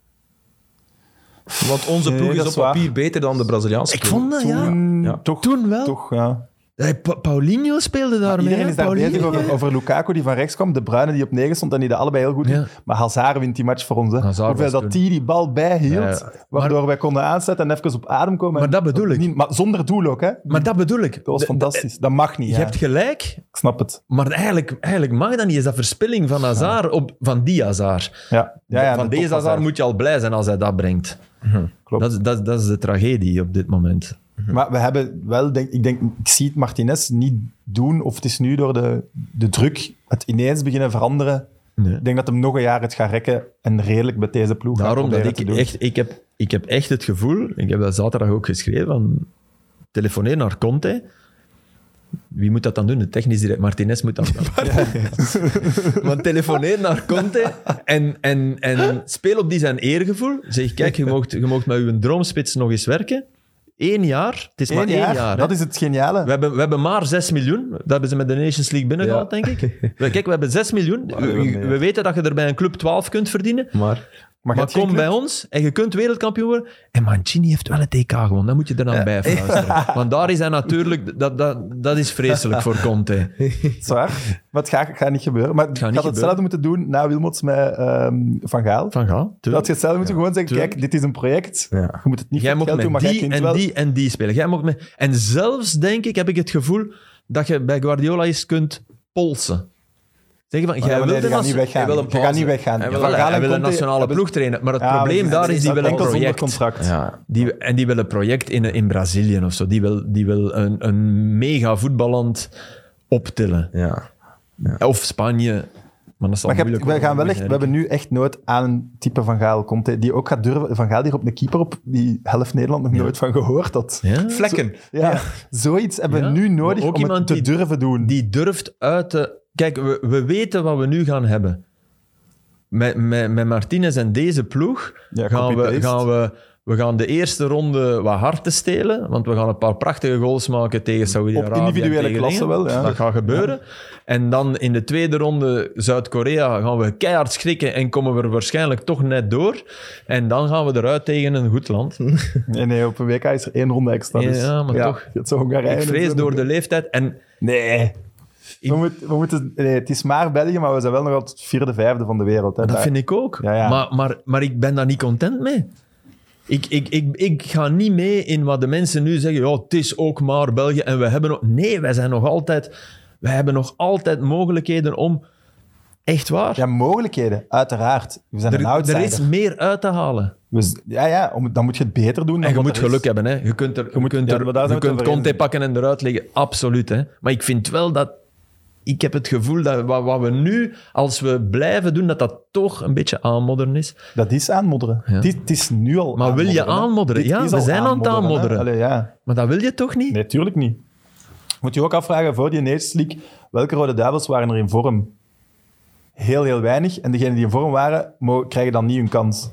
A: Want onze
C: Nee,
A: ploeg
C: dat
A: is
C: is
A: op
C: waar.
A: papier beter dan de Braziliaanse
B: Ik
A: ploeg.
B: vond dat, ja.
C: Toen,
A: Ja.
C: Toch,
B: Toen wel.
C: toch, ja.
B: Hey, Pa- Paulinho speelde daarmee.
C: Iedereen
B: hè,
C: is daar
B: Paulinho.
C: bezig over, over Lukaku die van rechts kwam, De Bruyne die op 9 stond en die dat allebei heel goed
B: Ja.
C: doen. Maar Hazard wint die match voor ons. Hè.
B: Hazard
C: Hoeveel
B: was
C: dat
B: toen-
C: die die bal bijhield,
B: Ja, ja.
C: waardoor wij konden aanzetten en even op adem komen.
B: Maar dat bedoel ik.
C: Niet- maar zonder doel ook, hè.
B: Maar dat bedoel ik.
C: Dat was
B: De-
C: fantastisch. Dat mag niet.
B: Je
C: ja.
B: hebt gelijk,
C: Ik snap het.
B: maar eigenlijk, eigenlijk mag dat niet. Is dat verspilling van Hazard op, van die Hazard?
C: Ja. Ja, ja,
B: van
C: de
B: deze
C: top
B: Hazard moet je al blij zijn als hij dat brengt.
C: Mhm, Klopt.
B: Dat, is- dat, is- dat is de tragedie op dit moment.
C: Maar we hebben wel, denk, ik denk, ik zie het Martinez niet doen, of het is nu door de, de druk het ineens beginnen veranderen.
B: Nee.
C: Ik denk dat hem nog een jaar het gaat rekken en redelijk bij deze ploeg gaat
B: Daarom dat
C: proberen
B: ik
C: te doen.
B: echt, ik heb, ik heb echt het gevoel, ik heb dat zaterdag ook geschreven, van telefoneer naar Conte. Wie moet dat dan doen? De technisch directeur Martinez moet dat doen. Maar telefoneer naar Conte en, en, en speel op die zijn eergevoel. Zeg, kijk, je mocht, je mocht met uw droomspits nog eens werken. Eén jaar, het is maar
C: Eén jaar,
B: één jaar.
C: dat
B: hè.
C: is het geniale.
B: we, hebben, we hebben maar 6 miljoen. Dat hebben ze met de Nations League binnengehaald, denk ik. We- Kijk, we hebben 6 miljoen. We, we weten dat je er bij een club 12 kunt verdienen.
A: Maar
C: Maar,
B: Maar
C: gaat geen
B: kom bij
C: club?
B: ons en je kunt wereldkampioen worden. En Mancini heeft wel een TK gewonnen. Dan moet je er dan bij fluisteren. Want daar is hij natuurlijk... Dat, dat, dat is vreselijk voor Conte.
C: Zwaar. Maar het gaat, gaat niet gebeuren. Maar ik
B: gaat
C: had
B: niet
C: hetzelfde moeten doen na Wilmots met ehm, Van Gaal.
B: Van Gaal.
C: Dat had je hetzelfde moeten gewoon zeggen,
B: tuurlijk.
C: kijk, dit is een project.
A: Ja.
C: Je moet het niet
B: Jij
C: voor het
B: mocht
C: geld doen,
B: met
C: maar jij
B: die
C: kunt
B: en
C: wel...
B: die en die spelen. Jij mocht met... En zelfs, denk ik, heb ik het gevoel dat je bij Guardiola eens kunt polsen. Zeggen van,
C: Oh Ja,
B: jij
C: maar nee,
B: wilt
C: die
B: een
C: gaat
B: nas-
C: niet
A: hij
C: weggaan.
A: wil een
C: Je gaat
A: pauze.
C: niet weggaan.
A: Hij
B: Ja,
A: wil-
B: voilà,
C: Van Gaal
B: hij
C: en
B: wil een
C: Conte
B: nationale
C: hebben-
B: ploeg trainen. Maar het
C: Ja,
B: probleem
C: maar
B: daar is, die
C: dat
B: willen een
C: enkel zonder
B: project.
C: contract.
A: ja,
B: Die, en die wil een project in, in Brazilië of zo. Die wil, die wil een, een mega voetballand optillen.
A: ja.
B: Of Spanje. Maar dat is
C: Maar
B: al
C: je
B: moeilijk.
C: hebt- we,
B: hoor.
C: gaan wel echt, we hebben nu echt nood aan een type Van Gaal Conte, die ook gaat durven... Van Gaal die op een keeper op, die helft Nederland nog nooit van gehoord had.
B: Ja?
A: Vlekken.
C: Ja, zoiets hebben we
B: Ja,
C: nu nodig
B: maar ook
C: om het
B: iemand
C: te
B: die-
C: durven doen.
B: Die durft uit te... Kijk, we, we weten wat we nu gaan hebben. Met, met, met Martinez en deze ploeg
C: Ja,
B: gaan, we,
C: copy-paste.
B: gaan we... We gaan de eerste ronde wat hard te stelen, want we gaan een paar prachtige goals maken tegen Saudi-Arabië.
C: Op individuele
B: en tegen
C: klasse
B: dingen.
C: wel, ja.
B: Dat gaat gebeuren. En dan in de tweede ronde Zuid-Korea gaan we keihard schrikken en komen we er waarschijnlijk toch net door. En dan gaan we eruit tegen een goed land.
C: Nee, nee, op een WK is er één ronde extra.
B: Ja,
C: Dus,
B: maar toch.
C: Het is Hongarije.
B: Ik
C: en
B: vrees
C: zo.
B: door de leeftijd. En
C: Nee. We, moet- we moeten, nee, het is maar België, maar we zijn wel nog altijd vierde, vijfde van de wereld. Hè,
B: Dat
C: daar.
B: vind ik ook.
C: Ja, ja.
B: Maar, maar, maar ik ben daar niet content mee. Ik, ik, ik, ik ga niet mee in wat de mensen nu zeggen. Ja, het is ook maar België. En we hebben nog... Nee, wij zijn nog altijd... Wij hebben nog altijd mogelijkheden om... Echt waar.
C: Ja, mogelijkheden, uiteraard. We zijn een
B: er, er
C: outsider.
B: is meer uit te halen.
C: Dus, ja, ja om, dan moet je het beter doen. dan
B: En je
C: wat
B: moet
C: er is.
B: geluk hebben. Hè. Je kunt, er, je kunt,
C: ja,
B: er,
C: maar daar
B: je
C: zijn we
B: kunt
C: het over
B: Conte
C: eens.
B: pakken en eruit liggen. Absoluut. Hè. Maar ik vind wel dat... Ik heb het gevoel dat wat, wat we nu, als we blijven doen, dat dat toch een beetje aanmodderen is.
C: Dat is aanmodderen.
B: Ja.
C: Dit Het is nu al
B: Maar wil je
C: hè.
B: aanmodderen?
C: Dit
B: Ja,
C: is
B: we
C: al
B: zijn aan het aanmodderen.
C: hè. Allee, ja.
B: Maar dat wil je toch niet?
C: Nee, tuurlijk niet. Moet je ook afvragen, voor die Nations League, welke Rode Duivels waren er in vorm? Heel, heel weinig. En degenen die in vorm waren, mo- krijgen dan niet hun kans.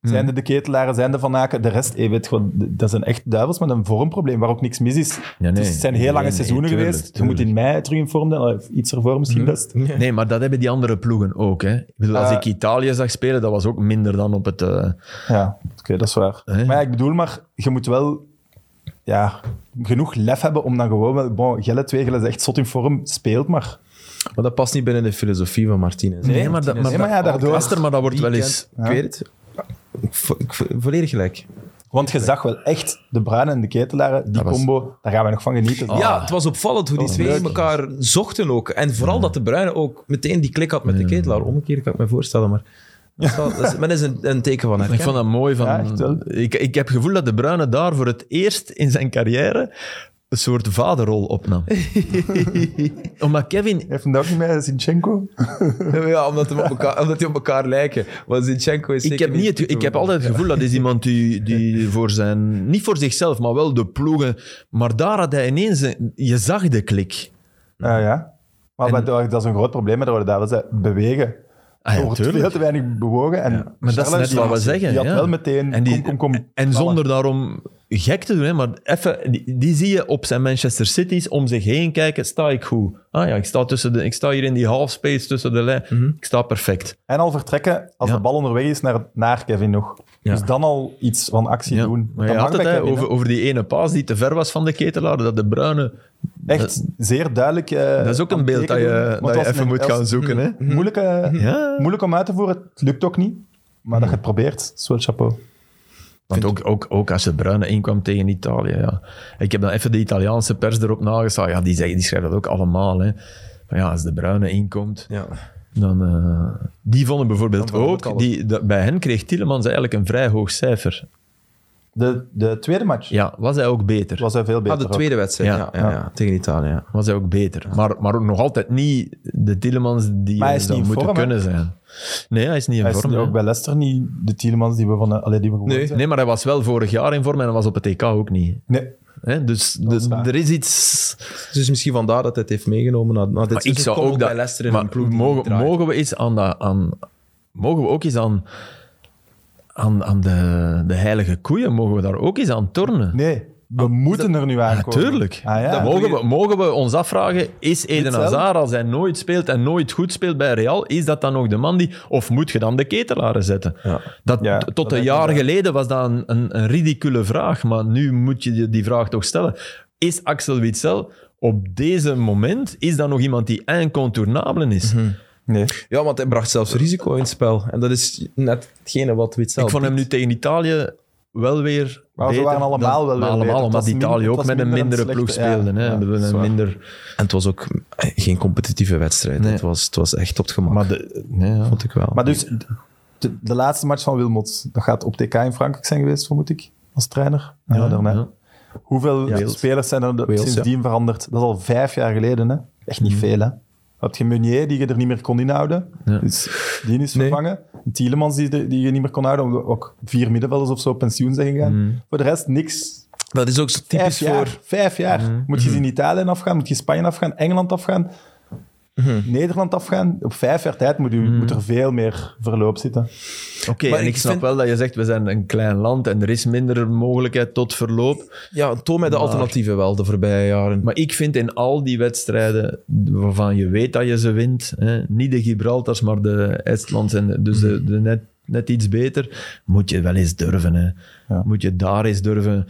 B: Hmm.
C: Zijn de, de ketelaren, zijn de Van Aken, de rest, eh, weet je wat, d- dat zijn echt duivels met een vormprobleem, waar ook niks mis is.
B: nee.
C: Dus het zijn heel
B: Nee,
C: lange
B: nee,
C: seizoenen
B: tuurlijk,
C: geweest.
B: tuurlijk. Hmm.
C: Je moet in mei terug in vorm zijn, of iets ervoor misschien best.
B: Nee, maar dat hebben die andere ploegen ook. Hè. Ik bedoel, als
C: Eh,
B: ik Italië zag spelen, dat was ook minder dan op het... eh,
C: Ja, oké, dat is waar.
B: Hè?
C: Maar ja, ik bedoel maar, je moet wel ja, genoeg lef hebben om dan gewoon... wel- Bon, Gelle Twegel is echt zot in vorm, speelt maar.
A: Maar dat past niet binnen de filosofie van Martinez.
B: Nee, maar dat, maar,
C: Nee, maar ja,
B: dat-
C: daardoor-
B: Gaster, maar dat wordt wel eens...
A: Ik weet het. Ik vo- ik vo- volledig gelijk.
C: Want je zag wel echt de Bruin en de Ketelaren, die
B: Dat was- Oh.
C: combo, daar gaan we nog van genieten.
A: Ja, het was opvallend hoe die
C: Oh,
A: twee
C: leuk.
A: elkaar zochten ook. En vooral dat de Bruyne ook meteen die klik had met de ketelaar. Omgekeerd kan ik me voorstellen, maar dat is, wel- dat is, men is een, een teken van
B: Ik vond
A: herkenning.
B: dat mooi. Van,
C: Ja, echt wel.
B: ik, ik heb het gevoel dat De Bruyne daar voor het eerst in zijn carrière een soort vaderrol opnam. Omdat Kevin...
C: Heeft hem dat ook niet met Zinchenko?
A: Ja, omdat, hem op elkaar, omdat die op elkaar lijken. Want Zinchenko is
B: Ik
A: zeker
B: heb, niet het- ik heb altijd het gevoel dat is iemand die, die voor zijn... Niet voor zichzelf, maar wel de ploegen... Maar daar had hij ineens... een- je zag de klik.
C: Ah ja. Maar
B: En-
C: wat- dat is een groot probleer met de Rode Duivels, hè. bewegen.
B: Ah ja,
C: er wordt
B: tuurlijk.
C: veel te weinig bewogen. En
B: Maar dat is
C: Charles,
B: net wat we
C: die-
B: zeggen.
C: Die had
B: ja.
C: wel meteen...
B: En, die-
C: kom, kom, kom.
B: en zonder daarom gek te doen, hè, maar even, die, die zie je op zijn Manchester City's om zich heen kijken. Sta ik goed? Ah ja, ik sta, tussen de, ik sta hier in die half space tussen de lijn.
C: Mhm.
B: Ik sta perfect.
C: En al vertrekken als
B: Ja.
C: de bal onderweg is naar, naar Kevin nog.
A: Ja.
C: Dus dan al iets van actie
B: Ja.
C: doen.
B: Maar
C: Dat
B: je
C: mag
B: had het
C: bij
B: hè,
C: Kevin, hè.
B: over, over die ene paas die te ver was van de ketelaar, dat de bruine...
C: Echt zeer duidelijk... eh,
B: Dat is ook een
C: aan
B: beeld dat
C: tekenen doen.
B: je,
C: Want
B: dat je
C: als
B: even
C: een-
B: moet
C: als-
B: gaan zoeken. Hè.
C: Moeilijk, eh,
B: Ja. Mhm.
C: moeilijk om uit te voeren. Het lukt ook niet. Maar dat je het probeert, is wel chapeau.
B: Want ook, ook, ook als de Bruyne inkwam tegen Italië. Ja. Ik heb dan even de Italiaanse pers erop nageslagen. Ja, die, zeggen, die schrijven dat ook allemaal. Hè. Maar ja, als de Bruyne inkomt...
A: Ja.
B: Dan, eh, die vonden bijvoorbeeld
A: Dan valt het
B: ook,
A: al.
B: die, dat- bij hen kreeg Tielemans eigenlijk een vrij hoog cijfer.
C: De, de tweede match
B: Ja, was hij ook beter.
C: was hij veel beter.
A: Ah, de tweede wedstrijd,
B: Ja.
A: ja. Ja, ja, tegen Italië. Ja.
B: Was hij ook beter. Maar, maar ook nog altijd niet de Tielemans die
C: Maar hij
B: hij
C: is
B: zou
C: niet in
B: moeten
C: vorm, hè?
B: kunnen zijn. Nee, hij is niet in
C: Hij is
B: vorm.
C: nu
B: hè.
C: ook bij Leicester niet de Tielemans die we van eh, allee, die we gewoon
A: Nee.
C: zijn.
B: Nee, maar hij was wel vorig jaar in vorm en hij was op het EK ook niet.
C: Nee.
B: Hè? Dus
C: is
B: de-
C: waar.
B: er is iets...
A: Dus misschien vandaar dat hij het heeft meegenomen naar, naar dit
B: Maar ik
A: seizoen.
B: zou
A: Kom
B: ook dat...
A: dus bij Leicester in
B: maar
A: een ploeg die niet
B: mogen,
A: draait.
B: mogen we eens aan dat... Aan, mogen we ook eens aan... Aan, aan de, de heilige koeien mogen we daar ook eens aan tornen.
C: Nee.
B: Ah,
C: We moeten er nu aankomen.
B: Tuurlijk.
C: Ah, ja.
B: Dan mogen, we, mogen we ons afvragen, is Eden
C: Hetzelfde.
B: Hazard, als hij nooit speelt en nooit goed speelt bij Real, is dat dan nog de man die... Of moet je dan de ketelaren zetten? Dat,
C: Ja,
B: tot
C: dat
B: een
C: denk
B: jaar
C: ik wel.
B: geleden was dat een, een, een ridicule vraag, maar nu moet je die, die vraag toch stellen. Is Axel Witsel op deze moment, is dat nog iemand die incontournabel is?
C: Mhm. Nee.
A: Ja, want hij bracht zelfs risico in het spel. En dat is net hetgene wat Wit zelf
B: Ik vond hem nu
A: biedt.
B: tegen Italië wel weer.
C: Maar we
B: beter
C: waren allemaal
B: dan-
C: wel weer
B: maar Allemaal,
C: beter. Het
B: omdat
C: was
B: Italië
C: minder- het
B: ook
C: was
B: met een
C: minder een
B: mindere ploeg
C: slechte- ja,
B: speelde. hè.
C: ja,
B: Ik bedoel,
C: dat is
B: een
C: waar.
B: minder.
A: En het was ook eh, geen competitieve wedstrijd.
B: Nee.
A: Het, was, het was echt op het gemak,
B: Maar de, nee, ja.
A: vond ik wel.
C: Maar dus, de, de laatste match van Wilmot, dat gaat op TK in Frankrijk zijn geweest, vermoed ik, als trainer. Ja, daarna.
B: ja.
C: Hoeveel
B: Wales.
C: spelers zijn er de-
B: Wales,
C: sindsdien veranderd? Dat is al vijf jaar geleden, hè? Echt niet veel, hè? Had je Meunier, die je er niet meer kon inhouden.
B: Ja.
C: Dus die is vervangen. Tielemans, die, de- die je niet meer kon houden. Omdat ook vier middenvelders of zo op pensioen zijn gegaan. Voor de rest niks.
A: dat is ook zo
C: Vijf
A: typisch
C: jaar.
A: voor... Mhm.
C: Vijf jaar. Moet je eens in Italië afgaan, moet je Spanje afgaan, Engeland afgaan,
A: Mhm.
C: Nederland afgaan. Op vijf jaar tijd moet, u, moet er veel meer verloop zitten.
B: Oké,
A: Maar
B: en ik,
A: ik
B: snap
A: vind-
B: wel dat je zegt: we zijn een klein land en er is minder mogelijkheid tot verloop.
A: Ja, toon mij de alternatieven wel de voorbije jaren.
B: Maar ik vind in al die wedstrijden waarvan je weet dat je ze wint, hè, niet de Gibraltars, maar de Estlands en de- dus de, de net, net iets beter, moet je wel eens durven. Hè.
C: Ja.
B: Moet je daar eens durven.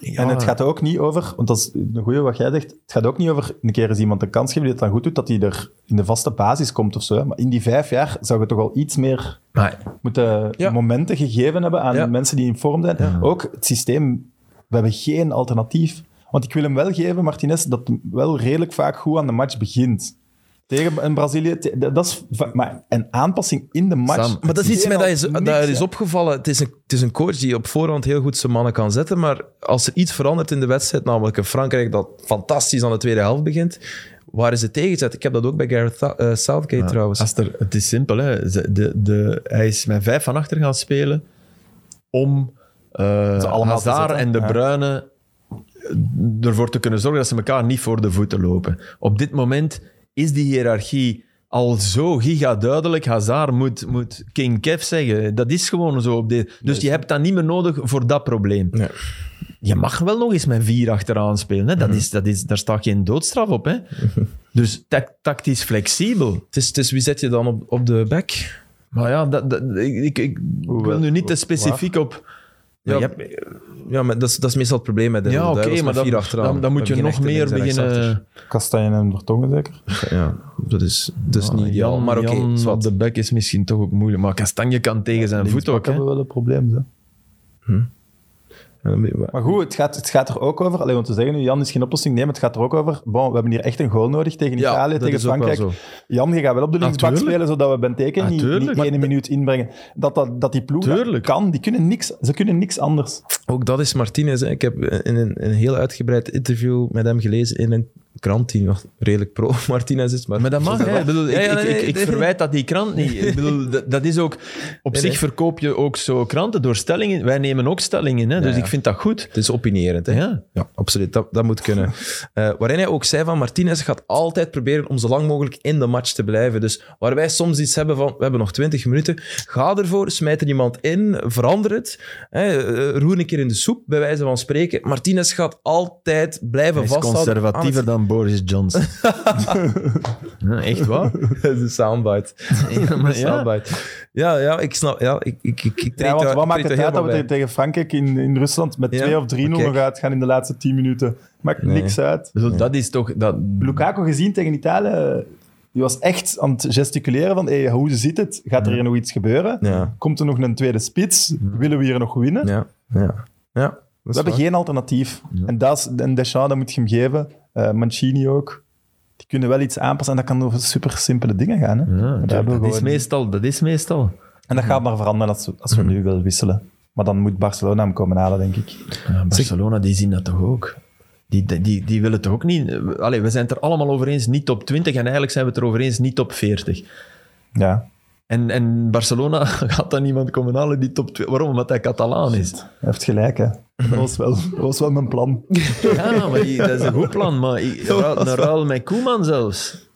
B: Ja.
C: En het gaat ook niet over, want dat is een goede wat jij zegt, het gaat ook niet over een keer eens iemand een kans geven die het dan goed doet, dat hij er in de vaste basis komt of zo. hè. Maar in die vijf jaar zou je toch al iets meer
B: Maar
C: moeten
A: Ja.
C: eh, momenten gegeven hebben aan
A: Ja.
C: mensen die in vorm zijn. Ook het systeem, we hebben geen alternatief. Want ik wil hem wel geven, Martinez, dat hem wel redelijk vaak goed aan de match begint. Tegen een Brazilië, te- dat dat is va- maar een aanpassing in de match.
B: Sam,
A: Maar dat is iets mij dat is,
C: Niks,
A: dat is
C: hè.
A: opgevallen. Het is, een, het is een coach die op voorhand heel goed zijn mannen kan zetten. Maar als er iets verandert in de wedstrijd, namelijk in Frankrijk dat fantastisch aan de tweede helft begint, waar is het tegenzet? Ik heb dat ook bij Gareth Thou- eh, Southgate trouwens.
B: Aster, het is simpel. Hè. Ze- De, de, hij is met vijf van achter gaan spelen om eh
C: allemaal te
B: Hazard
C: zetten,
B: en de
C: ja.
B: Bruyne eh, ervoor te kunnen zorgen dat ze elkaar niet voor de voeten lopen. Op dit moment is die hiërarchie al zo gigaduidelijk. Hazard moet, moet King Kev zeggen. Dat is gewoon zo. Op dit. Dus je hebt dat niet meer nodig voor dat probleem.
A: Nee.
B: Je mag wel nog eens met vier achteraan spelen. Hè. Dat
C: Mhm.
B: is, dat is, daar staat geen doodstraf op. Hè. Dus tac- tactisch flexibel.
A: Het, is, het is wie zet je dan op, op de back?
B: Maar ja, dat, dat- ik, ik, ik wil nu niet te specifiek op.
A: Ja,
B: Ja,
A: Ja, maar dat is, dat is meestal het probleem met de
B: ja oké, maar dan,
A: vier achteraan.
B: dan, dan moet
A: Heb
B: je
A: geen
B: nog
A: echte
B: meer
A: links en
B: beginnen.
C: Kastanje en Vertongen zeker?
A: rechtsachter. Ja, dat is, dat is niet ideaal.
B: Ah, Jan-
A: maar oké,
B: Jan
A: zwart.
B: op de bek is misschien toch ook moeilijk. Maar Kastanje kan tegen zijn voet ook.
C: Linksback
B: hè.
C: hebben we wel een probleem, hè.
A: Ja, dan ben je-
C: Maar goed, het gaat, het gaat er ook over. Alleen om te zeggen, nu, Jan is geen oplossing. Nee, maar het gaat er ook over. Bon, we hebben hier echt een goal nodig tegen
A: Ja,
C: Italië,
A: dat
C: tegen
A: is ook wel
C: Frankrijk. Jan, je gaat wel op de linksbak
B: Natuurlijk.
C: spelen, zodat we Benteken niet,
B: Natuurlijk.
C: niet
B: Maar
C: één minuut inbrengen. Dat, dat, dat die ploeg dat
B: Tuurlijk.
C: kan, die kunnen niks, ze kunnen niks anders.
A: Ook dat is Martinez. hè. Ik heb in een, een heel uitgebreid interview met hem gelezen in een krant die nog redelijk pro Martinez is. Maar,
B: Maar dat mag, hè. Ik, bedoel, ik-
A: Ja, ja,
B: ik, ik,
A: nee,
B: ik
A: nee.
B: verwijt dat die krant niet. Ik bedoel, dat, dat is ook... Op
A: Nee,
B: zich
A: nee.
B: verkoop je ook zo kranten door stellingen. Wij nemen ook stellingen, hè. Dus
A: ja.
B: ik vind dat goed.
A: Het is opinerend. Hè?
B: Ja.
A: Ja, absoluut. Dat, dat moet kunnen. Eh, waarin hij ook zei van Martinez gaat altijd proberen om zo lang mogelijk in de match te blijven. Dus waar wij soms iets hebben van we hebben nog 20 minuten, ga ervoor, smijt er iemand in, verander het, hè, eh, roer een keer in de soep, bij wijze van spreken. Martinez gaat altijd blijven
B: Hij is
A: vasthouden.
B: conservatiever
A: Ah,
B: dan Boris Johnson. Ja, echt waar?
A: Dat is een soundbite.
B: Ja, maar ja.
A: Soundbite. Ja, ja, ik snap. Ja, ik, ik, ik, ik treed
C: Ja, want
A: daar-
C: wat
A: ik
C: maakt
A: treed
C: het
A: daar
C: uit dat we
A: helemaal
C: tegen- tegen Frankrijk in, in Rusland met
A: Ja,
C: 2 of 3-0
A: maar
C: nog
A: kijk.
C: uitgaan in de laatste 10 minuten? Maakt
A: Nee.
C: niks uit.
B: Ik bedoel, Dus Dat is toch... Dat,
C: Lukaku gezien tegen Italië, die was echt aan het gesticuleren van hey, hoe zit het? Gaat er hier nog iets gebeuren?
A: Ja.
C: Komt er nog een tweede spits? Willen we hier nog winnen?
A: bij. Ja, ja. ja dat is
C: We hebben
A: waar.
C: geen alternatief. En, dat is, en Deschamps, dat moet je hem geven. Eh, Mancini ook. Die kunnen wel iets aanpassen. En dat kan over super simpele dingen gaan. Hè?
B: Ja,
C: dat hebben we
B: dat, is
C: gewoon.
B: meestal, dat is meestal.
C: En dat gaat maar veranderen als we, als we nu wel wisselen. Maar dan moet Barcelona hem komen halen, denk ik.
B: Ja, Barcelona, die zien dat toch ook? Die, die- die, die willen toch ook niet... Allee, we zijn het er allemaal over eens, niet top 20. En eigenlijk zijn we het er over eens, niet top 40.
C: Ja,
B: En, en Barcelona gaat dan iemand komen halen die top 20... Waarom? Omdat hij Catalaan is.
C: je hebt gelijk. Hè. Dat, was wel, dat was wel mijn plan.
B: Ja, maar die- dat is een goed plan. Maar i- ruil- een ruil met Koeman zelfs.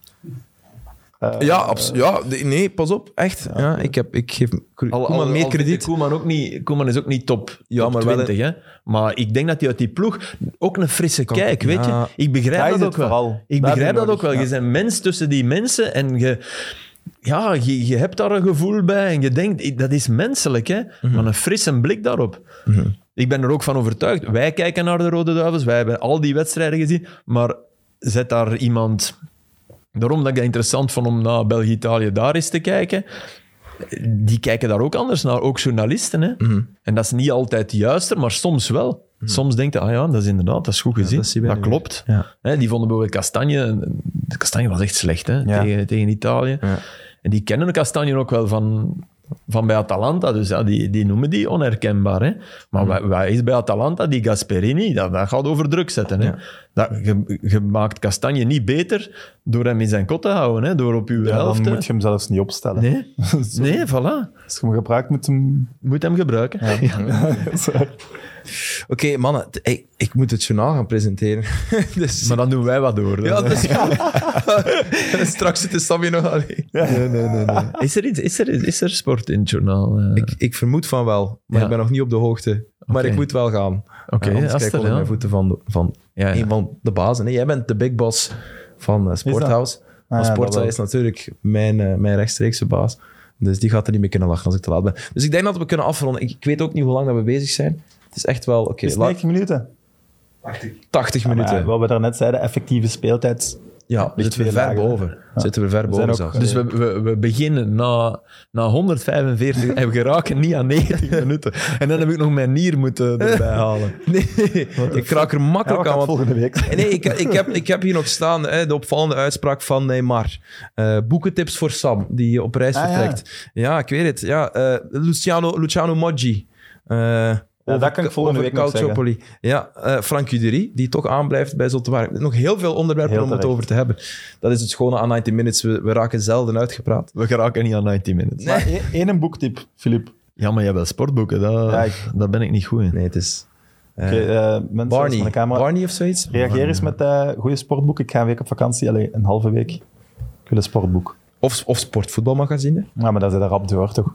C: Eh,
A: Ah, Ja, abs- ja, de- nee, pas op. Echt. Ja, ik, heb, ik geef Ko- Koeman meer
B: vindt
A: krediet.
B: Koeman, ook niet, Koeman is ook niet top,
A: Ja,
B: top
A: maar wel
B: 20. hè? Maar ik denk dat hij uit die ploeg ook een frisse
A: Kan-
B: kijk, weet
A: ja.
B: je. Ik begrijp
C: Daar is
B: dat
C: het
B: ook wel.
C: vooral.
B: Ik
C: Daar
B: begrijp
C: heb je
B: dat ook
C: nodig,
B: wel. Je
C: ja.
B: bent mens tussen die mensen en je, ja, je, je hebt daar een gevoel bij en je denkt, i- dat is menselijk, hè. Maar een frisse blik daarop. Ik ben er ook van overtuigd. Wij kijken naar de Rode Duivels, wij hebben al die wedstrijden gezien, maar zet daar iemand... Daarom dat ik het interessant vond om naar België-Italië daar eens te kijken. Die kijken daar ook anders naar, ook journalisten. Hè? En dat is niet altijd juister, maar soms wel. Soms denkt hij, ah ja, dat is inderdaad, dat is goed gezien.
A: dat zie je
B: dat
A: wel niet.
B: klopt.
A: Ja.
B: Hè, die vonden bijvoorbeeld Kastanje... de Kastanje was echt slecht hè,
C: Ja.
B: tegen, tegen Italië.
A: Ja.
B: En die kennen Kastanje ook wel van, van bij Atalanta. Dus ja, die, die noemen die onherkenbaar. Hè. Maar wa- wat is bij Atalanta? Die Gasperini, dat, dat gaat over druk zetten. Hè. Dat, je, je maakt Kastanje niet beter door hem in zijn kot te houden. Hè, door op uw
C: ja,
B: helft...
C: dan
B: hè.
C: moet je hem zelfs niet opstellen.
B: Nee, nee, voilà.
C: Als je hem gebruikt, moet hem...
B: Moet hem gebruiken.
A: Oké, mannen, t- ik, ik moet het journaal gaan presenteren. dus,
B: Maar dan doen wij wat door.
A: ja, dus, Straks zit de Sammy nog alleen.
B: Nee, nee, nee, nee. Is, er iets, is, er, is er sport in het journaal? Eh,
A: Ik, ik vermoed van wel, maar
B: Ja.
A: ik ben nog niet op de hoogte. Maar
B: Oké.
A: ik moet wel gaan.
B: Oké,
A: Eh, anders
B: als
A: krijg ik
B: er,
A: onder
B: ja.
A: mijn voeten van, de- van
B: Ja, ja.
A: een van de bazen. hè. Jij bent de big boss van eh, Sporthouse. Maar
C: Ah, ja, dat
A: Sporthouse
C: wel.
A: is natuurlijk mijn, eh, mijn rechtstreekse baas. Dus die gaat er niet mee kunnen lachen als ik te laat ben. Dus ik denk dat we kunnen afronden. Ik, ik weet ook niet hoe lang dat we bezig zijn. Het is echt wel... Oké,
C: Is het
A: la-
C: 90 minuten?
A: 80 minuten.
C: Ja, wat we daarnet zeiden, effectieve speeltijd.
A: Ja,
C: Ligt
A: zitten we
C: veel
A: ver
C: lager, hè?
A: boven. Zitten we ver boven
C: zijn ook- eh,
A: zelfs.
B: Dus we, we, we beginnen na, na 145 en we geraken niet aan 90 minuten. En dan heb ik nog mijn nier moeten erbij halen.
A: nee, ik kraak er
C: Ja,
A: makkelijk
C: wat gaat
A: aan. want-
C: volgende week zijn?
A: Nee, ik, ik, heb, ik heb hier nog staan hè, de opvallende uitspraak van Neymar. Eh boekentips voor Sam, die op reis
C: Ah, ja.
A: vertrekt. Ja. ik weet het. Ja, eh, Luciano, Luciano Moggi. Eh,
C: dat kan ik volgende
A: over
C: week nog
A: Calciopoli. Ja, eh Frank Uderi, die toch aanblijft bij Zottewaard. Nog heel veel onderwerpen
C: Heel
A: om het
C: terecht.
A: over te hebben. Dat is het schone aan 90 Minutes. We, we raken zelden uitgepraat.
B: We geraken niet aan 90 minuten.
C: Maar één- één een boektip, Filip.
B: Ja, maar jij hebt wel sportboeken. Dat,
C: Ja, ik-
B: Daar ben ik niet goed in.
A: Nee, het is... eh,
C: Oké, eh, mensen
A: Barney.
C: van de camera,
A: Barney of zoiets?
C: reageer eens met eh goede sportboek. Ik ga een week op vakantie, alleen een halve week. Ik wil een sportboek.
A: Of, of sportvoetbalmagazine.
C: Ja, maar dat is daar rap door, toch?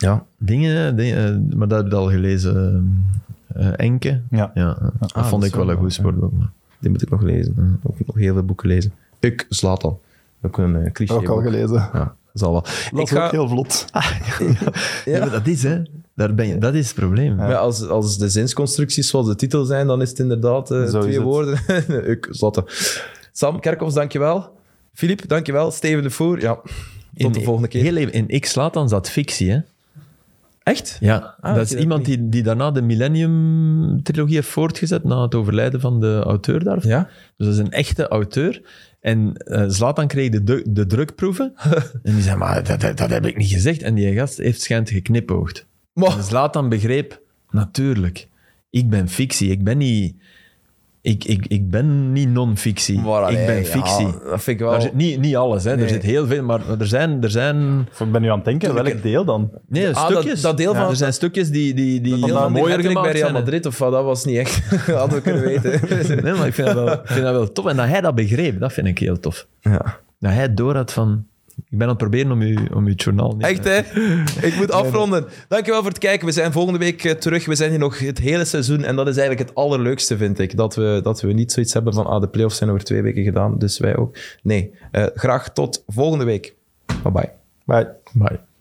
A: Ja.
B: Dingen, dingen, eh, maar dat heb je al gelezen. eh, eh, Enke.
C: Ja.
B: Ja, eh, dat
A: Ah, dat
B: vond
A: is
B: ik wel
A: wel
B: een goed sportboek. maar-
A: Die moet ik nog lezen. Ook nog heel veel boeken lezen. Ik, Zlatan. Ook een eh, cliché.
C: Ook al
A: boek.
C: gelezen.
A: Ja, zal wel.
C: Dat
A: ik
C: is
A: ga,
C: ook heel vlot.
A: Ja.
B: Ja, maar dat is, hè. Daar ben je, dat is het probleem.
A: maar als, als de zinsconstructies zoals de titel zijn, dan is het inderdaad eh,
C: Zo is
A: twee
C: het.
A: woorden. ik, Zlatan. Sam Kerkhoffs, dankjewel. Filip, dankjewel. Steven de Voer, ja. Tot
B: In-
A: de volgende keer.
B: Heel even, in Ik slaat dan zat fictie, hè.
A: Echt?
B: Ja,
A: Ah,
B: dat
A: weet
B: is
A: je dat
B: iemand
A: niet?
B: die, die daarna de Millennium-trilogie heeft voortgezet na het overlijden van de auteur daarvan.
A: Ja?
B: Dus dat is een echte auteur. En eh Zlatan kreeg de, du- de drukproeven. en die zei, maar dat, dat, dat heb ik niet gezegd. En die gast heeft schijnt geknipoogd.
A: Maar,
B: En Zlatan begreep, natuurlijk, ik ben fictie. Ik ben niet, ik, ik, ik ben niet non-fictie.
A: maar,
B: ik
A: allee,
B: ben
A: ja,
B: fictie.
A: dat vind ik wel...
B: Daar zit niet, niet alles, hè.
A: Nee.
B: er zit heel veel, maar maar er zijn, er zijn
C: Of Ik ben nu aan het denken, welk deel dan?
B: nee,
A: Ah, dat-
B: stukjes.
A: dat deel
B: Ja,
A: van-
B: er zijn stukjes die, die, die,
A: Heel
B: die
A: van die
B: mooier
A: hattrick
B: gemaakt
A: bij Real
B: zijn, hè.
A: Madrid of wat, dat was niet echt. Hadden we kunnen weten.
B: Nee, maar ik vind, dat wel, ik vind dat wel tof. En dat hij dat begreep, dat vind ik heel tof.
A: ja.
B: Dat hij door had van... Ik ben aan het proberen om je, om je journaal... niet-
A: Echt, hè? Ik moet afronden. Dankjewel voor het kijken. We zijn volgende week eh, terug. We zijn hier nog het hele seizoen. En dat is eigenlijk het allerleukste, vind ik. Dat we, dat we niet zoiets hebben van, ah, de playoffs zijn over twee weken gedaan. Dus wij ook. Nee. Eh, graag tot volgende week. Bye-bye.
C: Maar
B: Bye.